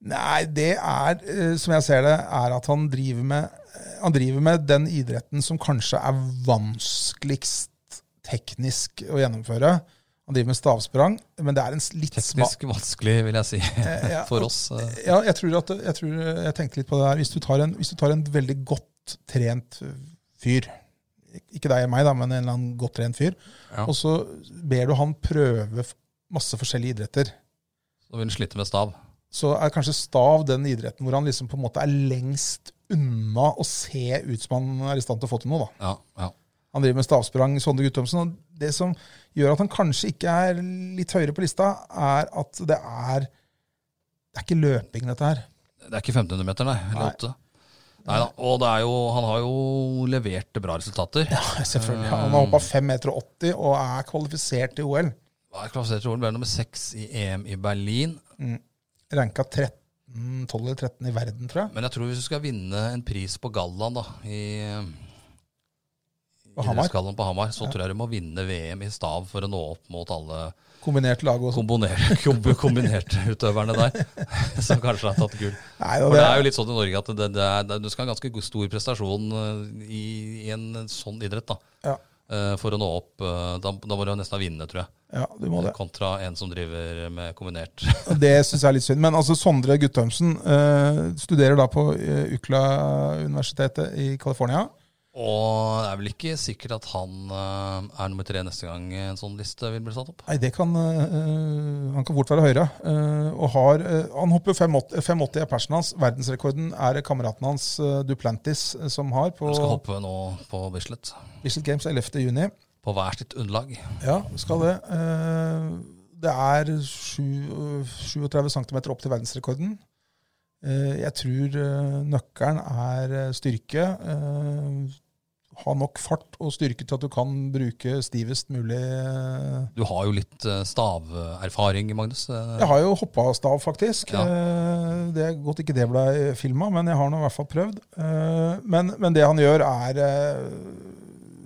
[SPEAKER 2] Nei, det er, eh, som jeg ser det, er at han driver med, eh, han driver med den idretten som kanskje er vanskeligst teknisk å gjennomføre. Han driver med stavsprang, men det er en s- litt smak...
[SPEAKER 1] Teknisk vanskelig, vil jeg si,
[SPEAKER 2] ja,
[SPEAKER 1] for
[SPEAKER 2] og-
[SPEAKER 1] oss. eh.
[SPEAKER 2] Ja, jeg tror at jeg, tror, jeg tenkte litt på det her. Hvis du tar en, hvis du tar en veldig godt trent fyr, ikke deg og meg, da, men en eller annen godt trent fyr,
[SPEAKER 1] Ja.
[SPEAKER 2] og så ber du han prøve f- masse forskjellige idretter,
[SPEAKER 1] Så vil han slite med stav.
[SPEAKER 2] så er kanskje stav den idretten hvor han liksom på en måte er lengst unna å se ut som han er i stand til å få til noe. da.
[SPEAKER 1] Ja, ja.
[SPEAKER 2] Han driver med stavsprang, Sondre Guttormsen. og Det som gjør at han kanskje ikke er litt høyere på lista, er at det er Det er ikke løping, dette her.
[SPEAKER 1] Det er ikke 1500 meter, nei. Eller
[SPEAKER 2] Nei.
[SPEAKER 1] åtte. Nei da. Og det er jo, han har jo levert bra resultater. Ja.
[SPEAKER 2] Selvfølgelig. Han har hoppa 5,80 meter og er kvalifisert til OL.
[SPEAKER 1] Klassifisert til OL, ble nummer seks i EM i Berlin.
[SPEAKER 2] Ranka 13, 12 eller 13 i verden, tror jeg.
[SPEAKER 1] Men jeg tror hvis du skal vinne en pris på gallaen, da, i
[SPEAKER 2] På Hamar.
[SPEAKER 1] idrettsgallaen på Hamar, så tror jeg du må vinne VM i stav for å nå opp mot alle
[SPEAKER 2] Kombinert lag og sånn.
[SPEAKER 1] kombinerte, kombinerte utøverne der, som kanskje har tatt gull.
[SPEAKER 2] Nei,
[SPEAKER 1] For
[SPEAKER 2] det,
[SPEAKER 1] det er jo litt sånn i Norge at det, det er, det, du skal ha ganske god- stor prestasjon eh, i, i en sånn idrett da,
[SPEAKER 2] Ja.
[SPEAKER 1] eh, for å nå opp. eh, Da, da må du nesten vinne, tror jeg,
[SPEAKER 2] ja, du må det.
[SPEAKER 1] kontra en som driver med kombinert.
[SPEAKER 2] Det syns jeg er litt synd. Men altså, Sondre Guttormsen eh, studerer da på eh, UCLA-universitetet i California.
[SPEAKER 1] Og det er vel ikke sikkert at han eh, er nummer tre neste gang en sånn liste vil bli satt opp.
[SPEAKER 2] Nei, det kan eh, Han kan fort være høyere. Eh, og har, eh, han hopper 5,80 5,80 er persen hans. Verdensrekorden er det kameraten hans eh, Duplantis eh, som har på
[SPEAKER 1] Du skal hoppe nå på Bislett,
[SPEAKER 2] Bislett Games 11.6.
[SPEAKER 1] på hver sitt underlag.
[SPEAKER 2] Ja, skal det. Eh, det er sju- 37 cm opp til verdensrekorden. Eh, jeg tror eh, nøkkelen er eh, styrke. Eh, ha nok fart og styrke til at du kan bruke stivest mulig eh.
[SPEAKER 1] Du har jo litt eh, staverfaring, Magnus. eh,
[SPEAKER 2] Jeg har jo hoppa stav, faktisk.
[SPEAKER 1] Ja.
[SPEAKER 2] Eh, det er godt ikke det ble filma, men jeg har nå i hvert fall prøvd. Eh, men, men det han gjør, er eh,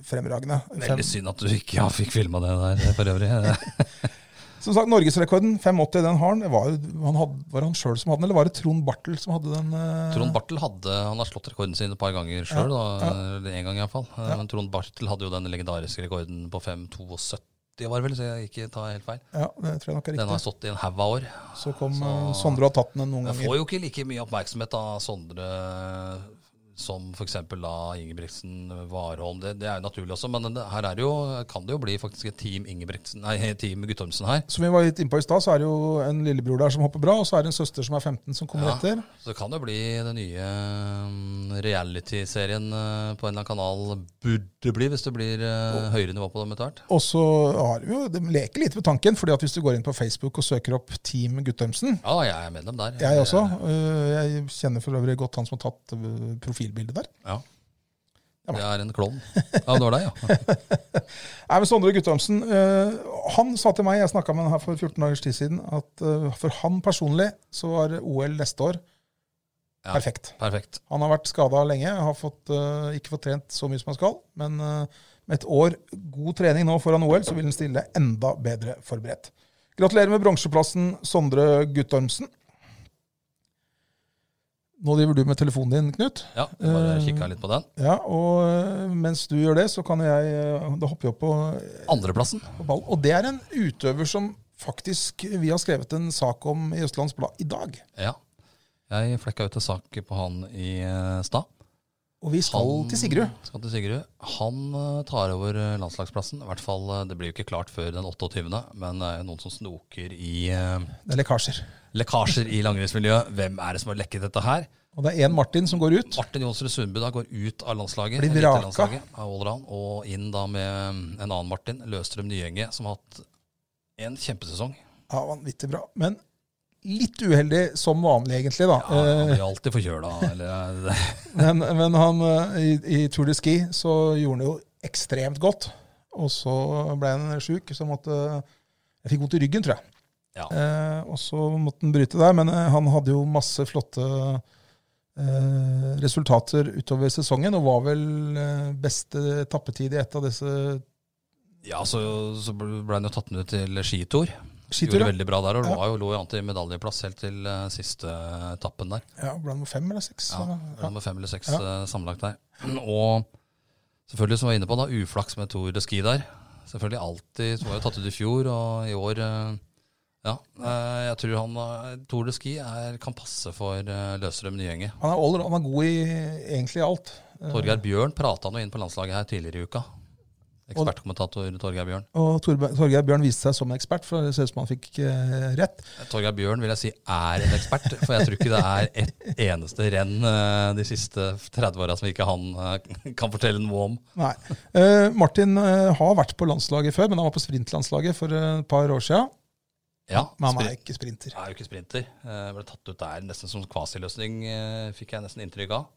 [SPEAKER 2] fremragende. Fem-
[SPEAKER 1] Veldig synd at du ikke ja, fikk filma det der eh, for øvrig.
[SPEAKER 2] Som sagt, norgesrekorden 5,80, den har han. Det Var, han hadde, var det han sjøl som hadde den, eller var det Trond Bartel som hadde den? eh?
[SPEAKER 1] Trond Bartel hadde, han har slått rekorden sin et par ganger sjøl,
[SPEAKER 2] Ja,
[SPEAKER 1] Eh, eller en gang iallfall. Men Trond Bartel hadde jo den legendariske rekorden på 5,72 70 var vel, så jeg ikke tar helt feil.
[SPEAKER 2] Ja, det tror jeg nok er
[SPEAKER 1] Den har
[SPEAKER 2] riktig.
[SPEAKER 1] stått i en haug av år.
[SPEAKER 2] Så kom
[SPEAKER 1] så-
[SPEAKER 2] eh, Sondre og har tatt den noen
[SPEAKER 1] Jeg får
[SPEAKER 2] ganger.
[SPEAKER 1] jo ikke like mye oppmerksomhet av Sondre som f.eks. da Ingebrigtsen Warholm. Det, det er jo naturlig også, men det, her er det jo, kan det jo bli faktisk et team, Ingebrigtsen, nei, team Guttormsen her.
[SPEAKER 2] Som vi var litt innpå i stad, så er det jo en lillebror der som hopper bra, og så er det en søster som er 15 som kommer
[SPEAKER 1] Ja.
[SPEAKER 2] etter.
[SPEAKER 1] Så det kan jo bli den nye mm, reality-serien eh, på en eller annen kanal burde bli, hvis det blir eh, høyere nivå på dem etter hvert.
[SPEAKER 2] Og så har vi jo, de leker litt med tanken, fordi at hvis du går inn på Facebook og søker opp Team Guttormsen
[SPEAKER 1] Ja, jeg er medlem der.
[SPEAKER 2] Jeg også. øh, Jeg kjenner for øvrig godt han som har tatt øh, profilbildet der.
[SPEAKER 1] Ja.
[SPEAKER 2] Ja, men.
[SPEAKER 1] Jeg er en klovn. Ja, det var deg, ja.
[SPEAKER 2] Nei, men Sondre Guttormsen øh, han sa til meg, jeg snakka med han her for 14 dagers tid siden, at øh, for han personlig så var OL neste år
[SPEAKER 1] Ja.
[SPEAKER 2] perfekt.
[SPEAKER 1] Perfekt.
[SPEAKER 2] Han har vært skada lenge, har fått, øh, ikke fått trent så mye som han skal. Men øh, med et år god trening nå foran OL, så vil han stille enda bedre forberedt. Gratulerer med bronseplassen, Sondre Guttormsen. Nå driver du med telefonen din, Knut.
[SPEAKER 1] Ja, jeg bare
[SPEAKER 2] Eh,
[SPEAKER 1] kikka litt på den.
[SPEAKER 2] Ja, og øh, mens du gjør det, så kan jeg øh, Da hopper jeg opp på,
[SPEAKER 1] Andreplassen.
[SPEAKER 2] på ball. Og det er en utøver som faktisk vi har skrevet en sak om i Østlands Blad i dag.
[SPEAKER 1] Ja. Jeg flekka ut en sak på han i eh, stad.
[SPEAKER 2] Og vi skal
[SPEAKER 1] Han-
[SPEAKER 2] til Sigrud.
[SPEAKER 1] Skal til Sigrud. Han eh, tar over eh, landslagsplassen. I hvert fall, eh, Det blir jo ikke klart før den 28., men det er jo noen som snoker i eh,
[SPEAKER 2] Det er lekkasjer.
[SPEAKER 1] lekkasjer i langrennsmiljøet. Hvem er det som har lekket dette her?
[SPEAKER 2] Og det er én Martin som går ut.
[SPEAKER 1] Martin Johnsrud Sundby da går ut av landslaget.
[SPEAKER 2] Blir vraka.
[SPEAKER 1] elitelandslaget, av Ålerdalen, Og inn da med eh, en annen Martin, Løstrøm Nyenge, som har hatt en kjempesesong.
[SPEAKER 2] Ja, Vanvittig bra. Men litt uheldig som vanlig, egentlig. da.
[SPEAKER 1] Ja, han
[SPEAKER 2] Eh,
[SPEAKER 1] blir alltid forkjøla. eller- eh,
[SPEAKER 2] Men, men han, eh, i, i Tour de Ski så gjorde han jo ekstremt godt. Og så ble han sjuk, så måtte Jeg fikk vondt i ryggen, tror jeg.
[SPEAKER 1] Ja.
[SPEAKER 2] Eh, og så måtte han bryte der, men eh, han hadde jo masse flotte eh, resultater utover sesongen, og var vel eh, beste tappetid i et av disse
[SPEAKER 1] Ja, så, så ble han jo tatt med til skitur. Gjorde
[SPEAKER 2] skiturene.
[SPEAKER 1] veldig bra der, og
[SPEAKER 2] Ja.
[SPEAKER 1] lå, jo, lå jo an til medaljeplass helt til eh, siste etappen der.
[SPEAKER 2] Ja, ble han fem eller seks?
[SPEAKER 1] Ja,
[SPEAKER 2] eller?
[SPEAKER 1] det var Nummer fem eller seks
[SPEAKER 2] Ja.
[SPEAKER 1] eh, sammenlagt der. Og selvfølgelig, som vi var inne på, da, uflaks med Tour de Ski der. Selvfølgelig alltid. Så var jo tatt ut i fjor, og i år eh, Ja. eh, Jeg tror han eh, Tour de Ski er, kan passe for eh, Løsrøm Nyenge.
[SPEAKER 2] Han er all, han er god i egentlig alt. Eh,
[SPEAKER 1] Torgeir Bjørn prata nå inn på landslaget her tidligere i uka. Ekspertkommentator Torgeir Bjørn.
[SPEAKER 2] Og Torbe- Torgeir Bjørn viste seg som en ekspert, for det ser ut som han fikk eh, rett.
[SPEAKER 1] Torgeir Bjørn vil jeg si er en ekspert, for jeg tror ikke det er et eneste renn eh, de siste 30 åra som ikke han eh, kan fortelle noe om.
[SPEAKER 2] Nei. Eh, Martin eh, har vært på landslaget før, men han var på sprintlandslaget for eh, et par år siden.
[SPEAKER 1] Ja,
[SPEAKER 2] Men han
[SPEAKER 1] sprint-
[SPEAKER 2] er ikke sprinter.
[SPEAKER 1] er jo ikke sprinter. Eh, Ble tatt ut der nesten som kvasiløsning, eh, fikk jeg nesten inntrykk av.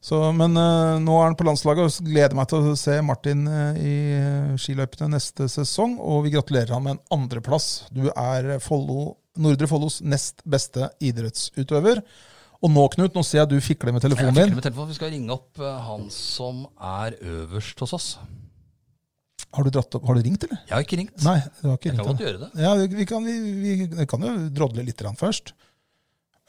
[SPEAKER 2] Så, men eh, nå er han på landslaget, og så gleder jeg meg til å se Martin eh, i eh, skiløypene neste sesong. Og vi gratulerer han med en andreplass. Du er Follo, Nordre Follos nest beste idrettsutøver. Og nå, Knut, nå ser jeg du fikler med
[SPEAKER 1] Jeg
[SPEAKER 2] telefonen
[SPEAKER 1] fikk det
[SPEAKER 2] din.
[SPEAKER 1] med telefonen, Vi skal ringe opp eh, han som er øverst hos oss.
[SPEAKER 2] Har du, dratt opp, har du ringt, eller?
[SPEAKER 1] Jeg har ikke ringt.
[SPEAKER 2] Nei, du har ikke
[SPEAKER 1] jeg kan
[SPEAKER 2] ringt.
[SPEAKER 1] godt
[SPEAKER 2] ennå.
[SPEAKER 1] gjøre det.
[SPEAKER 2] Ja, vi, vi, kan, vi, vi kan jo drodle litt grann først.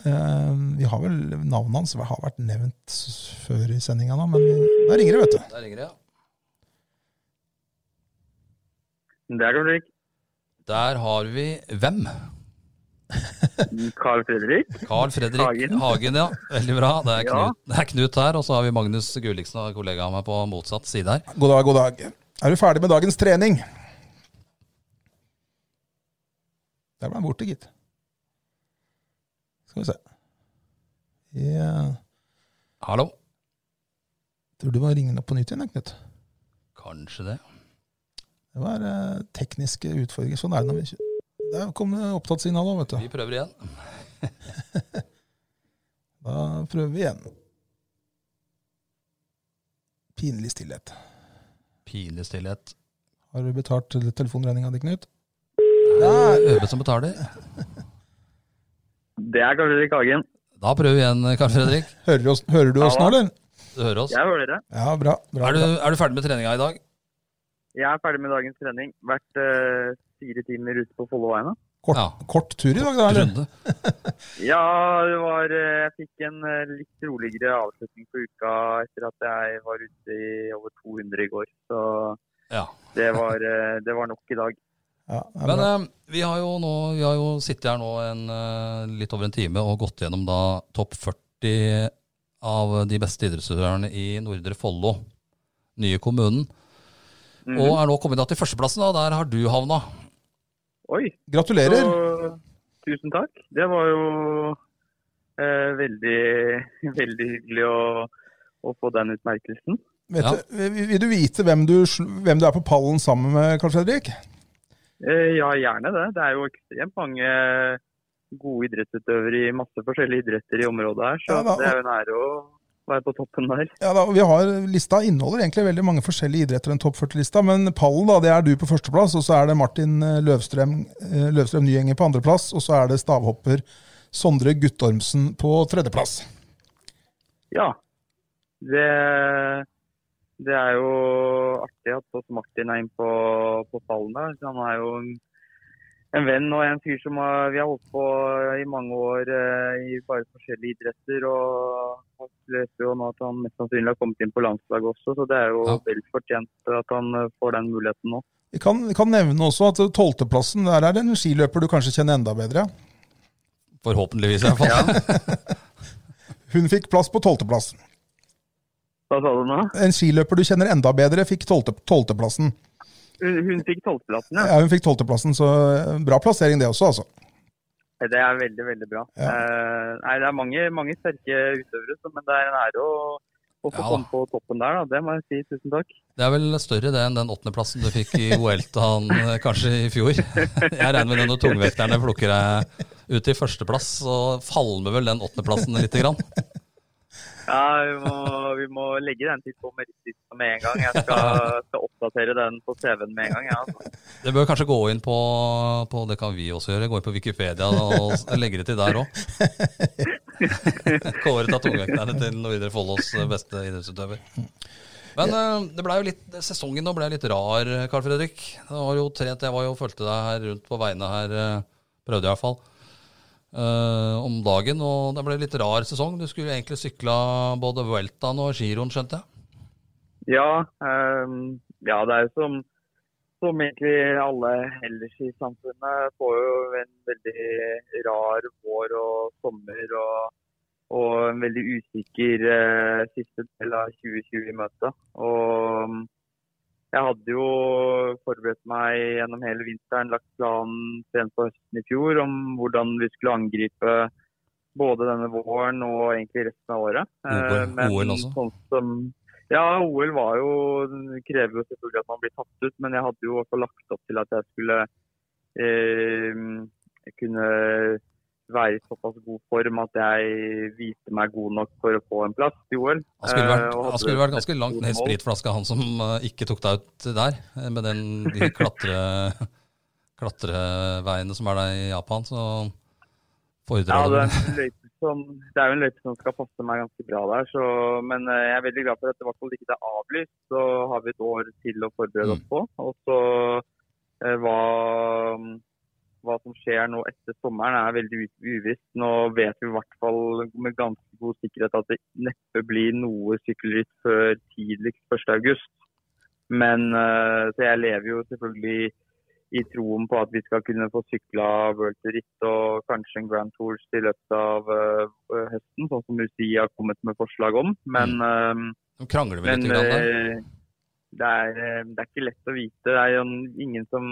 [SPEAKER 2] Eh, vi har vel navnet hans har vært nevnt s- før i sendinga nå, men der ringer det, vet du.
[SPEAKER 1] Der ringer jeg.
[SPEAKER 6] Der kan du ikke.
[SPEAKER 1] Der har vi hvem?
[SPEAKER 6] Carl Fredrik.
[SPEAKER 1] Carl Fredrik Hagen.
[SPEAKER 6] Hagen.
[SPEAKER 1] ja. Veldig bra. Det er,
[SPEAKER 6] Ja.
[SPEAKER 1] Knut, det er Knut her, og så har vi Magnus Gulliksen og kollega av meg på motsatt side her.
[SPEAKER 2] God dag, god dag. Er du ferdig med dagens trening? Der ble han borte, gitt. Skal vi se. Jeg
[SPEAKER 1] Hallo.
[SPEAKER 2] tror du må ringe den opp på nytt igjen, jeg, Knut.
[SPEAKER 1] Kanskje det.
[SPEAKER 2] Det var eh, tekniske utfordringer. Sånn er det når vi kjører. Der kom det opptattsignal òg, vet du.
[SPEAKER 1] Vi prøver igjen.
[SPEAKER 2] Da prøver vi igjen. Pinlig stillhet.
[SPEAKER 1] Pinlig stillhet.
[SPEAKER 2] Har du betalt til- telefonregninga di, Knut? Der!
[SPEAKER 1] Øve som betaler.
[SPEAKER 6] Det er Carl Fredrik Hagen.
[SPEAKER 1] Da prøver vi igjen, Carl Fredrik.
[SPEAKER 2] Hører, du oss, hører du oss nå, eller?
[SPEAKER 1] Du hører oss.
[SPEAKER 6] Jeg hører dere.
[SPEAKER 2] Ja, bra. bra,
[SPEAKER 1] Er du,
[SPEAKER 2] bra.
[SPEAKER 1] er du ferdig med treninga i dag?
[SPEAKER 6] Jeg er ferdig med dagens trening. Vært eh, fire timer ute på Folloveien. da.
[SPEAKER 2] Kort,
[SPEAKER 1] Ja.
[SPEAKER 2] kort tur i dag, da? eller?
[SPEAKER 1] Runde.
[SPEAKER 6] Ja, det var, eh, jeg fikk en eh, litt roligere avslutning på uka etter at jeg var ute i over 200 i går. Så
[SPEAKER 1] Ja.
[SPEAKER 6] Det var, eh, det var nok i dag.
[SPEAKER 2] Ja, det er
[SPEAKER 1] Men
[SPEAKER 2] bra.
[SPEAKER 1] eh, vi, har jo nå, vi har jo sittet her nå en, eh, litt over en time og gått gjennom da topp 40 av de beste idrettsutøverne i Nordre Follo, nye kommunen.
[SPEAKER 6] Mhm.
[SPEAKER 1] Og er nå kommet da til førsteplassen, da. Der har du havna.
[SPEAKER 6] Oi,
[SPEAKER 2] Gratulerer.
[SPEAKER 6] Så, tusen takk. Det var jo eh, veldig, veldig hyggelig å, å få den utmerkelsen.
[SPEAKER 2] Vet
[SPEAKER 1] Ja.
[SPEAKER 2] du, vil vil du vite hvem du, sl- hvem du er på pallen sammen med, Karl Fredrik?
[SPEAKER 6] Eh, ja, gjerne det. Det er jo ekstremt mange eh, gode idrettsutøvere i masse forskjellige idretter i området her, så
[SPEAKER 2] Ja da,
[SPEAKER 6] det er jo en ære å være på toppen der.
[SPEAKER 2] Ja, da, og vi har, Lista inneholder egentlig veldig mange forskjellige idretter, enn topp 40-lista, men pallen da, det er du på førsteplass, og så er det Martin eh, Løvstrøm, eh, Løvstrøm Nyenger på andreplass, og så er det stavhopper Sondre Guttormsen på tredjeplass.
[SPEAKER 6] Ja. Det, det er jo artig at også Martin er inne på, på pallen der. Han er jo en, en venn og en fyr som har, vi har holdt på i mange år eh, i bare forskjellige idretter. Og han leser jo nå at han mest sannsynlig har kommet inn på landslaget også, så det er jo
[SPEAKER 1] Ja.
[SPEAKER 6] vel fortjent at han eh, får den muligheten nå.
[SPEAKER 2] Vi kan, vi kan nevne også at tolvteplassen, der er det en skiløper du kanskje kjenner enda bedre.
[SPEAKER 1] Forhåpentligvis, i hvert fall.
[SPEAKER 2] Hun fikk plass på tolvteplassen.
[SPEAKER 6] Hva sa du nå?
[SPEAKER 2] En skiløper du kjenner enda bedre, fikk tolvte- tolvteplassen.
[SPEAKER 6] Hun, hun fikk tolvteplassen, ja.
[SPEAKER 2] Ja, hun fikk tolvteplassen, så eh, bra plassering det også, altså.
[SPEAKER 6] Det er veldig, veldig bra.
[SPEAKER 2] Ja.
[SPEAKER 6] Eh, nei, det er mange, mange sterke utøvere, så- men det er en ære å, å få
[SPEAKER 1] Ja da.
[SPEAKER 6] komme på toppen der, da. Det må jeg si. Tusen takk.
[SPEAKER 1] Det er vel større det enn den åttendeplassen du fikk i OL-taen eh, kanskje i fjor. Jeg regner med det når tungvekterne plukker deg ut til førsteplass, så falmer vel den åttendeplassen lite grann.
[SPEAKER 6] Ja, vi må, vi må legge den til på merittlista med en gang. Jeg skal, skal oppdatere den på CV-en med en gang. altså. Ja.
[SPEAKER 1] Det bør kanskje gå inn på, på Det kan vi også gjøre. Gå inn på Wikipedia og s- legge det til der òg. Kåret av tungvekterne til Nordre Follos eh, beste idrettsutøver. Men eh, det ble jo litt, sesongen nå ble litt rar, Carl Fredrik. Det var jo trent, Jeg var jo fulgte deg her rundt på veiene her, eh, prøvde jeg iallfall, uh, om dagen. Og det ble litt rar sesong. Du skulle jo egentlig sykla både Vueltaen og giroen, skjønte jeg.
[SPEAKER 6] Ja, ehm, ja, det er jo som, som egentlig alle ellers i samfunnet får jo en veldig rar vår og sommer og, og en veldig usikker eh, siste del av 2020 i møte. Og mm, jeg hadde jo forberedt meg gjennom hele vinteren, lagt planen sent på høsten i fjor om hvordan vi skulle angripe både denne våren og egentlig resten av året. Eh,
[SPEAKER 1] OL også?
[SPEAKER 6] Sånn som, ja, OL var jo, krever jo selvfølgelig at man blir tatt ut, men jeg hadde jo også lagt opp til at jeg skulle eh, kunne være i såpass god form at jeg viste meg god nok for å få en plass i OL.
[SPEAKER 1] Han skulle vært,
[SPEAKER 6] Eh, og
[SPEAKER 1] han
[SPEAKER 6] hadde
[SPEAKER 1] skulle vært ganske langt
[SPEAKER 6] stort
[SPEAKER 1] ned i
[SPEAKER 6] mål.
[SPEAKER 1] spritflaska, han som eh, ikke tok deg ut der, eh, med den, de klatre, klatreveiene som er der i Japan. Så fordrer
[SPEAKER 6] Ja,
[SPEAKER 1] det
[SPEAKER 6] det er, en løype som, det er jo en løype som skal passe meg ganske bra der. Så, men eh, jeg er veldig glad for at det i hvert fall ikke er avlyst. Så har vi et år til å forberede oss på. Og så eh, hva, hva som skjer nå etter sommeren er veldig u- uvisst. Nå vet vi i hvert fall med ganske god sikkerhet at det neppe blir noe sykkelritt før tidligst 1. august. Men eh, så jeg lever jo selvfølgelig i troen på at vi skal kunne få sykla World Tour Ritt og kanskje en Grand Tours i løpet av eh, høsten, sånn som UCI har kommet med forslag om. Men, eh,
[SPEAKER 1] De krangler vel
[SPEAKER 6] men
[SPEAKER 1] litt grann der.
[SPEAKER 6] eh, det, er, eh, det er ikke lett å vite. Det er jo en- ingen som,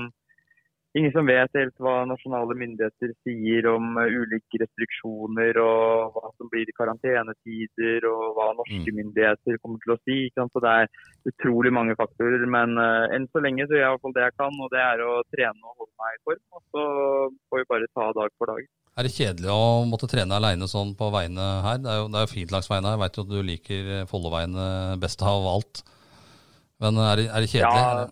[SPEAKER 6] ingen som vet helt hva nasjonale myndigheter sier om eh, ulike restriksjoner og hva som blir karantenetider og hva norske myndigheter kommer til å si. Ikke sant? Så det er utrolig mange faktorer. Men eh, enn så lenge så gjør jeg i hvert fall det jeg kan, og det er å trene og holde meg i form. Og så får vi bare ta dag for dag.
[SPEAKER 1] Er det kjedelig å måtte trene aleine sånn på veiene her? Det er jo, det er jo fint langs veiene her. Jeg veit jo at du liker eh, Folloveiene best av alt. Men er det, er det kjedelig?
[SPEAKER 6] Ja.
[SPEAKER 1] eller?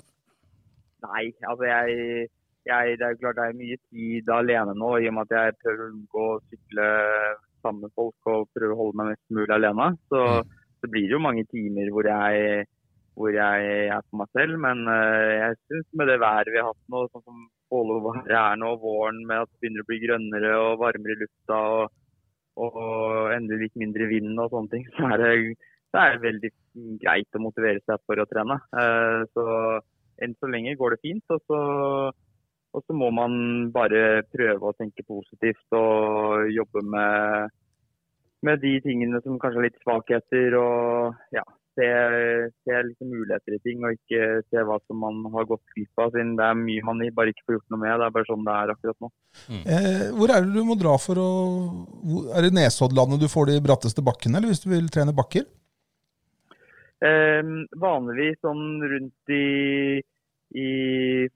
[SPEAKER 6] Nei, altså jeg, jeg Det er jo klart det er mye tid alene nå, i og med at jeg prøver å unngå å sykle sammen med folk og prøver å holde meg mest mulig alene. Så, så blir det jo mange timer hvor jeg, hvor jeg er på meg selv. Men eh, jeg syns med det været vi har hatt nå, sånn som Folloværet er nå, våren med at det begynner å bli grønnere og varmere i lufta og, og, og endelig litt mindre vind og sånne ting, så er det, så er det veldig greit å motivere seg for å trene. Eh, så enn så lenge går det fint. Og så, og så må man bare prøve å tenke positivt og jobbe med, med de tingene som kanskje er litt svakheter. og ja, Se, se liksom muligheter i ting, og ikke se hva som man har gått glipp av. siden Det er mye man bare ikke får gjort noe med. Det er bare sånn det er akkurat nå.
[SPEAKER 2] Eh, hvor er det du må dra for å hvor- Er det Nesoddlandet du får de bratteste bakkene, eller hvis du vil trene bakker?
[SPEAKER 6] Eh, vanligvis sånn rundt i, i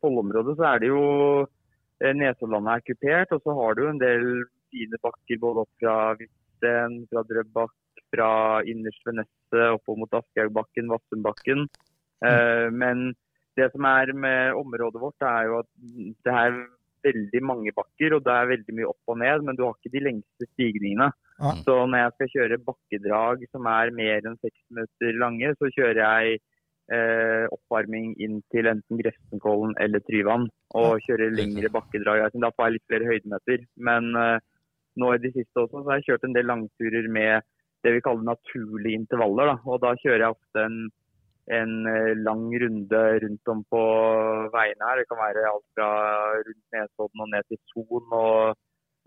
[SPEAKER 6] Follo-området så er det jo eh, Nesoddlandet er kupert, og så har du jo en del fine bakker både opp fra Hvitsten, fra Drøbak, fra innerst ved Nesset, oppover mot Aschehougbakken, Vassundbakken. Eh, men det som er med området vårt, er jo at det er veldig mange bakker, og det er veldig mye opp og ned, men du har ikke de lengste stigningene.
[SPEAKER 2] Ja.
[SPEAKER 6] Så når jeg skal kjøre bakkedrag som er mer enn seks minutter lange, så kjører jeg eh, oppvarming inn til enten Grefsenkollen eller Tryvann. Og kjører lengre bakkedrag. Jeg synes Da får jeg litt flere høydemeter. Men eh, nå i det siste også, så har jeg kjørt en del langturer med det vi kaller naturlige intervaller. Da. Og da kjører jeg ofte en, en eh, lang runde rundt om på veiene her. Det kan være alt fra rundt Nesodden og ned til Son og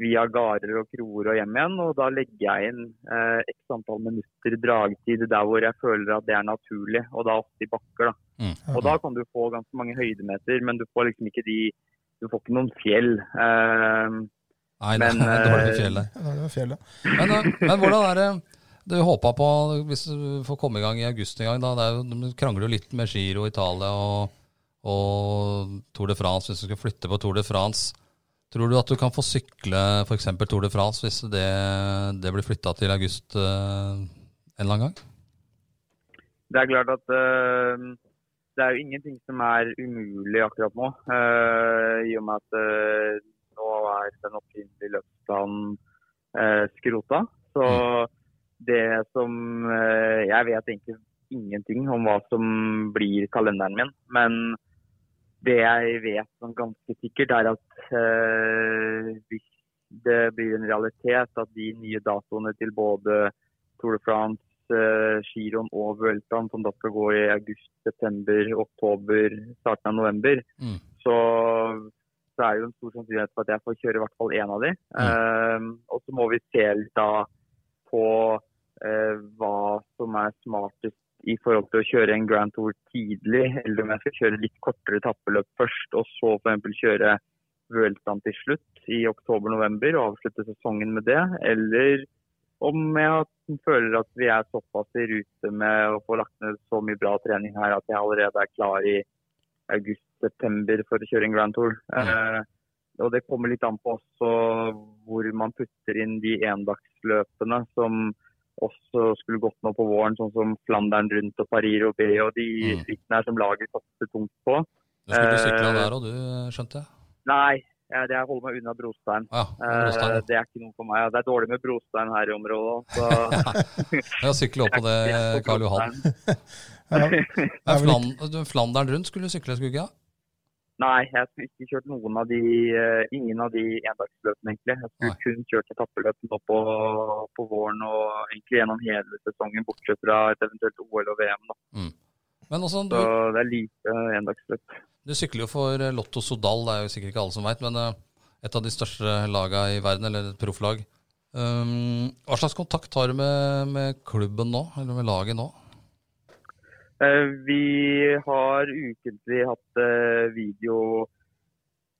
[SPEAKER 6] via gårder og kroer og hjem igjen. Og da legger jeg inn eh, x antall minutter dragtid der hvor jeg føler at det er naturlig, og da ofte i bakker. da.
[SPEAKER 1] Mm.
[SPEAKER 6] Og da kan du få ganske mange høydemeter, men du får liksom ikke de Du får ikke noen fjell. Eh,
[SPEAKER 1] Nei,
[SPEAKER 6] Men,
[SPEAKER 1] det er dårlig
[SPEAKER 6] eh,
[SPEAKER 1] fjell der.
[SPEAKER 2] Ja, det er det fjellet.
[SPEAKER 1] Men, eh, men hvordan er det du håpa på, hvis du får komme i gang i august en gang, da det er jo, Du krangler jo litt med Giro Italia og, og Tour de France, hvis du skal flytte på Tour de France. Tror du at du kan få sykle f.eks. Tour de France hvis det, det blir flytta til august eh, en eller annen gang?
[SPEAKER 6] Det er klart at eh, det er jo ingenting som er umulig akkurat nå. eh, I og med at eh, nå er den opprinnelige løpsplanen eh, skrota. Så det som eh, Jeg vet egentlig ingenting om hva som blir kalenderen min. Men det jeg vet sånn ganske sikkert, er at eh, hvis det blir en realitet at de nye datoene til både Tour de France eh, giroen og Vueltaen, som da skal gå i august, september, oktober, starten av november,
[SPEAKER 1] Mm.
[SPEAKER 6] så, så er det jo en stor sannsynlighet for at jeg får kjøre i hvert fall én av de. Eh, og så må vi se litt da på eh, hva som er smartest i forhold til å kjøre en Grand Tour tidlig, eller om jeg skal kjøre litt kortere tappeløp først, og så f.eks. kjøre Vueltaen til slutt i oktober-november og avslutte sesongen med det, eller om jeg at- føler at vi er såpass i rute med å få lagt ned så mye bra trening her at jeg allerede er klar i august-september for å kjøre en Grand Tour. Eh, og det kommer litt an på også hvor man putter inn de endagsløpene som også skulle gått nå på våren, sånn som Flandern rundt og Paris og B og de
[SPEAKER 1] Mm.
[SPEAKER 6] strikkene her som laget satser tungt på.
[SPEAKER 1] Du skulle
[SPEAKER 6] Eh,
[SPEAKER 1] sykla der og du, skjønte jeg?
[SPEAKER 6] Nei, jeg, jeg holder meg unna brostein.
[SPEAKER 1] Ah, ja,
[SPEAKER 6] Eh,
[SPEAKER 1] Rostein.
[SPEAKER 6] det er ikke noe for meg. Det er dårlig med brostein her i området. Så
[SPEAKER 1] Ja, sykle opp på det,
[SPEAKER 6] jeg er på
[SPEAKER 1] Karl Johan.
[SPEAKER 6] brostein.
[SPEAKER 2] Ja,
[SPEAKER 1] Men
[SPEAKER 2] er vel
[SPEAKER 1] Flan- du, Flandern rundt skulle du sykle, skulle du ikke?
[SPEAKER 6] Nei, jeg skulle ikke kjørt noen av de, eh, ingen av de endagsløpene, egentlig. Jeg skulle
[SPEAKER 1] Nei.
[SPEAKER 6] kun kjørt etappeløp nå på, på våren og egentlig gjennom hele sesongen, bortsett fra et eventuelt OL og VM. Da.
[SPEAKER 1] Men også, du,
[SPEAKER 6] Så det er lite endagsløp.
[SPEAKER 1] Du sykler jo for eh, Lotto Sodal, det er jo sikkert ikke alle som veit, men eh, et av de største laga i verden, eller et profflag. Um, hva slags kontakt har du med, med klubben nå, eller med laget nå?
[SPEAKER 6] Eh, Vi har ukentlig hatt eh, video,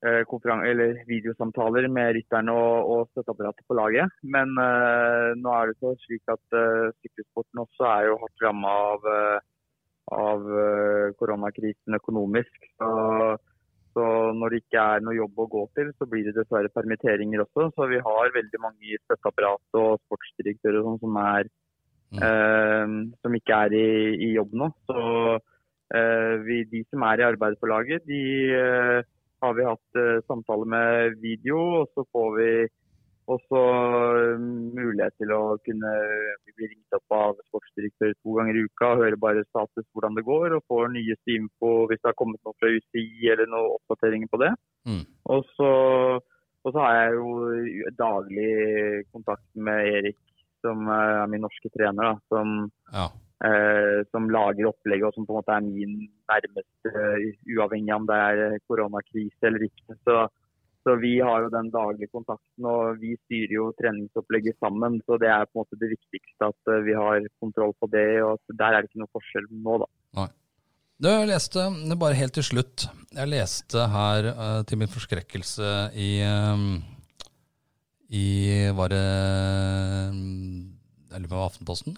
[SPEAKER 6] eh, konferan- eller videosamtaler med rytterne og, og støtteapparatet på laget. Men eh, nå er det så slik at eh, sykkelsporten også er jo hardt ramma av, eh, av eh, koronakrisen økonomisk. Så, så når det ikke er noe jobb å gå til, så blir det dessverre permitteringer også. Så vi har veldig mange i støtteapparatet og sportsdirektører og sånn som er eh, som ikke er i, i jobb nå. Så eh, vi, de som er i arbeid på laget, de eh, har vi hatt eh, samtale med video, og så får vi også eh, mulighet til å kunne bli ringt opp av sportsdirektør to ganger i uka og høre bare status hvordan det går, og får nyeste info hvis det har kommet noe fra UCI eller noen oppdateringer på det.
[SPEAKER 1] Mm.
[SPEAKER 6] Og så, og så har jeg jo daglig kontakt med Erik som er min norske eh, trener, da, som,
[SPEAKER 1] Ja.
[SPEAKER 6] eh, som lager opplegget, og som på en måte er min nærmeste, eh, uavhengig av om det er eh, koronakrise eller ikke. Så, så vi har jo den daglige kontakten, og vi styrer jo treningsopplegget sammen. Så det er på en måte det viktigste at eh, vi har kontroll på det, og at der er det ikke noe forskjell nå, da.
[SPEAKER 1] Du, jeg leste, det er bare helt til slutt, jeg leste her eh, til min forskrekkelse i, eh, i var det, eh, jeg lurer på om det var Aftenposten?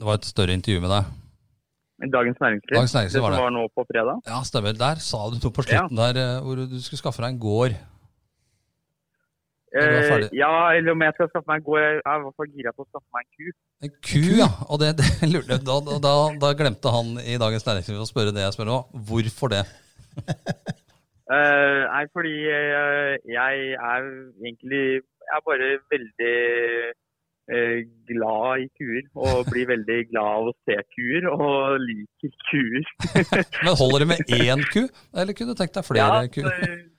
[SPEAKER 1] Det var et større intervju med deg.
[SPEAKER 6] Dagens Næringsliv,
[SPEAKER 1] Dagens Næringsliv
[SPEAKER 6] det
[SPEAKER 1] var det.
[SPEAKER 6] som var nå på fredag.
[SPEAKER 1] Ja, stemmer. Der sa du noe på slutten der, eh, hvor du skulle skaffe deg en gård. Når du er
[SPEAKER 6] Eh,
[SPEAKER 1] ferdig.
[SPEAKER 6] ja, eller om jeg skal skaffe meg en god Jeg er i hvert fall gira på å skaffe meg en ku.
[SPEAKER 1] En ku, ja. Og det, det lurte jeg da, da, da, da glemte han i Dagens Næringsliv å spørre det jeg spør nå. Hvorfor det?
[SPEAKER 6] Eh, nei, fordi eh, jeg er egentlig Jeg er bare veldig eh, glad i kuer. Og blir veldig glad av å se kuer, og liker kuer.
[SPEAKER 1] Men holder det med én ku, eller kunne du tenkt deg flere
[SPEAKER 6] Ja,
[SPEAKER 1] kuer?
[SPEAKER 6] så-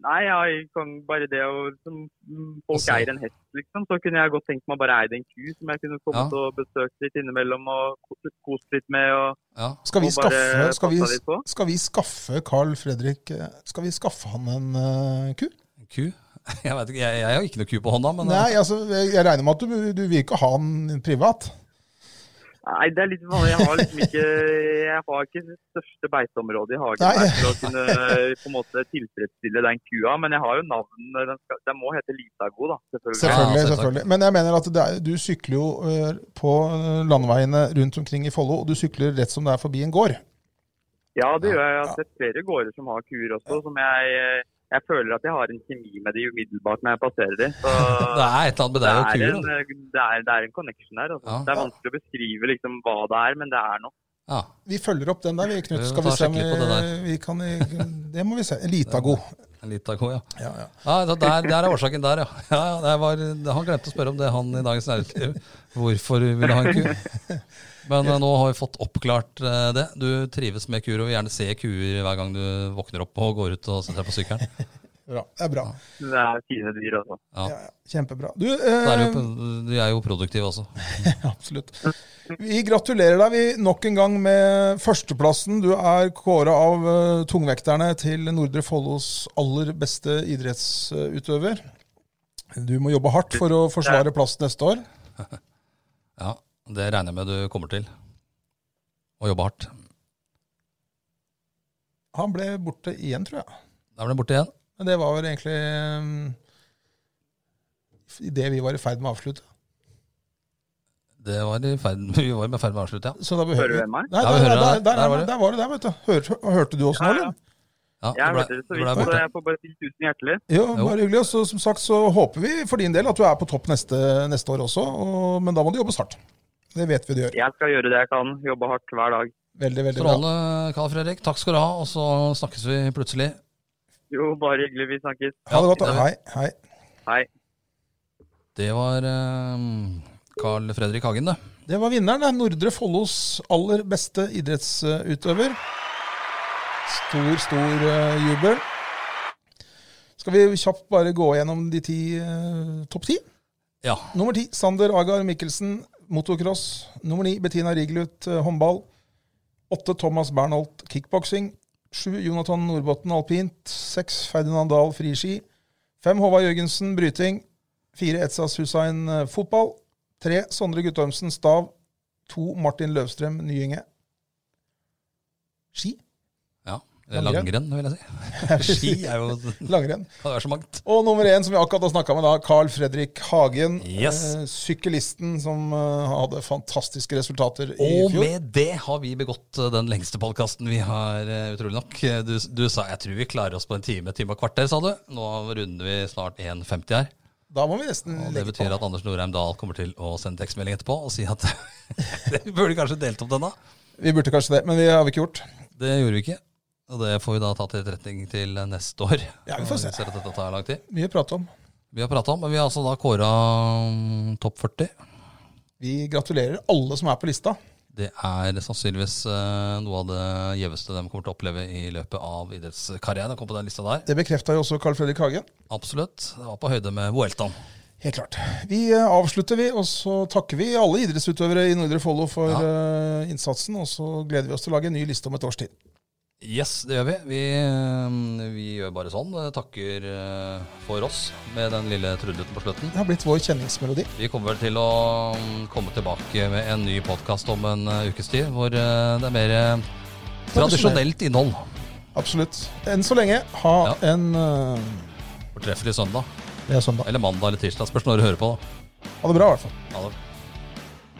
[SPEAKER 6] Nei, jeg kan bare det å som, mm, Folk
[SPEAKER 1] Altså-
[SPEAKER 6] eier en hest, liksom. Så kunne jeg godt tenkt meg å bare eie en ku som jeg kunne kommet og besøkt litt innimellom og ko- kost litt med. og
[SPEAKER 1] Ja.
[SPEAKER 2] Skal vi
[SPEAKER 6] Og bare
[SPEAKER 2] skaffe, skal vi,
[SPEAKER 6] passe litt på.
[SPEAKER 2] skal vi skaffe Carl Fredrik eh, Skal vi skaffe han en eh, ku?
[SPEAKER 1] En ku? Jeg vet ikke, jeg, jeg har ikke noe ku på hånda, men eh,
[SPEAKER 2] Nei, altså, jeg jeg regner med at du, du vil ikke ha han privat?
[SPEAKER 6] Nei, det er litt vanlig. Jeg har liksom ikke jeg har ikke det største beiteområdet i hagen
[SPEAKER 2] Nei.
[SPEAKER 6] her til å kunne eh, på en måte tilfredsstille den kua. Men jeg har jo navn. Den, skal, den må hete Litago, da. Selvfølgelig.
[SPEAKER 2] Selvfølgelig.
[SPEAKER 1] Ja, selvsagt.
[SPEAKER 2] selvfølgelig. Men jeg mener at det er, du sykler jo eh, på landeveiene rundt omkring i Follo, og du sykler rett som det er forbi en gård.
[SPEAKER 6] Ja, det gjør jeg. Jeg har sett flere gårder som har kuer også. som jeg... eh, Jeg føler at jeg har en kjemi med de umiddelbart når jeg passerer de. Så
[SPEAKER 1] det er et eller annet med deg og
[SPEAKER 6] det er
[SPEAKER 1] kuer.
[SPEAKER 6] en,
[SPEAKER 1] da.
[SPEAKER 6] eh, det er, det er en connection her. Altså.
[SPEAKER 1] Ja.
[SPEAKER 6] Det er vanskelig å beskrive liksom, hva det er, men det er noe.
[SPEAKER 1] Ja.
[SPEAKER 2] Vi følger opp den der, vi, Knut.
[SPEAKER 1] Vi må
[SPEAKER 2] Skal vi
[SPEAKER 1] ta
[SPEAKER 2] se om vi,
[SPEAKER 1] skikkelig på det
[SPEAKER 2] vi kan Det må vi se. Litago.
[SPEAKER 1] En lita ko, ja.
[SPEAKER 2] Ja, ja.
[SPEAKER 1] ja da- der, der er årsaken der, ja. ja ja, det var, han glemte å spørre om det, han i Dagens Næringsliv. Hvorfor ville han ku? Men eh, nå har vi fått oppklart eh, det. Du trives med kuer og vil gjerne se kuer hver gang du våkner opp og går ut og setter deg på sykkelen.
[SPEAKER 2] Bra. Det er bra.
[SPEAKER 6] Det er fine dyr, altså.
[SPEAKER 1] Ja.
[SPEAKER 2] Ja, ja. Kjempebra. Du,
[SPEAKER 1] Så er
[SPEAKER 2] eh,
[SPEAKER 1] det jo, de er jo produktive også.
[SPEAKER 2] absolutt. Vi gratulerer deg vi nok en gang med førsteplassen. Du er kåra av eh, tungvekterne til Nordre Follos aller beste idrettsutøver. Du må jobbe hardt for å forsvare plass neste år.
[SPEAKER 1] Ja, Det regner jeg med du kommer til. Og jobbe hardt.
[SPEAKER 2] Han ble borte igjen, tror jeg.
[SPEAKER 1] Da ble den borte igjen.
[SPEAKER 2] Men det var vel egentlig um, det vi var i ferd med å avslutte.
[SPEAKER 1] Det var i ferd, vi var i ferd med å avslutte, ja.
[SPEAKER 2] Så da
[SPEAKER 6] Hører
[SPEAKER 2] behøver
[SPEAKER 6] du meg?
[SPEAKER 2] Nei,
[SPEAKER 1] Ja, vi
[SPEAKER 2] der,
[SPEAKER 1] hører
[SPEAKER 2] der, der,
[SPEAKER 1] deg.
[SPEAKER 2] der,
[SPEAKER 1] Der var
[SPEAKER 2] var
[SPEAKER 1] du.
[SPEAKER 2] du der, vet du. Hørte, hørte du oss nå,
[SPEAKER 6] Ja,
[SPEAKER 2] eller?
[SPEAKER 1] ja
[SPEAKER 6] ja. Jeg
[SPEAKER 1] du ble-
[SPEAKER 6] hørte det så
[SPEAKER 1] du ble
[SPEAKER 6] vidt,
[SPEAKER 1] borte.
[SPEAKER 6] så jeg får eh, bare si tusen hjertelig.
[SPEAKER 2] Jo,
[SPEAKER 1] Jo.
[SPEAKER 2] bare hyggelig. Og så, som sagt så håper vi for din del at du er på topp neste, neste år også, og, men da må du jobbe hardt. Det vet vi du gjør.
[SPEAKER 6] Jeg skal gjøre det jeg kan. Jobbe hardt hver dag.
[SPEAKER 2] Veldig, veldig bra.
[SPEAKER 1] Strålende, Carl Fredrik. Takk skal du ha, og så snakkes vi plutselig.
[SPEAKER 6] Jo, bare hyggelig. Vi snakkes.
[SPEAKER 2] Ha det godt.
[SPEAKER 1] Ja,
[SPEAKER 2] da. Hei. hei.
[SPEAKER 6] Hei.
[SPEAKER 1] Det var ehm, Carl Fredrik Hagen, det.
[SPEAKER 2] Det var vinneren. det. Nordre Follos aller beste idrettsutøver. Stor, stor eh, jubel. Skal vi kjapt bare gå gjennom de ti eh, topp ti?
[SPEAKER 1] Ja.
[SPEAKER 2] Nummer ti, Sander Agar Mikkelsen, motocross. Nummer ni, Bettina Rigelut, eh, håndball. Åtte, Thomas Bernholt, kickboksing. Sju, Jonathan Nordbotten, alpint. Seks, Ferdinand Dahl, friski. Fem, Håvard Jørgensen, bryting. Fire, Etsas Hussein, eh, fotball. Tre, Sondre Guttormsen, stav. To, Martin Løvstrøm, nyinge. Ski?
[SPEAKER 1] ja. Eller
[SPEAKER 2] Langrenn.
[SPEAKER 1] Langrenn, vil jeg si. Ski er jo kan
[SPEAKER 2] Langrenn.
[SPEAKER 1] være så mangt.
[SPEAKER 2] Og nummer én, som vi akkurat har snakka med, da, Carl Fredrik Hagen.
[SPEAKER 1] Yes.
[SPEAKER 2] Eh, syklisten som eh, hadde fantastiske resultater i
[SPEAKER 1] Og
[SPEAKER 2] fjor.
[SPEAKER 1] med det har vi begått eh, den lengste podkasten vi har, eh, utrolig nok. Eh, Du, du sa jeg tror vi klarer oss på en time, time og kvarter, sa du. Nå runder vi snart 1,50 her.
[SPEAKER 2] Da må vi nesten
[SPEAKER 1] Og det
[SPEAKER 2] legge
[SPEAKER 1] betyr
[SPEAKER 2] på.
[SPEAKER 1] at Anders Norheim Dahl kommer til å sende tekstmelding etterpå og si at vi burde kanskje delt opp den, da.
[SPEAKER 2] Vi burde kanskje det, men det har vi ikke gjort.
[SPEAKER 1] Det gjorde vi ikke. Og det får vi da ta til etterretning til neste år.
[SPEAKER 2] Ja, vi får se.
[SPEAKER 1] Når Ser at dette tar lang tid.
[SPEAKER 2] Mye å prate om.
[SPEAKER 1] Vi har prata om, men vi har altså da kåra topp 40.
[SPEAKER 2] Vi gratulerer alle som er på lista.
[SPEAKER 1] Det er sannsynligvis eh, noe av det gjeveste de kommer til å oppleve i løpet av idrettskarrieren. å komme på den lista der.
[SPEAKER 2] Det bekrefta jo også Carl Fredrik Hagen.
[SPEAKER 1] Absolutt. Det var på høyde med Vueltaen.
[SPEAKER 2] Helt klart. Vi eh, avslutter, vi, og så takker vi alle idrettsutøvere i Nordre Follo for eh, innsatsen. Og så gleder vi oss til å lage en ny liste om et års tid.
[SPEAKER 1] Yes, det gjør vi. Vi, eh, vi gjør bare sånn. eh, Takker eh, for oss med den lille trudleten på slutten.
[SPEAKER 2] Det har blitt vår kjenningsmelodi.
[SPEAKER 1] Vi kommer vel til å mm, komme tilbake med en ny podkast om en eh, ukes tid, hvor eh, det er mer eh, tradisjonelt innhold.
[SPEAKER 2] Absolutt. Enn så lenge, ha
[SPEAKER 1] Ja.
[SPEAKER 2] en eh,
[SPEAKER 1] Fortreffelig søndag.
[SPEAKER 2] Det er søndag.
[SPEAKER 1] Eller mandag eller tirsdag. Spørs når du hører på.
[SPEAKER 2] Ha det bra, i hvert fall.
[SPEAKER 1] da. Ha det.